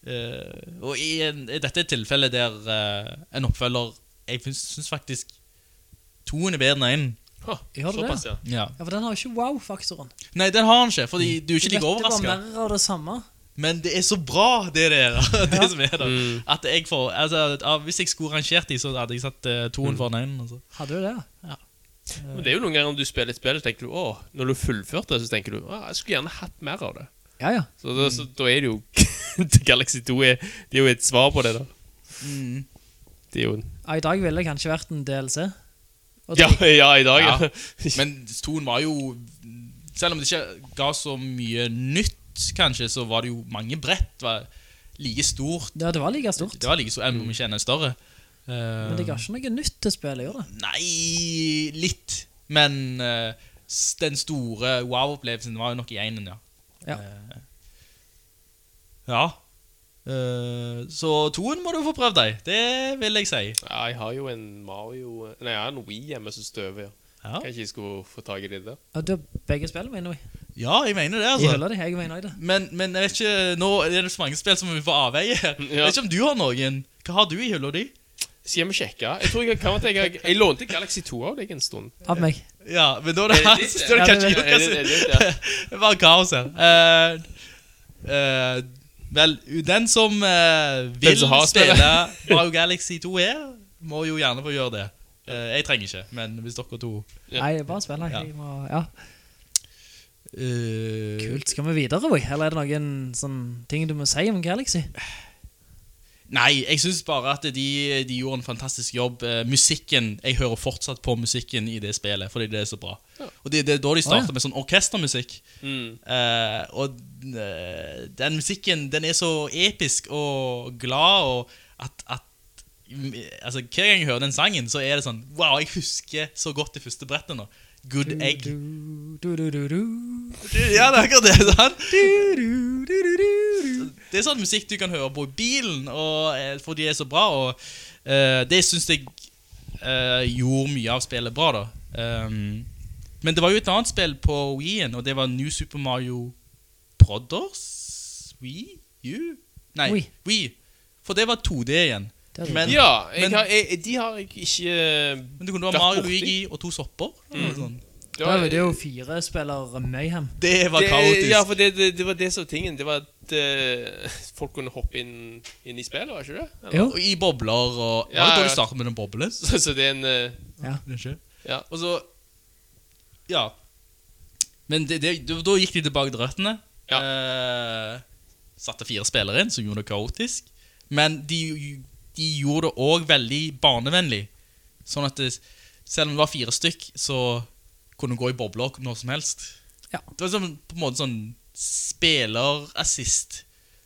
J: Eh, og i, en, i dette tilfellet der eh, en oppfølger Jeg syns faktisk toen er bedre enn én.
E: Huh,
I: Ja, det
E: såpass, ja.
J: Ja.
I: Ja, For den har jo ikke wow-faktoren.
J: Nei, den har han ikke, fordi du
I: Du
J: er ikke
I: vet det
J: like
I: var
J: overraska.
I: mer av det samme.
J: Men det er så bra, det der. det som er der.
I: Mm.
J: At jeg får, altså, at- ah, hvis jeg skulle rangert de, så hadde jeg satt eh,
I: Mm.
J: toen foran én. Altså.
I: Hadde du det?
E: Men det er jo noen ganger når du spiller et spill, så tenker du åh, når du har fullført det, så tenker du åh, jeg skulle gjerne hatt mer av det.
I: Ja, ja.
E: Så, da- så da er det jo Galaxy 2 er, det er jo et svar på det, da. Det er jo en
I: ja I dag ville det kanskje vært en DLC. Og
E: Ja, ja i dag, ja.
J: Ja. Men toen var jo Selv om det ikke ga så mye nytt, kanskje, så var det jo mange brett. Var like stort.
I: Ja, det var like stort. Mm.
J: Det var like stort, enn om ikke enda større. Eh,
I: Men det ga ikke noe nytt til spillet, gjorde det?
J: Nei, litt. Men eh, s- den store wow-opplevelsen var jo nok i einen, ja.
I: Ja.
J: Eh, ja. Eh, så toen må du få prøvd deg. Det vil jeg si.
E: ja. Jeg har jo en Mario Nei, jeg har en Wii hjemme som støver.
J: Ja,
E: Kanskje jeg skulle få tak i det der.
I: Og du har begge spillene mine i
J: ja jeg mener det,
I: i
J: altså.
I: hylla di. Jeg er med i det.
J: Men, men jeg vet ikke, nå er det så mange spill som vi får avveie. her. Jeg vet ikke om du har noen. Hva har du i hylla di?
E: Skal vi sjekke? Jeg tror jeg kan at jeg, jeg lånte Galaxy 2 av deg en stund.
I: Av meg.
J: Ja, men da er det han
E: Er det ditt,
J: som står og
E: ja?
I: Ja,
J: kanskje
I: det-
E: Er det- er det ditt, ja?
J: Det var kaos her. Eh, eh, vel, den som eh, vil
E: Den som har spillet.
J: spille Mario Galaxy 2 her, må jo gjerne få gjøre det. Eh, jeg trenger ikke, men hvis dere to
E: Ja.
I: Nei, bare spill. jeg. Jeg må, ja.
J: eh,
I: Kult. Skal vi videre, Roy? Eller er det noen sånn ting du må si om Galaxy?
J: Nei, jeg syns bare at de, de gjorde en fantastisk jobb. Eh, musikken Jeg hører fortsatt på musikken i det spillet, fordi det er så bra. Og det, det er da de starter
I: Å, ja.
J: med sånn orkestermusikk. Eh, og eh, den musikken, den er så episk og glad, og at, at mm, Altså, hver gang jeg hører den sangen, så er det sånn Wow, jeg husker så godt det første brettet nå. Good egg.
I: Du, du, du, du.
J: Ja, det er akkurat det. sant?
I: Du, du, du, du, du.
J: Det er sånn musikk du kan høre på i bilen, og, eh, for de er så bra. Og, eh, det syns jeg eh, gjorde mye av spillet bra, da. Ehm, men det var jo et annet spill på Wii-en, og det var New Super Mario Brothers? Wii? U? Nei,
I: Wii.
J: Wii. For det var 2D igjen.
I: Det er
J: Men,
E: Ja, jeg
J: men,
E: har, jeg, de har jeg ikke
J: men du kunne ha
E: vært
J: Mario
E: borti.
J: Luigi og to sopper.
I: Mm.
J: eller noe sånt.
E: det
I: Da er det jo fire spiller Mayhem.
J: Det var
E: det-
J: kaotisk.
E: Ja, for det, det, det var det som var tingen. Det var at eh, folk kunne hoppe inn, inn i spillet, var ikke det? Eller?
I: Jo.
J: og I bobler og
E: Ja,
J: Var det da
E: ja.
J: du startet med den boblen?
E: Så, så det er en eh,
J: Unnskyld.
E: Ja.
J: Og så Ja. Men det, det, da, da gikk de tilbake til røttene.
E: Ja.
J: Eh, satte fire spillere inn, som gjorde det kaotisk. Men de, de gjorde det òg veldig barnevennlig. Sånn at det, selv om det var fire stykk, så kunne du gå i bobler når som helst.
I: Ja.
J: Det var sånn, på en måte sånn spillerassist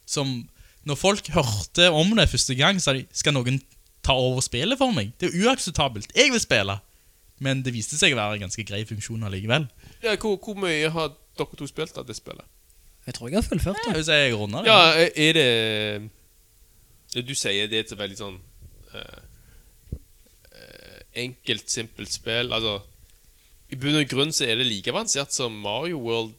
J: som Når folk hørte om det første gang, sa de Skal noen ta over spillet for meg? Det er uakseptabelt. Jeg vil spille. Men det viste seg å være en ganske grei funksjon allikevel.
E: ja hvor, hvor mye har dere to spilt av det spillet?
I: Jeg tror jeg har fullført det.
J: Jeg vil si jeg runder det.
E: Ja, er det ja, Du sier det er et veldig sånn eh, eh, enkelt, simpelt spill. Altså I bunn og grunn så er det like avansert som Mario World.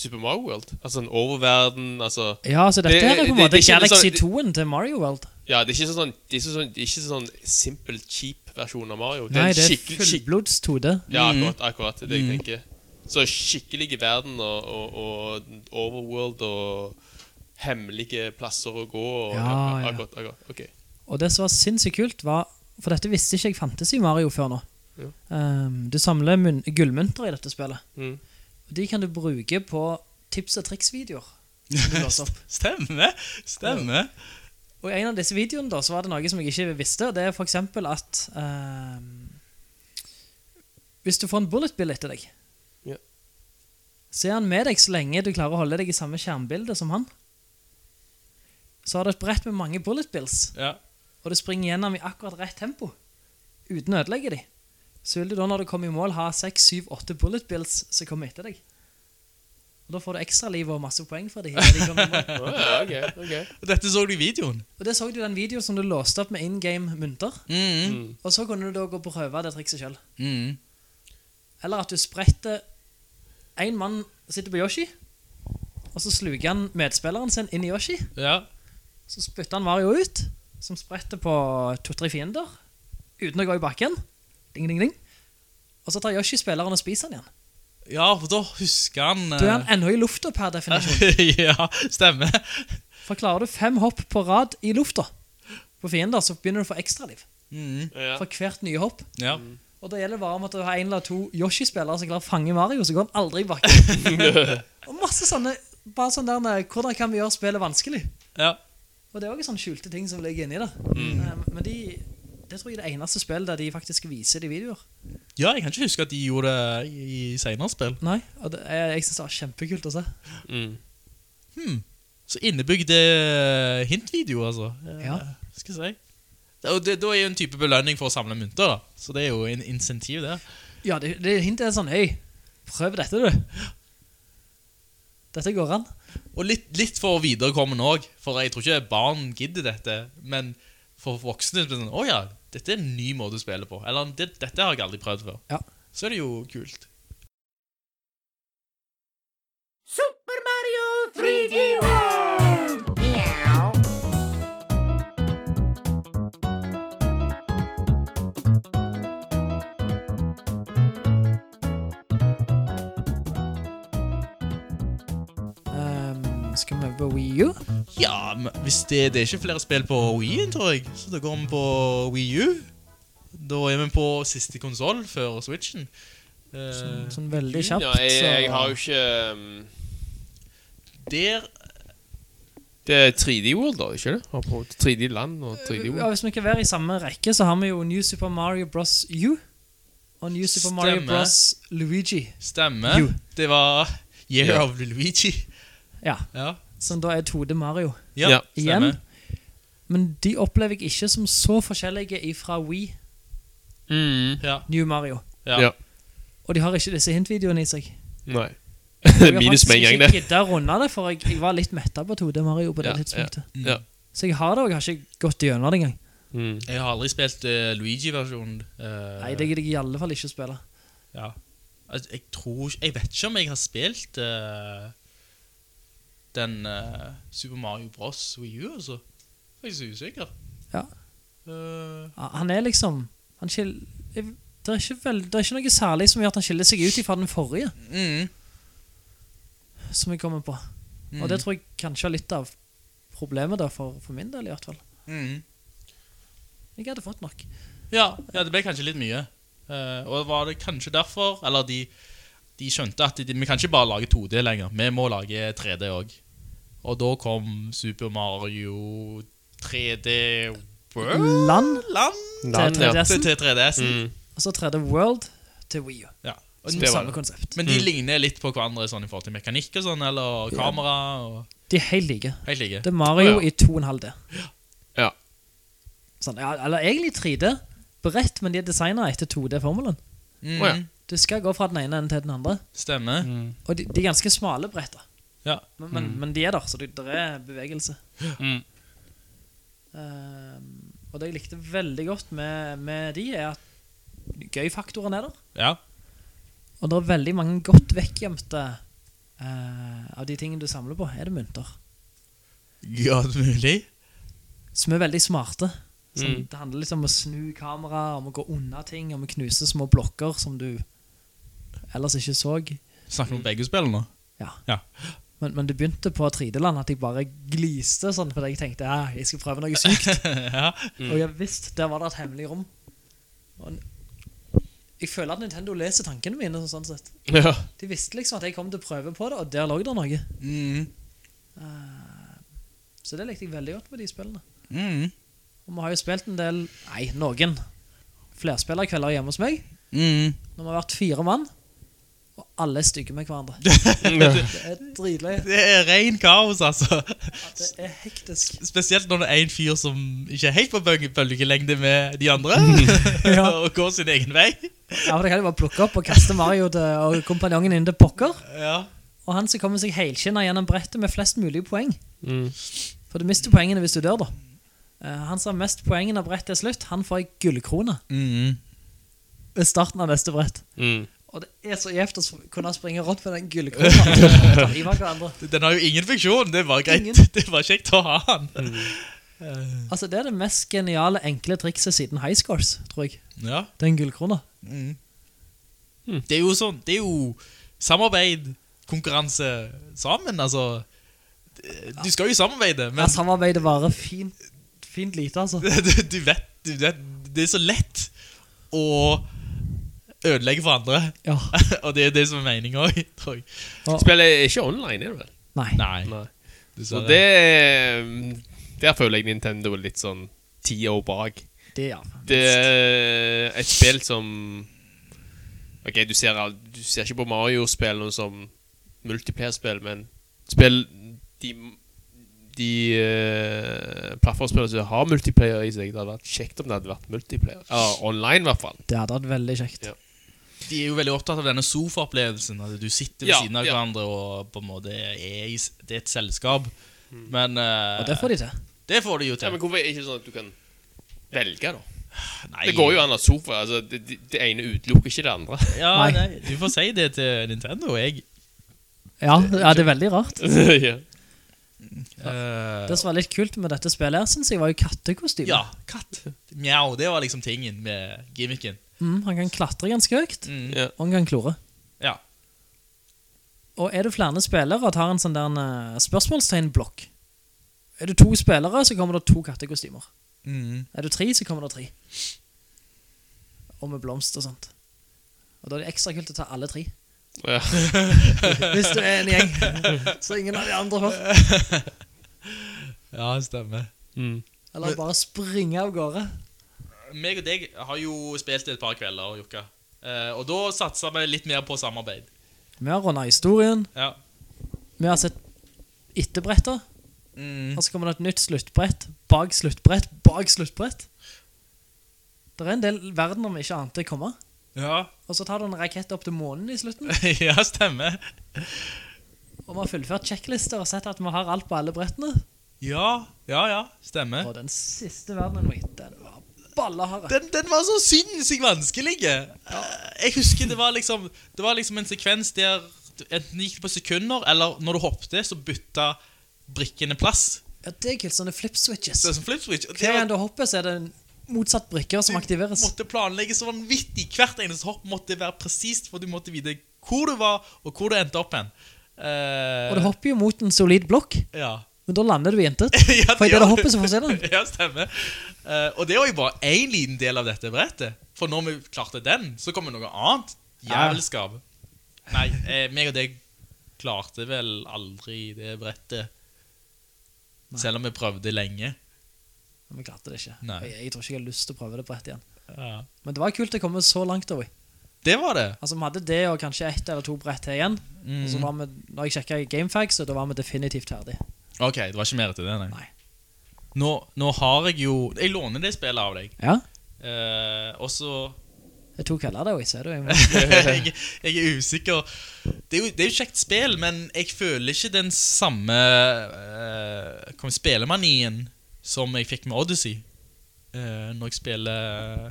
E: Super Mario World. Altså en oververden, altså
I: Ja, så dette
E: Det-
I: her er på en
E: det-
I: måte
E: det kjennes
I: Galaxy
E: sånn-
I: 2-en til Mario World.
E: Ja, det er ikke sånn, det er ikke sånn, det er ikke sånn simpel, kjip versjon av Mario. Det er
I: Nei,
E: en
I: det er Mm.
E: skikkelig- skik-
I: fullblods 2D.
E: Ja, akkurat, akkurat det er det jeg tenker. Så skikkelig verden og, og, og overworld og hemmelige plasser å gå og
I: Ja, ja.
E: Akkurat, akkurat. Ok.
I: Og det som var sinnssykt kult var For dette visste ikke jeg fantes i Mario før nå um, Du samler mun- gullmynter i dette spillet
E: Mhm.
I: Og de kan du bruke på tips og triks videoer Og
J: Stemmer. Stemmer.
I: i en av disse videoene da Så var det noe som jeg ikke visste og Det er for eksempel at um, Hvis du får en bullet bill etter deg
E: Ja.
I: Så er han med deg så lenge du klarer å holde deg i samme skjermbilde som han Så har du et brett med mange bullet bills
J: Ja.
I: og du springer gjennom i akkurat rett tempo, uten å ødelegge de, så vil du da når du kommer i mål ha 6-7-8 bullet bills som kommer etter deg. Og Da får du ekstra liv og masse poeng for de. når de kommer i mål.
E: Ah, ja, ok, ok.
J: Og Dette så du i videoen.
I: Og Det så du i den videoen som du låste opp med in game mynter.
J: Mm.
I: Og så kunne du da gå og prøve det trikset sjøl.
J: Mhm.
I: Eller at du spretter En mann sitter på Yoshi, og så sluker han medspilleren sin inn i Yoshi.
J: Ja.
I: Så spytter han Mario ut, som spretter på to-tre fiender, uten å gå i bakken. Ding, ding, ding. Og så tar Yoshi spilleren og spiser han igjen.
J: Ja, for da husker han
I: Du er han ennå i lufta per definisjon.
J: eh, Ja, stemmer.
I: For klarer du fem hopp på rad i lufta på fiender, så begynner du å få ekstraliv
E: Ja.
I: for hvert nye hopp.
J: Ja.
I: Og da gjelder det bare om at du har en eller to Yoshi-spillere som klarer å fange Mario, så går han aldri i bakken. og masse sånne Bare sånn der med, Hvordan kan vi gjøre spillet vanskelig?
J: ja.
I: Og det er òg sånne skjulte ting som ligger inni det.
E: Mm.
I: Eh, Men de, det tror jeg er det eneste spillet der de faktisk viser det i videoer.
J: Ja, jeg kan ikke huske at de gjorde det i senere spill.
I: Nei, og det, jeg, jeg syns det var kjempekult å se.
J: Så innebygde hintvideo, altså. Eh,
I: Ja.
J: Skal jeg si. Da- Og det, da er jo en type belønning for å samle mynter, da. Så det er jo en insentiv, det.
I: Ja, det, det hintet er sånn Hei, prøv dette, du. Dette går an.
J: Og litt, litt for viderekommende òg, for jeg tror ikke barn gidder dette. Men for voksne blir det sånn Å ja, dette er en ny måte å spille på. Eller det, dette har jeg aldri prøvd før.
I: Ja.
J: Så er det jo kult.
K: Super Mario 3D World! Meow.
I: Ehm, skal vi over på Wii U?
J: Ja, men hvis det, det er ikke flere spill på Wii-en, tror jeg. Så da går vi på Wii U. Da er vi på siste konsoll før Switchen. Eh,
I: Sånn veldig kjapt.
E: Mm, Ja, jeg, jeg
I: så-
E: har jo ikke um,
J: der
E: Det er 3D World, da, ikke det? Har på 3D Land og 3D
I: ja,
E: World.
I: Hvis vi kan være i samme rekke, så har vi jo New Super Mario Bros. U. Og New Super Mario
J: Stemmer.
I: Bros. Luigi.
J: stemmer.
I: Jo.
J: Det var Year
E: Ja.
J: of Luigi.
I: Ja,
J: Ja,
I: Som da er 2D Mario.
J: ja,
E: Ja.
J: stemmer.
I: Igjen. Men de opplever jeg ikke som så forskjellige ifra Wii
E: Mm.
J: Ja,
I: New Mario.
J: ja.
E: Ja.
I: Og de har ikke disse hintvideoene i seg.
E: Nei.
I: Jeg har
E: Minus
I: faktisk
E: med en gang,
I: ikke
E: det.
I: gidda å runde det, for jeg, jeg var litt metta på 2D Mario på det
E: Ja,
I: tidspunktet.
E: Ja.
I: Så jeg har det, og jeg har ikke gått gjennom det engang.
E: Mm.
J: Jeg har aldri spilt eh, Luigi-versjonen. eh,
I: Nei, det gidder jeg i alle fall ikke å spille.
J: ja. Altså, Jeg tror ikke Jeg vet ikke om jeg har spilt eh, den eh, Super Mario Bros. Wii U, altså. Jeg er så usikker.
I: Ja.
J: Eh,
I: Ja, Han er liksom han skil, jeg, det, er ikke vel, det er ikke noe særlig som gjør at han skiller seg ut fra den forrige,
J: mm.
I: som jeg kommer på. Og
E: Mm.
I: det tror jeg kanskje er litt av problemet, da, for, for min del i hvert fall.
J: Mm.
I: Jeg hadde fått nok.
J: Ja, ja, det ble kanskje litt mye. Eh, og var det kanskje derfor Eller de, de skjønte at de, vi kan ikke bare lage 2D lenger. Vi må lage 3D òg. Og da kom Super Mario 3D World
I: Land
J: Land
I: til
E: ja. Mm.
I: 3DS-en,
J: til 3DS-en.
I: og så 3D World til Wii U.
J: Ja. Og,
I: Som
E: det
I: er
E: var
I: samme
E: det.
I: konsept.
J: men de ligner litt på hverandre sånn i forhold til mekanikk og sånn, eller kamera. Og,
I: De er helt like.
J: helt like.
I: Det er Mario
E: Å, ja.
I: i 2,5D.
E: Ja.
I: Sånn, ja, eller egentlig 3D. Bredt, men de er designa etter 2D-formelen.
J: Mm,
E: Å, ja. Mm.
I: Du skal gå fra den ene enden til den andre.
J: Stemmer.
I: Og de, de er ganske smale bretter.
J: Ja.
I: Men, men, men de er der, så det, der er bevegelse.
E: Mm.
I: Ehm, og det jeg likte veldig godt med, med de, er at gøy-faktoren er der.
J: ja.
I: Og det er veldig mange godt vekkgjemte eh, av de tingene du samler på. Er det mynter?
J: Ja, mulig.
I: Som er veldig smarte. Som, Det handler litt om å snu kamera, om å gå unna ting, om å knuse små blokker som du ellers ikke så.
J: Snakker vi om begge spillene?
I: Ja.
J: Ja.
I: Men, men det begynte på 3D-land at jeg bare gliste sånn, fordi jeg tenkte ja, jeg skal prøve noe sykt.
J: ja.
I: Og jeg visste, der var det et hemmelig rom. Og n- jeg føler at Nintendo leser tankene mine. sånn sett.
E: ja.
I: De visste liksom at jeg kom til å prøve på det, og der lå det noe.
J: Mm.
I: Så det likte jeg veldig godt med de spillene.
J: Mm.
I: Og vi har jo spilt en del Nei, noen flerspillerkvelder hjemme hos meg.
J: Mm.
I: Når vi har vært fire mann, og alle er stygge med hverandre. Det er dritløye.
J: Det er ren kaos, altså.
I: Det er hektisk.
J: Spesielt når det er en fyr som ikke er helt på bølge- bølgelengde med de andre,
I: Ja.
J: og går sin egen vei.
I: Ja, for Det kan jeg bare plukke opp og kaste Mario til, og kompanjongen inn til pokker.
J: Ja.
I: Og han som kommer seg helskinna gjennom brettet med flest mulig poeng.
E: Mm.
I: For du mister poengene hvis du dør, da. Eh, han som har mest poeng når brettet er slutt, han får ei gullkrone
J: Mm.
I: ved starten av neste brett.
E: Mm.
I: Og det er så gjevt å sp- kunne springe rundt med den gullkrona. Altså, og ta livet av hverandre.
J: Den har jo ingen funksjon. Det var greit.
I: Ingen.
J: Det var kjekt å ha han.
I: altså, det er det mest geniale, enkle trikset siden high scores, tror jeg.
J: Ja.
I: Den gullkrona.
J: Det er jo sånn Det er jo samarbeid, konkurranse sammen. Altså Du skal jo samarbeide, men
I: Ja, samarbeidet varer fint, fint lite, altså.
J: du, du, vet, du vet Det er så lett å ødelegge for andre.
I: Ja.
J: og det er det som er meninga òg, tror jeg.
E: Spillet er ikke online, er det vel?
I: Nei.
J: Nei.
E: Nei. Så
J: dessverre.
E: det mm, Der føler jeg Nintendo er litt sånn ti år bak.
I: Det, ja.
E: Det er et spill som Ok, du ser, al- du ser ikke på Mario-spillene som multiplayer-spill, men spill De, de eh, plattformspillene som har multiplayer i seg, det hadde vært kjekt om det hadde vært multiplayer. Ja, online, i hvert fall.
I: det hadde vært veldig kjekt.
E: Ja.
J: De er jo veldig opptatt av denne sofaopplevelsen. At du sitter ved
E: Ja,
J: siden av
E: ja.
J: hverandre og på en måte er, i, s- det er et selskap. Men eh,
I: Og det får de til.
J: det får de jo
E: Ja,
J: til.
E: men hvorfor er det ikke sånn at du kan velge, da?
J: Nei.
E: Det går jo an at sofa altså, det, det, det ene utelukker ikke det andre.
J: Ja,
I: Nei.
J: nei. Du får si det til Nintendo. Jeg
I: Ja, ja, det er veldig rart.
E: ja.
J: Eh,
I: Det som var litt kult med dette spillet, her, synes jeg, var jo kattekostyme.
J: Ja, katt. Mjau. Det var liksom tingen med gimmicken.
I: Mm, han kan klatre ganske høyt,
E: Ja.
I: og han kan klore.
J: Ja.
I: Og er det flere spillere og tar en sånn der en, eh, spørsmålstegnblokk Er det to spillere, så kommer det to kattekostymer.
J: Mm.
I: Er det tre, så kommer det tre. Og med blomst og sånt. Og da er det ekstra kult å ta alle tre.
E: Ja.
I: Hvis du er en gjeng. Så ingen av de andre får.
J: Ja, stemmer.
E: Mm.
I: Eller bare springe av gårde.
J: Meg og deg har jo spilt et par kvelder, Jokka. Eh, og da satsa vi litt mer på samarbeid.
I: Vi har runda historien.
J: Ja.
I: Vi har sett etterbretter.
J: Mm.
I: Og så kommer det et nytt sluttbrett bak sluttbrett bak sluttbrett. Det er en del verdener vi ikke ante komme.
J: Ja,
I: Og så tar du en rakett opp til månen i slutten.
J: ja stemmer.
I: Og vi har fullført sjekklister og sett at vi har alt på alle brettene.
J: Ja, ja, ja, stemmer.
I: Og den siste verdenen vi gitt, den var ballehard.
J: den, den var så sinnssykt vanskelig. Jeg husker det var liksom Det var liksom en sekvens der du enten gikk det på sekunder, eller når du hoppet, så bytta brikkene plass.
I: Ja, det er kult. Sånne flip switches.
J: Så det er som flip switch. og Det
I: Hver gang du
J: var,
I: hopper, så er det en motsatt brikker som aktiveres.
J: måtte planlegges så vanvittig. Hvert eneste hopp måtte være presist, for du måtte vite hvor du var, og hvor du endte opp hen. Eh,
I: Og det hopper jo mot en solid blokk,
J: Ja.
I: men da lander du i intet.
J: Ja,
I: For i det
J: gjør
I: det hopper, så forsvinner den.
J: Ja, stemmer. Eh, og det var jo bare én liten del av dette brettet. For når vi klarte den, så kom det noe annet. Jævelskap. Nei, eh, meg og deg klarte vel aldri det brettet. Selv om vi prøvde lenge.
I: Men vi klarte det ikke.
J: Nei.
I: Jeg, jeg tror ikke jeg har lyst til å prøve det brettet igjen. Men det var kult å komme så langt over.
J: Det var det.
I: Altså, vi hadde det og kanskje ett eller to brett til igjen. Og så var vi, når jeg sjekka Gamefags, så da var vi definitivt ferdig.
J: Ok, det var ikke mer til det, nei.
I: Nei.
J: Nå, nå har jeg jo Jeg låner det spillet av deg.
I: Ja.
J: Eh, og så
I: Det er to kvelder, det òg, ser du. Jeg må-
J: jeg, jeg er usikker. Det er, jo, det er jo et kjekt spill, men jeg føler ikke den samme eh, kom- spillemanien som jeg fikk med Odyssey eh, når jeg spiller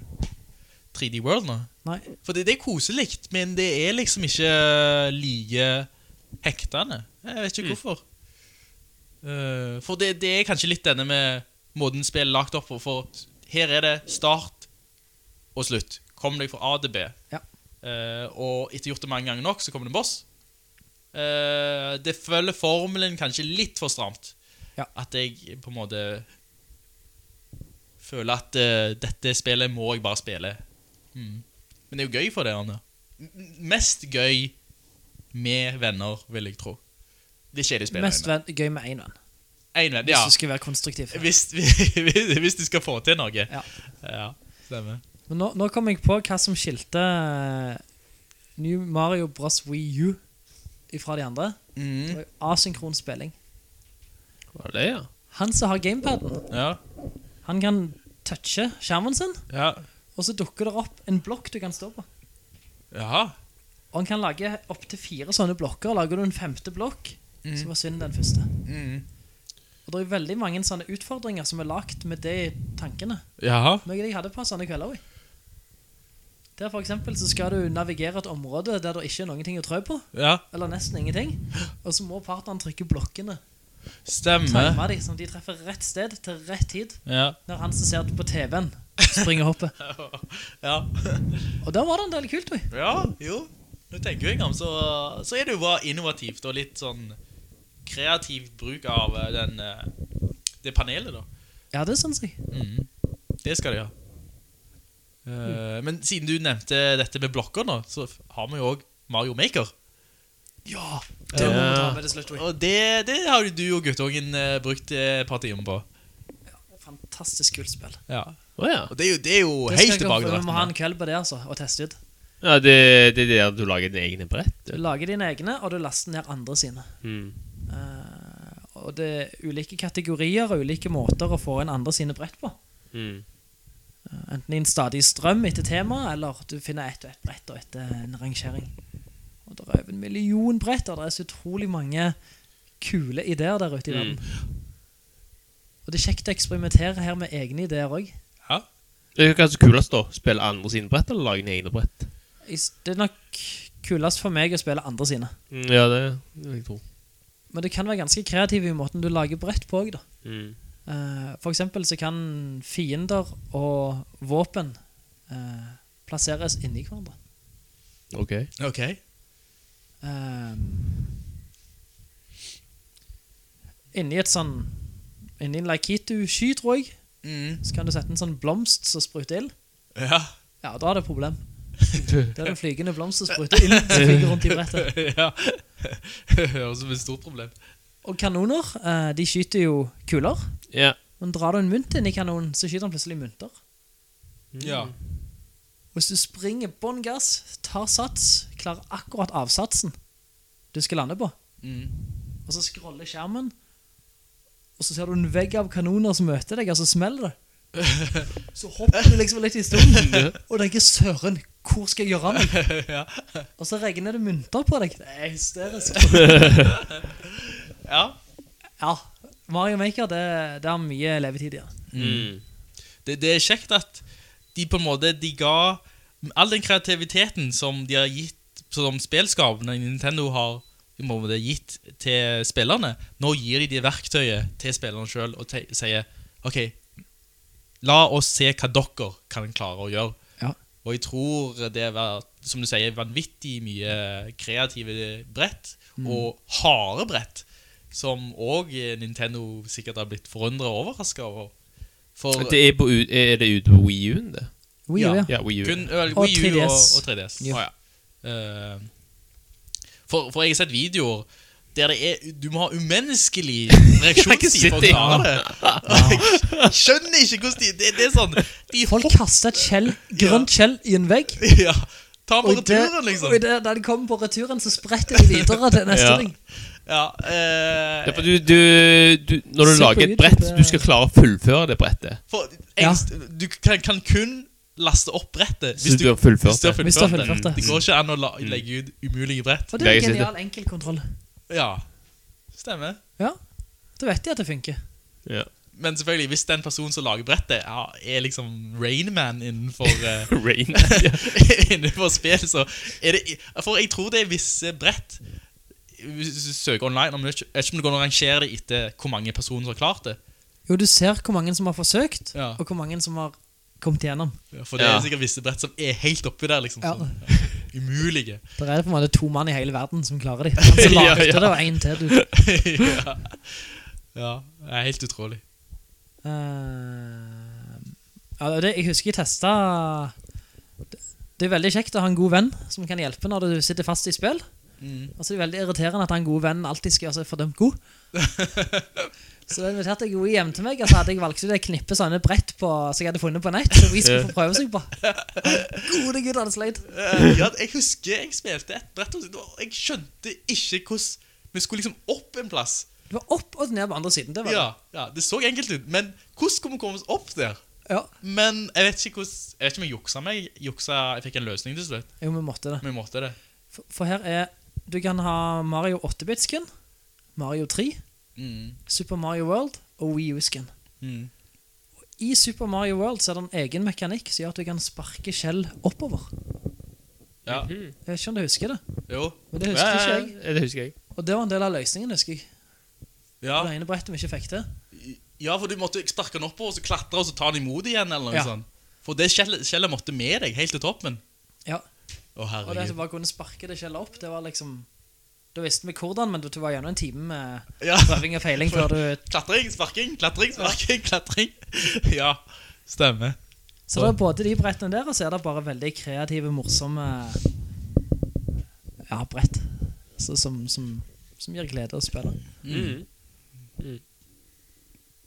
J: 3D World nå.
I: Nei.
J: For det, det er koselig, men det er liksom ikke like hektende. Jeg vet ikke hvorfor. Eh, for det, det er kanskje litt denne med måten spillet er lagt opp på. For her er det start og slutt. Kom deg fra A til B.
I: Ja.
J: Eh, og etter gjort det mange ganger nok, så kommer det en boss. Eh, det følger formelen kanskje litt for stramt.
I: Ja.
J: At jeg på en måte føler at eh, dette spillet må jeg bare spille. Mm. Men det er jo gøy for det, Arne. M- m- Mest gøy med venner, vil jeg tro. Det er kjedelig å spille
I: Mest
J: alene.
I: ven, gøy med én venn,
J: En venn,
I: hvis
J: ja.
I: du skal være konstruktiv.
J: Hvis, hvis, hvis du skal få til noe.
I: Ja.
J: Ja, stemmer.
I: Men nå, nå kom jeg på hva som skilte eh, New Mario Bros. Wii U fra de andre.
J: Mm.
I: Det var jo asynkron spilling.
E: Var det, ja?
I: Han som har gamepaden,
J: Ja,
I: han kan touche skjermen sin,
J: ja.
I: og så dukker det opp en blokk du kan stå på.
J: Jaha.
I: Og han kan lage opptil fire sånne blokker. Lager du en femte blokk, så forsvinner den første. Og det er veldig mange sånne utfordringer som er lagt med det i tankene.
J: Jaha.
I: Noe jeg hadde på sånne kvelder også. Der for eksempel så skal du navigere et område der det ikke er noen ting å trø på,
J: Ja,
I: eller nesten ingenting, og så må partneren trykke blokkene,
J: stemmer.
I: time de, sånn at de treffer rett sted til rett tid,
J: Ja.
I: når han som ser på TV-en springer hoppet.
J: Ja.
I: Og der var det en del kult, oi.
J: ja, jo. Nå tenker jeg om, så, så er det jo bare innovativt og litt sånn kreativ bruk av eh, den, eh, det panelet, da.
I: Ja, det syns jeg.
J: Mm. Det skal de ha. Eh, Men siden du nevnte dette med blokker, nå, så f- har vi jo òg Mario Maker.
I: Ja! Det må vi ta med det slutt.
J: Og det, det har jo du og guttungen eh, brukt eh, et par timer på.
I: Fantastisk kult spill.
J: Ja.
E: Å ja.
J: Og det er jo, det er jo
I: Det skal
J: helt
I: jeg gå-
J: tilbake til
I: Vi må ha en
J: verden.
I: kveld på det altså og teste ut.
E: ja det, det er der du lager dine egne brett?
I: Du lager dine egne, og du laster ned andre sine.
J: Mm.
I: Eh, og det er ulike kategorier og ulike måter å få inn andre sine brett på.
E: Mm.
I: Eh, Enten i en stadig strøm etter tema, eller du finner ett og ett brett og et eh, en rangering. Og det er over en million brett, og det er så utrolig mange kule ideer der
J: Mm.
I: ute i verden. Og det er kjekt å eksperimentere her med egne ideer òg.
E: Det er kanskje kulest da, spille andre sine brett eller lage dine egne brett?
I: Det er nok kulest for meg å spille andre sine.
E: Mm, Ja, det vil jeg tro.
I: Men du kan være ganske kreativ i måten du lager brett på òg, da. Eh, For eksempel så kan fiender og våpen eh, plasseres inni hverandre.
E: Ok.
J: Ok.
I: Eh, inni et sånn Inni en Laikitu-sky, tror jeg,
J: Mm.
I: så kan du sette en sånn blomst som spruter ild.
J: Ja.
I: Ja, da er det et problem. Det er den flygende blomsten som spruter ild som flyger rundt i brettet.
J: ja. Høres ut som et stort problem.
I: Og kanoner, eh, de skyter jo kuler.
E: Ja.
I: Men drar du en mynt inn i kanonen, så skyter han plutselig mynter. Mm.
J: Ja.
I: Hvis du springer bånn gass, tar sats, klarer akkurat avsatsen du skal lande på, og så scroller skjermen, og så ser du en vegg av kanoner som møter deg, og så smeller det. Så hopper du liksom litt i stolen, og tenker 'søren, hvor skal jeg gjøre av meg?' Og så regner det mynter på deg. Det er hysterisk.
J: ja.
I: Ja, Mario Maker det, det har mye levetid igjen.
J: det, det er kjekt at de på en måte De ga all den kreativiteten som de har gitt Som spillskapene i Nintendo har på en måte gitt til spillerne. Nå gir de det verktøyet til spillerne sjøl og te- sier OK, la oss se hva dere kan klare å gjøre.
I: Ja.
J: Og jeg tror det har vært, som du sier, vanvittig mye kreative brett, og harde brett, som òg Nintendo sikkert har blitt forundra og overraska over. For
E: Det er, på, U- er det ute på WiiU-en, det?
I: Wii U,
J: Ja.
I: ja.
E: Ja, Wii U.
J: Kun, øl,
I: Og
J: Wii U
I: 3DS.
J: og, og 3DS.
I: Ja.
J: Å, ja. Eh, for, for jeg har sett videoer der det er Du må ha umenneskelig reaksjonstid for å
E: sett
J: klare det. Jeg skjønner ikke hvordan de Det, det er sånn De
I: Ah. Folk
J: hopper
I: kaster et skjell, grønt skjell i en vegg.
J: ja, Ta
I: Og
J: på
I: det-
J: returen, liksom.
I: og det- Da de kommer på returen, så spretter de videre til neste
E: Ja.
I: ting.
J: Ja, eh,
E: Ja, for du, du, du, når du
I: Se på
E: lager et
I: YouTube,
E: brett,
I: eh.
E: du skal klare å fullføre det brettet.
J: for,
I: Ja.
J: jeg, du kan, kan kun laste opp brettet
E: Så du har fullført
J: hvis du har
E: det.
I: Hvis du har
J: fullført det.
I: fullført det.
J: Det går ikke an å la, legge ut umulige brett.
I: Og det er
E: Jeg
I: en
E: sitter.
I: genial enkeltkontroll.
J: Ja, stemmer.
I: Ja, da vet de at det funker.
E: Ja.
J: Men selvfølgelig, hvis den personen som lager brettet, ja, er liksom Rainman innenfor eh,
E: Rain.
J: Innenfor spill, så er det For jeg tror det er visse brett Hvis du søker online om det ikke- Jeg vet ikke om det går an å rangere det etter hvor mange personer som har klart det.
I: Jo, du ser hvor mange som har forsøkt,
J: Ja.
I: og hvor mange som har kommet igjennom.
J: For det er
E: Ja.
J: sikkert visse brett som er helt oppi der, liksom.
I: Ja.
J: Sånn, umulige.
I: Det er på en måte to mann i hele verden som klarer det. Han som lagde
E: Ja, ja.
I: det, og en til. Du.
J: ja. ja. Det er helt utrolig.
I: Eh, ja, det, jeg husker jeg testa Det er veldig kjekt å ha en god venn som kan hjelpe når du sitter fast i spill. Og så er det veldig irriterende at han gode vennen alltid skal gjøre seg fordømt god. så da inviterte jeg henne hjem til meg, og så hadde jeg valgt ut et knippe sånne brett på, som jeg hadde funnet på nett. Som vi skulle få prøve seg på. Gode gud, hadde sleit.
J: Eh, ja, jeg husker jeg spilte et brett, og det var- jeg skjønte ikke hvordan Vi skulle liksom opp en plass.
I: Det var opp og ned på andre siden. Det var det.
J: Ja, ja, det så enkelt ut, men hvordan skulle vi komme oss opp der?
I: Ja.
J: Men jeg vet ikke hvordan Jeg vet ikke om jeg juksa meg. Juksa, jeg fikk en løsning til slutt.
I: Jo, vi måtte det.
J: Men jeg måtte det.
I: For, for her er Du kan ha Mario 8-bit-skin, Mario 3, Super Mario World og Wii U-skin.
J: Mm.
I: I Super Mario World så er det en egen mekanikk som gjør at du kan sparke skjell oppover.
J: Ja.
I: Jeg vet ikke om du husker det,
J: Jo.
I: men det husker ikke jeg.
E: Ja, det husker jeg.
I: Og det var en del av løsningen, husker jeg.
J: Ja.
I: Det ene brettet vi ikke fikk til.
J: ja, for du måtte sparke den oppover, så klatre og så ta den imot igjen. eller noe
I: Ja.
J: sånt For det skjellet, skjellet måtte med deg helt til toppen.
I: Ja.
J: Å,
I: Og det at du
J: herregud.
I: bare kunne sparke det skjellet opp, det var liksom Da visste vi hvordan, men det var gjennom en time med
J: Ja.
I: prøving og feiling før du
J: Klatring, sparking, klatring, sparking, klatring. Ja, stemmer.
I: Så det er både de brettene der, og så er det bare veldig kreative, morsomme Ja, brett. Så, som, som, som gir glede å spille.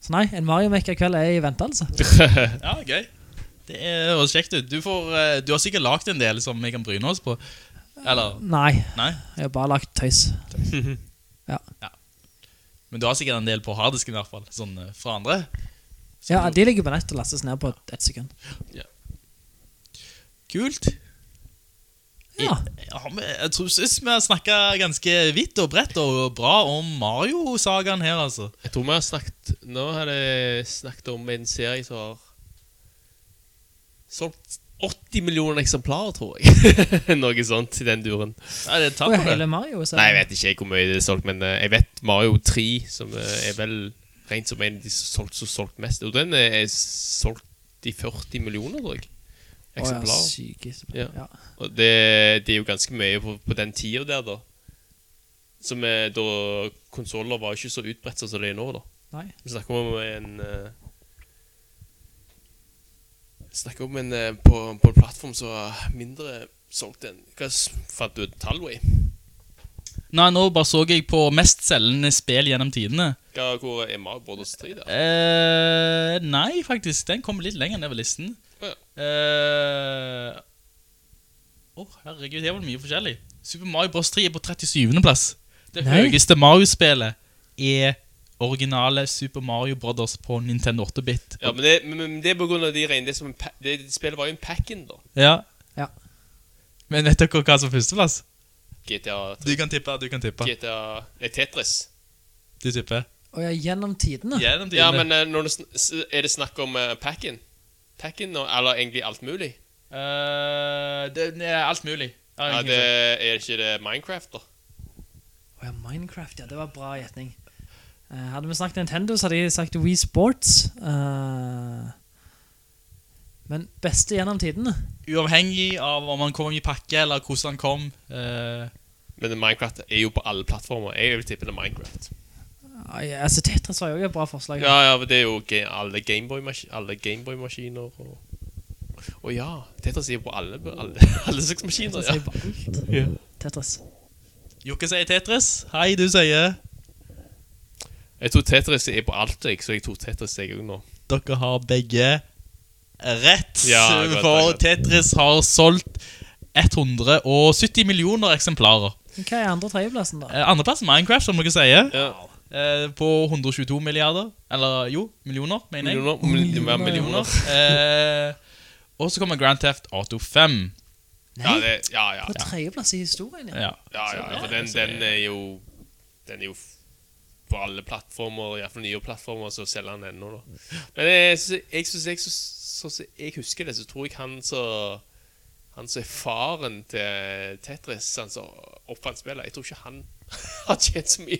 I: Så nei, en Mario-maker-kveld er i vente, altså.
J: Ja, gøy. Det er- høres kjekt ut. Du, får, eh, du har sikkert lagd en del som vi kan bryne oss på. Eller
I: Nei,
J: Nei?
I: jeg har bare lagt tøys.
J: Men du har sikkert en del på harddisken, i hvert fall. Sånn eh, fra andre.
I: Ja, De ligger på nett og lastes ned på ett sekund.
J: Kult.
I: Ja.
J: Jeg, ja, men jeg tror synes vi har snakka ganske vidt og bredt og bra om Mario-sagaen her, altså.
E: Jeg tror vi har snakket Nå har jeg snakket om en serie som har solgt 80 millioner eksemplarer, tror jeg. Noe sånt i den duren.
J: Nei, det er tatt
I: Og
J: på
I: hele
J: det.
I: Mario. Så
E: Nei, jeg vet ikke hvor mye det er solgt, men eh, jeg vet Mario 3, som eh, er vel rent som en av de som solgt- som har solgt mest. Og den eh, er solgt i 40 millioner, tror jeg. Eksemplarer.
I: Eksemplarer.
E: Ja.
I: Ja. Ja.
E: Og det, det er jo ganske mye på, på den tida der, da. Som er da konsoller var ikke så utbredt sånn som det er nå, da.
I: Nei.
E: Vi snakker om en eh, Snakker om en eh, på, på en plattform som var mindre solgt enn Hva s- fant du et tall, Way?
J: Nei, nå bare så jeg på mestselgende spill gjennom tidene.
E: Hva- Hvor er Mario Brothers 3, da?
J: Eh, nei, faktisk. Den kom litt lenger ned ved listen.
E: Å, ja.
J: Eh, Å, herregud, det var mye forskjellig. Super Mario Bros. 3 er på 37.-plass. Det
I: Nei.
J: høyeste Mario-spillet er originale Super Mario Brothers på Nintendo 8-bit.
E: Ja, men det, men, men det er på grunn av de regne det som en pa det, Spillet var jo en pack-in, da.
J: Ja.
I: Ja.
J: Men vet dere hva som er førsteplass?
E: GTA,
J: Du kan tippe. du kan tippe
E: GTA Nei, Tetris.
J: Du tipper.
I: Og ja, gjennom tidene.
J: Gjennom
E: Ja,
J: tidene.
E: men eh, når det, sn- s- er det snakk om eh, pack-in? Pack-in, og- eller egentlig alt mulig?
J: Eh, det, det er alt mulig. Jeg har
E: Ja,
J: ingenting
E: det
J: å si.
E: er ikke det Minecraft, da?
I: Å ja, Minecraft, ja. Det var bra gjetning. Eh, hadde vi snakket Nintendo, så hadde jeg sagt Wii Sports. Eh, men beste gjennom tidene.
J: Uavhengig av om han kom i pakke, eller hvordan han kom. eh,
E: Men Minecraft er jo på alle plattformer. Jeg vil tippe det er Minecraft.
I: Ai, altså, Tetris var jo også et bra forslag.
E: Ja, ja, men det er jo ga- alle Gameboy-maskiner Gameboy og Å ja. Tetris er jo på alle, alle, alle slags maskiner.
I: Tetris
E: Ja.
I: er jo på alt.
E: Ja.
I: Tetris.
J: Jokke sier Tetris. Hei, du sier
E: Jeg tror Tetris er på alt, jeg, så jeg tror Tetris jeg òg nå.
J: Dere har begge rett.
E: Ja, godt,
J: for
E: godt.
J: Tetris har solgt 170 millioner eksemplarer.
I: Hva er andre- og tredjeplassen, da?
J: Eh, Andreplass er Minecraft, som dere sier.
E: Ja.
J: eh, På 122 milliarder. Eller jo, millioner, mener jeg.
E: Millioner. Millioner. millioner.
J: Eh, og så kommer Grand Theft Auto 5.
E: Ja, det, ja, ja.
I: På tredjeplass i historien, ja.
J: Ja.
E: Ja, ja, ja, for den, den er jo Den er jo f- på alle plattformer, iallfall nye plattformer, så selger han ennå, da. Men jeg, sy- jeg syns jeg, så- så- jeg husker det, så tror jeg han som Han som er faren til Tetris, han som oppfant spillet Jeg tror ikke han har tjent så mye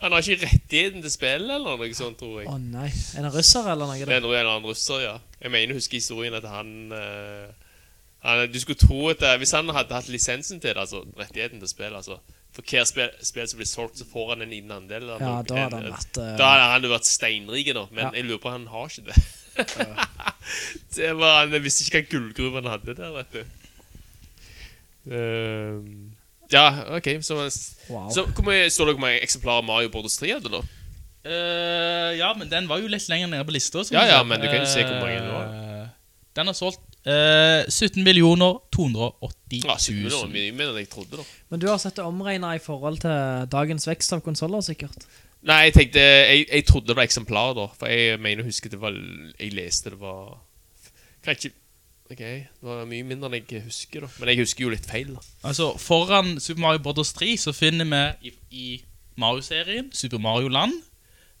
E: Han har ikke rettigheten til spillet, eller noe sånt, tror jeg.
I: Å nei. Er det russer eller noe?
E: Det
I: Da?
E: er noe en annen russer, ja. Jeg mener, husker historien at han, eh, han Du skulle tro at eh, hvis han hadde hatt lisensen til det, altså rettigheten til spillet altså, For hvert spill, spill som blir solgt, så får han en liten andel. av
I: Ja,
E: noen-
I: da hadde
E: en-
I: han vært eh,
E: da hadde han jo vært steinrik, da. Men
I: Ja.
E: jeg lurer på om han har ikke det. det var, han visste ikke hva gullgruve han hadde der, vet du. Ehm, ja, OK. Så,
I: Wow.
E: så hvor mye står det hvor mange eksemplarer Mario Borders 3 hadde, da?
J: Eh, ja, men den var jo litt lenger nede på lista. som
E: Ja,
J: du
E: ja,
J: sier.
E: men du kan jo se hvor mange det
J: Eh, Den har solgt eh, 17 millioner 280
E: Ja,
J: 000.
E: 700 mye mer enn jeg trodde, da.
I: Men du har sett det omregna i forhold til dagens vekst av konsoller, sikkert?
E: Nei, jeg tenkte Jeg, jeg trodde det var eksemplar, da. For jeg mener å huske det var Jeg leste det var Kanskje OK, det var mye mindre enn jeg husker, da. Men jeg husker jo litt feil, da.
J: Altså, Foran Super Mario Brothers 3 så finner vi i, i Mario-serien Super Mario Land.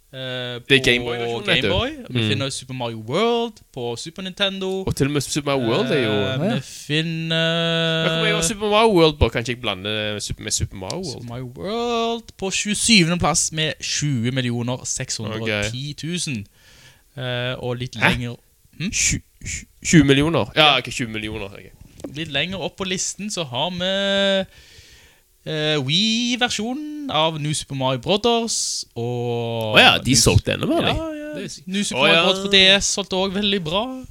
J: eh,
E: Det er
J: på
E: Gameboy-versjonen, vet du.
J: Gameboy. Vi
E: Mm.
J: finner Super Mario World på Super Nintendo.
E: Og til og med Super Mario World er jo
J: Eh,
I: Ja.
J: Vi finner
E: Ja, hvor mye var Super Mario World på? Kanskje jeg blander Sup- med Super Mario
J: Super
E: World?
J: Mario World på 27. plass med 20 610 000. Eh, og litt
E: Hæ?
J: lenger
E: 20 millioner? Ja, ikke 20 millioner. ok.
J: litt lenger opp på listen så har vi eh, Wii-versjonen av New Super Mario Brothers. Og
E: Å ja, de solgte enda mer, de.
J: Ja, ja.
E: Det visste jeg.
J: New Super
E: Å,
J: Mario
E: ja.
J: Brothers på DS solgte òg veldig bra.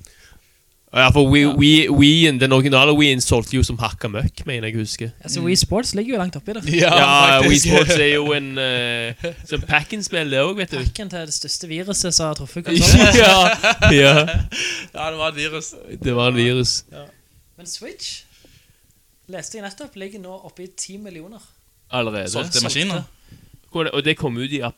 E: Å ja, for Wii, Wii, Wien, den originale Wien solgte jo som hakka møkk, mener jeg å huske.
I: Altså, Wii Sports ligger jo langt oppi det.
E: Mm. Ja, Wii Sports er jo en uh, Som Packen-spill, det òg, vet du.
I: Packen til det største viruset som har truffet konsollen.
E: ja, ja,
J: Ja, det var et virus.
E: det var en virus.
I: Men Switch leste jeg nettopp ligger nå oppe i 10 millioner.
E: Allerede.
J: Solgte maskiner.
E: Hvor- Og det kom ut i ap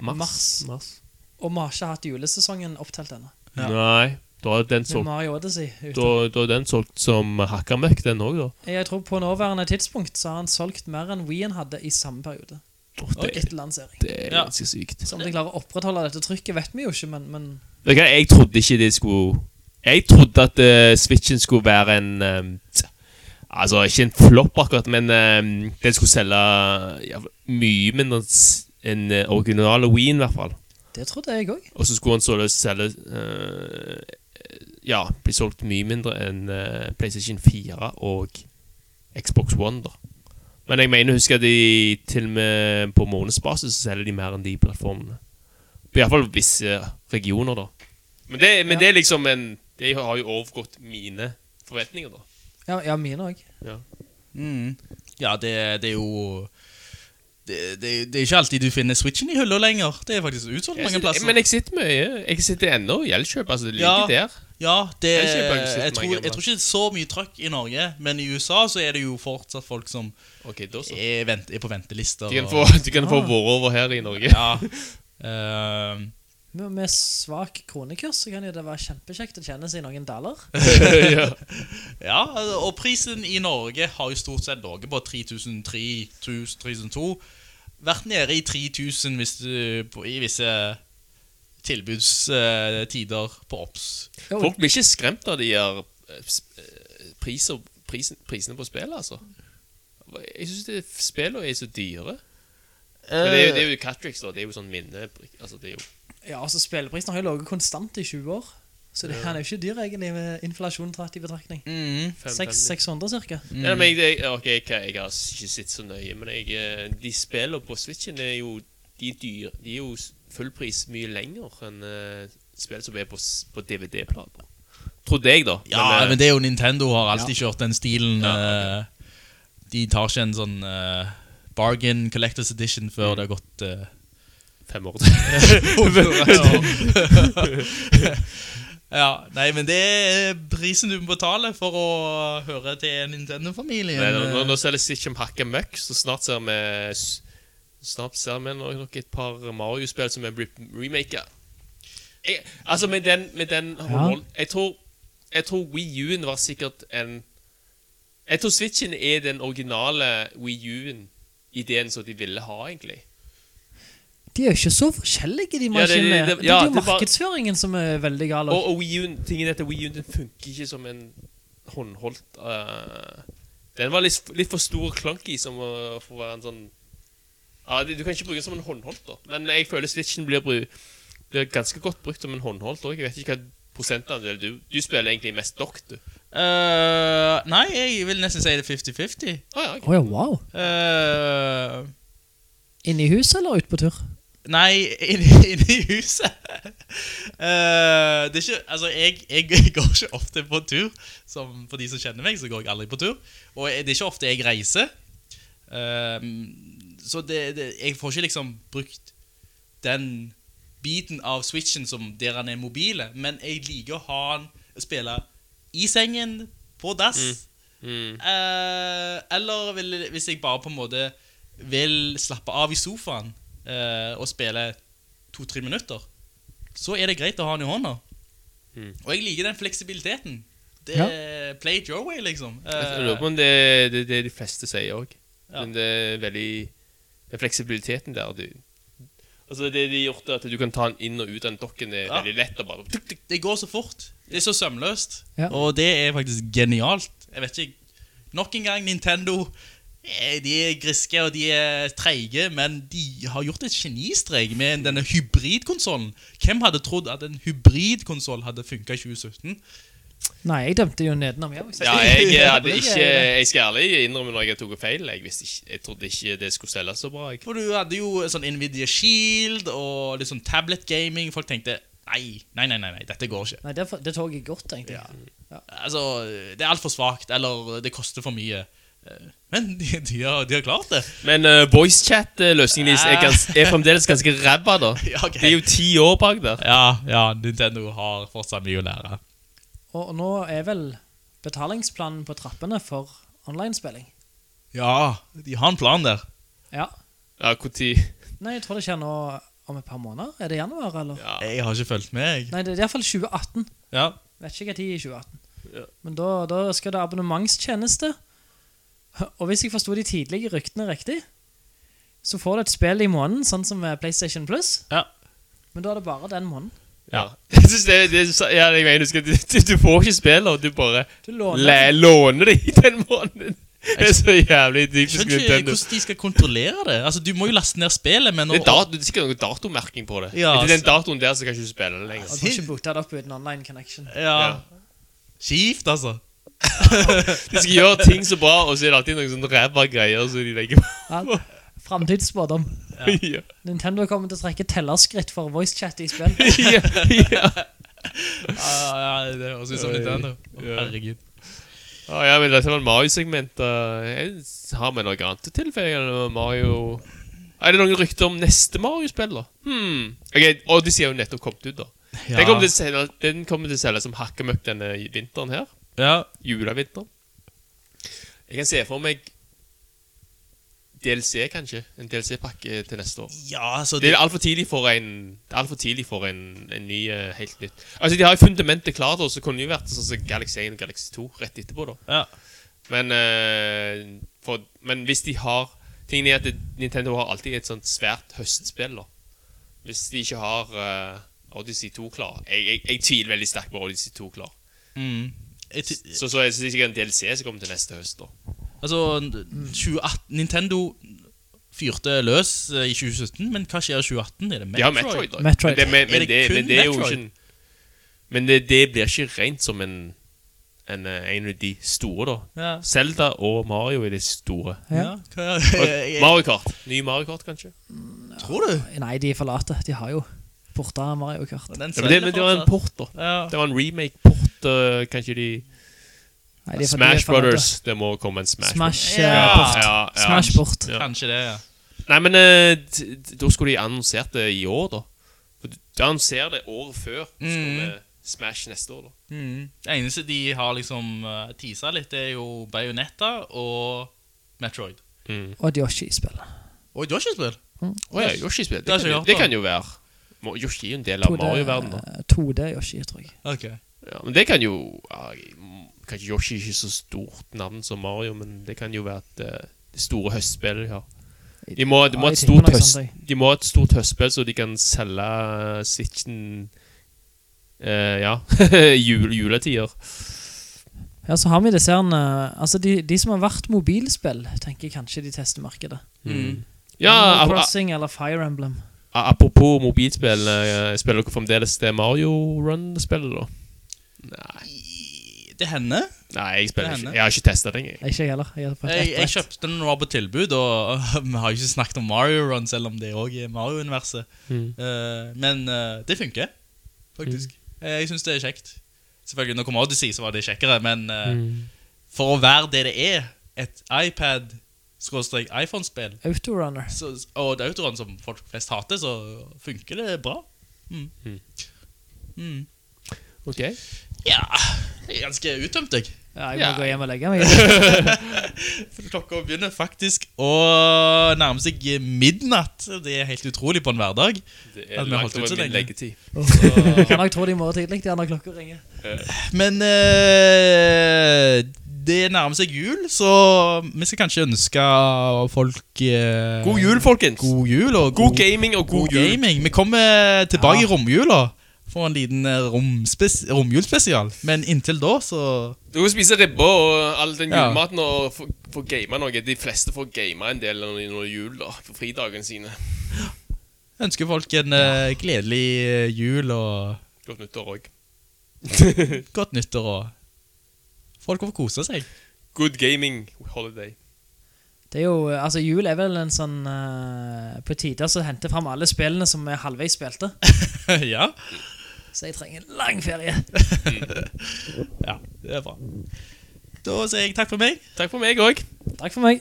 I: Mars.
E: mars.
I: Og vi har ikke hatt julesesongen opptalt ennå.
E: Nei, da er den
I: Med
E: solgt,
I: Mario Odyssey. ute.
E: da, da er den solgt som hakka møkk, den òg, da.
I: Jeg tror på nåværende tidspunkt så har han solgt mer enn Wien hadde i samme periode.
E: Å, det,
I: Etter lansering.
E: det er ganske sykt.
I: Så om de klarer å opprettholde dette trykket, vet vi jo ikke, men, men
E: Vet du hva, jeg trodde ikke det skulle Jeg trodde at eh, Switchen skulle være en ehm, t- Altså, ikke en flopp akkurat, men ehm, den skulle selge ja, mye mindre enn s- enn eh, originale Wien, i hvert fall.
I: det trodde jeg òg.
E: Og så skulle den således selge eh, Ja, bli solgt mye mindre enn eh, PlayStation 4 og Xbox One, da. Men jeg mener, husker jeg de til og med på månedsbasis så selger de mer enn de plattformene. På iallfall visse regioner, da. Men det, men
I: Ja.
E: det er liksom en Det har jo overgått mine forventninger, da.
I: Ja, ja, mine òg.
J: Mm. Ja, det, det er jo det, det, det er ikke alltid du finner Switchen i hylla lenger. Det er faktisk utsolgt mange plasser.
E: Men jeg sitter mye. Jeg sitter ennå i Elkjøp. Altså, det
J: Ja.
E: ligger der.
J: ja, det,
E: Jeg
J: jeg,
E: kjøper ikke
J: tror,
E: Switchen mange
J: jeg tror ikke det er så mye trøkk i Norge, men i USA så er det jo fortsatt folk som
E: Ok, da så.
J: er, vent, er på ventelister.
E: Du kan
J: og-
E: få, du kan få våre over her i Norge.
J: ja. Ehm,
I: Med, med svak kronekurs så kan jo det være kjempekjekt å tjene seg noen dollar.
E: ja.
J: ja, og prisen i Norge har jo stort sett ligget på 3003-3002. Vært nede i 3000 hvis du, på, i visse tilbudstider på OBS.
I: Jo,
E: Folk blir ikke skremt av de her eh, sp- eh, priser, prisen, prisene på spillet, altså. Jeg syns spillene er så dyre. Men det er jo, det er jo Catrix, da. Det er jo sånn minne... Altså, det er jo
I: Ja, altså Spilleprisen har jo ligget konstant i 20 år, så det han er jo ikke dyr egentlig med inflasjon tatt i betraktning.
J: Mhm.
E: fem-
I: Seks-
E: fem-
I: 600 ca.
E: Ja, men jeg, det- ok, jeg, jeg har ikke sett så nøye, men jeg, eh, de spillene på Switchen er jo de er dyre. De er jo s- fullpris mye lenger enn eh, spill som er på, s- på DVD-plater. Trodde jeg, da.
J: Ja,
E: eh,
J: men det er jo Nintendo har alltid kjørt den stilen. eh, De tar ikke en sånn eh, bargain collectors edition før det har gått eh,
E: Fem år til.
J: eh, Ja, nei, men det er prisen du må betale for å høre til Nintendo-familien.
E: Nei, nå, nå, nå selger Stitch om hakka møkk, så snart ser vi s- Snart ser vi nok nok et par Mario-spill som er blitt remaka. Jeg- Altså, med den, med den håndhold- Jeg tror Jeg tror Wii U-en var sikkert en Jeg tror Switchen er den originale Wii U-en. Ideen som de ville ha, egentlig.
I: De er jo ikke så forskjellige, de
E: Ja, det- det-
I: maskinene.
E: det-
I: Det,
E: ja,
I: er jo
E: det var-
I: markedsføringen som er veldig gal.
E: Og, og Wii U-en tingen er at Wii U-en den funker ikke som en håndholdt eh, Den var litt, litt for stor og clunky som å for å være en sånn Ja, Du kan ikke bruke den som en håndholdt, da. Men jeg føler Switchen blir, bru, blir ganske godt brukt som en håndholdt òg. Jeg vet ikke hva prosentandel du Du spiller egentlig mest dock, du.
J: Eh, nei, jeg vil nesten si det er 50-50.
E: Å Ah, ja, ok.
I: Å ja, wow.
J: Eh,
I: Inne i huset eller ute på tur?
J: nei, inni inni huset. Eh, det er ikke Altså, jeg, jeg går ikke ofte på tur. Som for de som kjenner meg, så går jeg aldri på tur. Og det er ikke ofte jeg reiser. Eh, så det, det, jeg får ikke liksom brukt den biten av switchen som der han er mobile, men jeg liker å ha han spille i sengen, på dass,
E: Mm.
J: Eh, eller vil, hvis jeg bare på en måte vil slappe av i sofaen eh, og spille to-tre minutter, så er det greit å ha han i hånda.
E: Mm.
J: Og jeg liker den fleksibiliteten. Det, Play it your way, liksom.
E: Jeg
J: Eh,
E: lurer på om det er det, det de fleste sier òg. Men det er veldig Den fleksibiliteten der, du Altså Det de har gjort, er at du kan ta den inn og ut av den dokken, det er
J: Ja.
E: veldig lett. å bare
J: det går så fort. Det er så sømløst.
I: Ja.
J: Og det er faktisk genialt. Jeg vet ikke Nok en gang, Nintendo eh, De er griske og de er treige, men de har gjort et genistrek med denne hybridkonsollen. Hvem hadde trodd at en hybridkonsoll hadde funka i 2017?
I: Nei, jeg dømte jo nedenom, jeg. også.
E: Ja, jeg, jeg hadde ikke Jeg skal ærlig innrømme når jeg tok feil. Jeg, visste ikke, jeg trodde ikke det skulle selges så bra. Jeg.
J: For du hadde jo sånn Nvidia Shield og litt sånn tablet gaming. Folk tenkte nei, nei, nei, nei, nei dette går ikke.
I: Nei, det, for- det tok jeg godt, tenkte jeg.
J: Altså, Det er altfor svakt, eller det koster for mye. Eh, Men de, de, har, de har klart det.
E: Men uh, voicechat-løsningen deres er, gans, er fremdeles ganske ræva, da.
J: Ja, ok.
E: Det er jo ti år bak der.
J: Ja, ja, Nintendo har fortsatt mye å lære.
I: Og nå er vel betalingsplanen på trappene for online-spilling.
J: Ja, de har en plan der.
I: Ja.
E: Ja, hvor tid
I: Nei, jeg tror det skjer nå om et par måneder. Er det januar, eller?
J: Jeg har ikke fulgt med, jeg.
I: Nei, det er i hvert fall 2018.
J: Ja.
I: Vet ikke hva tid i 2018. Men da, da skal det abonnementstjeneste. Og hvis jeg forsto de tidlige ryktene riktig, så får du et spill i måneden, sånn som eh, PlayStation Plus.
J: Ja.
I: Men da er det bare den måneden.
E: Ja. Jeg synes det, det, er så- ja, jeg mener, du, skal, du, du får ikke spille, og du bare
I: Du låner
E: læ- låner det i den måneden. Det er så jævlig
J: Jeg
E: typisk
J: skjønner ikke
E: Nintendo.
J: hvordan de skal kontrollere det. Altså, Du må jo laste ned spillet, men
E: Det er, dat, det er sikkert noe datomerking på det.
J: Ja,
E: Etter den
J: altså.
E: datoen der så kan du ikke spille det lenger.
I: Jeg får ikke boota det opp uten online connection.
J: ja.
E: Ja.
J: Kjipt, altså.
E: De skal gjøre ting så bra, og så er det alltid noen sånne ræva greier som de legger på.
I: Ja. Framtidsspådom.
E: Ja.
I: Nintendo kommer til å trekke tellerskritt for voicechat i spill.
E: Ja. Ja.
J: Ja, ja, det høres ut som Nintendo. Å, Herregud.
E: Ah, ja, men dette var Mario-segmentet. Jeg Har vi noe annet å tilføye? eller Mario Er det noen rykter om neste Mario-spill, da? Hmm. Ok, Odyssey er jo nettopp kommet ut, da. Den kommer til å selge- Den kommer til å selge som hakkemøkk denne vinteren her.
J: Ja.
E: Julevinteren. Jeg kan se for meg DLC, kanskje. En DLC-pakke til neste år.
J: ja, altså
E: Det er altfor tidlig for en Det er alt for tidlig for en, en ny eh, helt nytt. Altså, De har jo fundamentet klart, og så kunne det jo vært sånn som Galaxy 1 og Galaxy 2 rett etterpå. da
J: Ja.
E: Men, eh, for, men hvis de har Tingen er at det, Nintendo har alltid et sånt svært høstspill. da Hvis de ikke har eh, Odyssey 2 klar jeg, jeg, jeg tviler veldig sterkt på Odyssey 2 klar.
J: Mm. Jeg ty-
E: Så, så jeg synes ikke en DLC som kommer til neste høst. da
J: Altså, 2018, Nintendo fyrte løs eh, i 2017, men hva skjer i 2018? Er det
E: De har Metroid, da.
I: Metroid.
E: Men det, men,
J: Er
E: men
J: det
E: det,
J: kun
E: men det er jo
J: Metroid?
E: ikke en- Men det, det blir ikke rent som en en, eh, en av de store, da.
J: Ja.
E: Zelda og Mario er de store.
J: Ja, hva,
E: Og
J: jeg,
E: Mario Kart. Ny Mario Kart, kanskje?
J: tror du?
I: Nei, de forlater. De har jo porta Mario Kart.
J: Den
E: Ja, men det, men det var en
J: selger
E: port, da.
J: fortsatt.
E: Det var en remake-port. eh, kanskje de
I: Nei, de er for- de er
E: Smash
I: forlater.
E: Brothers. Det må komme en Smash.
I: Smash
J: Ja.
I: eh, bort.
E: Ja, ja.
I: Smash bort.
J: Ja,
E: Ja.
J: kanskje det, ja.
E: Nei, men eh, d- d- da skulle de annonsert det i år, da. For De annonserer det året før. Så kommer Smash neste år, da.
J: Mm. Det eneste de har liksom eh, teasa litt, det er jo Bayonetta og Metroid.
I: Og et Yoshi-spill.
J: Og et Yoshi-spill.
E: Å ja, Yoshi-spill.
J: Det har
E: Det,
J: jeg ikke
E: kan jo-
J: hørt
E: det
J: om.
E: kan jo være. Må- Yoshi er jo en del av Mario-verdenen, da.
I: eh, 2D-Yoshi, tror jeg.
J: Ok.
E: Ja, men det kan jo ja, Kanskje Yoshi er ikke så stort navn som Mario, men det kan jo være et, eh, det store høstspillet de har. De må, de,
I: Ja,
E: må ha et
I: jeg tenker
E: stort
I: meg
E: høst,
I: sånn,
E: de må ha et stort høstspill, så de kan selge eh, Switchen eh, Ja, i jul, juletider.
I: Ja, så har vi disse her eh, Altså, de, de som har vært mobilspill, tenker jeg kanskje de tester markedet.
E: Ja,
I: Animal
E: ap-
I: Crossing eller Fire Emblem.
E: ap- apropos mobilspill, eh, spiller dere fremdeles det Mario Run-spillet, da?
J: I- Det hender.
E: Nei, jeg spiller
J: Det hender.
E: ikke. Jeg har ikke testa det engang.
I: Nei, Ikke jeg heller. Jeg, er på et
J: Jeg,
I: rett
J: jeg
I: brett.
J: kjøpte den nå på tilbud, og vi har jo ikke snakket om Mario Run, selv om det òg er Mario-universet. Eh, men eh, det funker, faktisk. Eh, jeg syns det er kjekt. Selvfølgelig, når det kom Odyssey, så var det kjekkere, men eh, for å være det det er, et iPad-iPhone-spill,
I: Autorunner.
J: så- og et autoran som folk flest hater, så funker det bra. Mm. Mm.
E: Ok.
J: Ja jeg er Ganske uttømt, jeg.
I: Ja, jeg må
E: Ja.
I: gå hjem og legge meg.
J: For Klokka begynner faktisk å nærme seg midnatt. Det er helt utrolig på en hverdag.
E: Det
J: At
E: er
J: vi holdt
E: langt
J: ut så
E: over min
J: lenge.
E: leggetid.
I: Kan nok tro det i morgen tidlig, de andre klokka ringer.
J: Men eh, det nærmer seg jul, så vi skal kanskje ønske folk eh,
E: God jul, folkens! God,
J: god jul og
E: gaming og
J: god
E: god, jul.
J: gaming. Vi kommer tilbake i romjula for en liten eh, romspes romjulspesial. Men inntil da, så
E: Du kan spise ribbe og all den
J: Ja.
E: julematen og få- få game noe. De fleste får game en del når når jul, da. På fridagene sine.
J: ønsker folk en eh, gledelig eh, jul og
E: Godt nyttår òg.
J: Godt nyttår og Folk får kose seg.
E: Good gaming holiday.
I: Det er jo, altså Jul er vel en sånn eh, På tider så henter fram alle spillene som er halvveis spilte.
J: ja.
I: Så jeg trenger en lang ferie.
J: ja, det er bra. Da sier jeg takk for meg.
E: Takk for meg òg.
I: Takk for meg.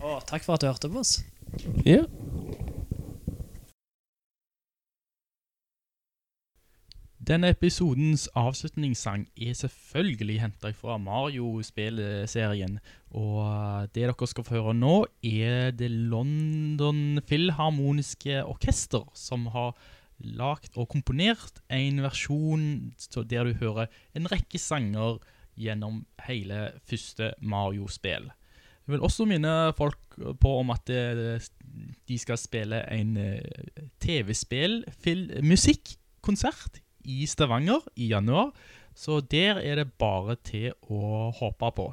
I: Og takk for at du hørte på oss.
J: Denne episodens avslutningssang er selvfølgelig henta fra Mario-spillserien. Og eh, det dere skal få høre nå, er det London Filharmoniske Orkester som har lagd og komponert en versjon så der du hører en rekke sanger gjennom hele første Mario-spill. Jeg vil også minne folk på om at eh, de skal spille en eh, TV-spill-musikkonsert i Stavanger i januar. Så der er det bare til å håpe på.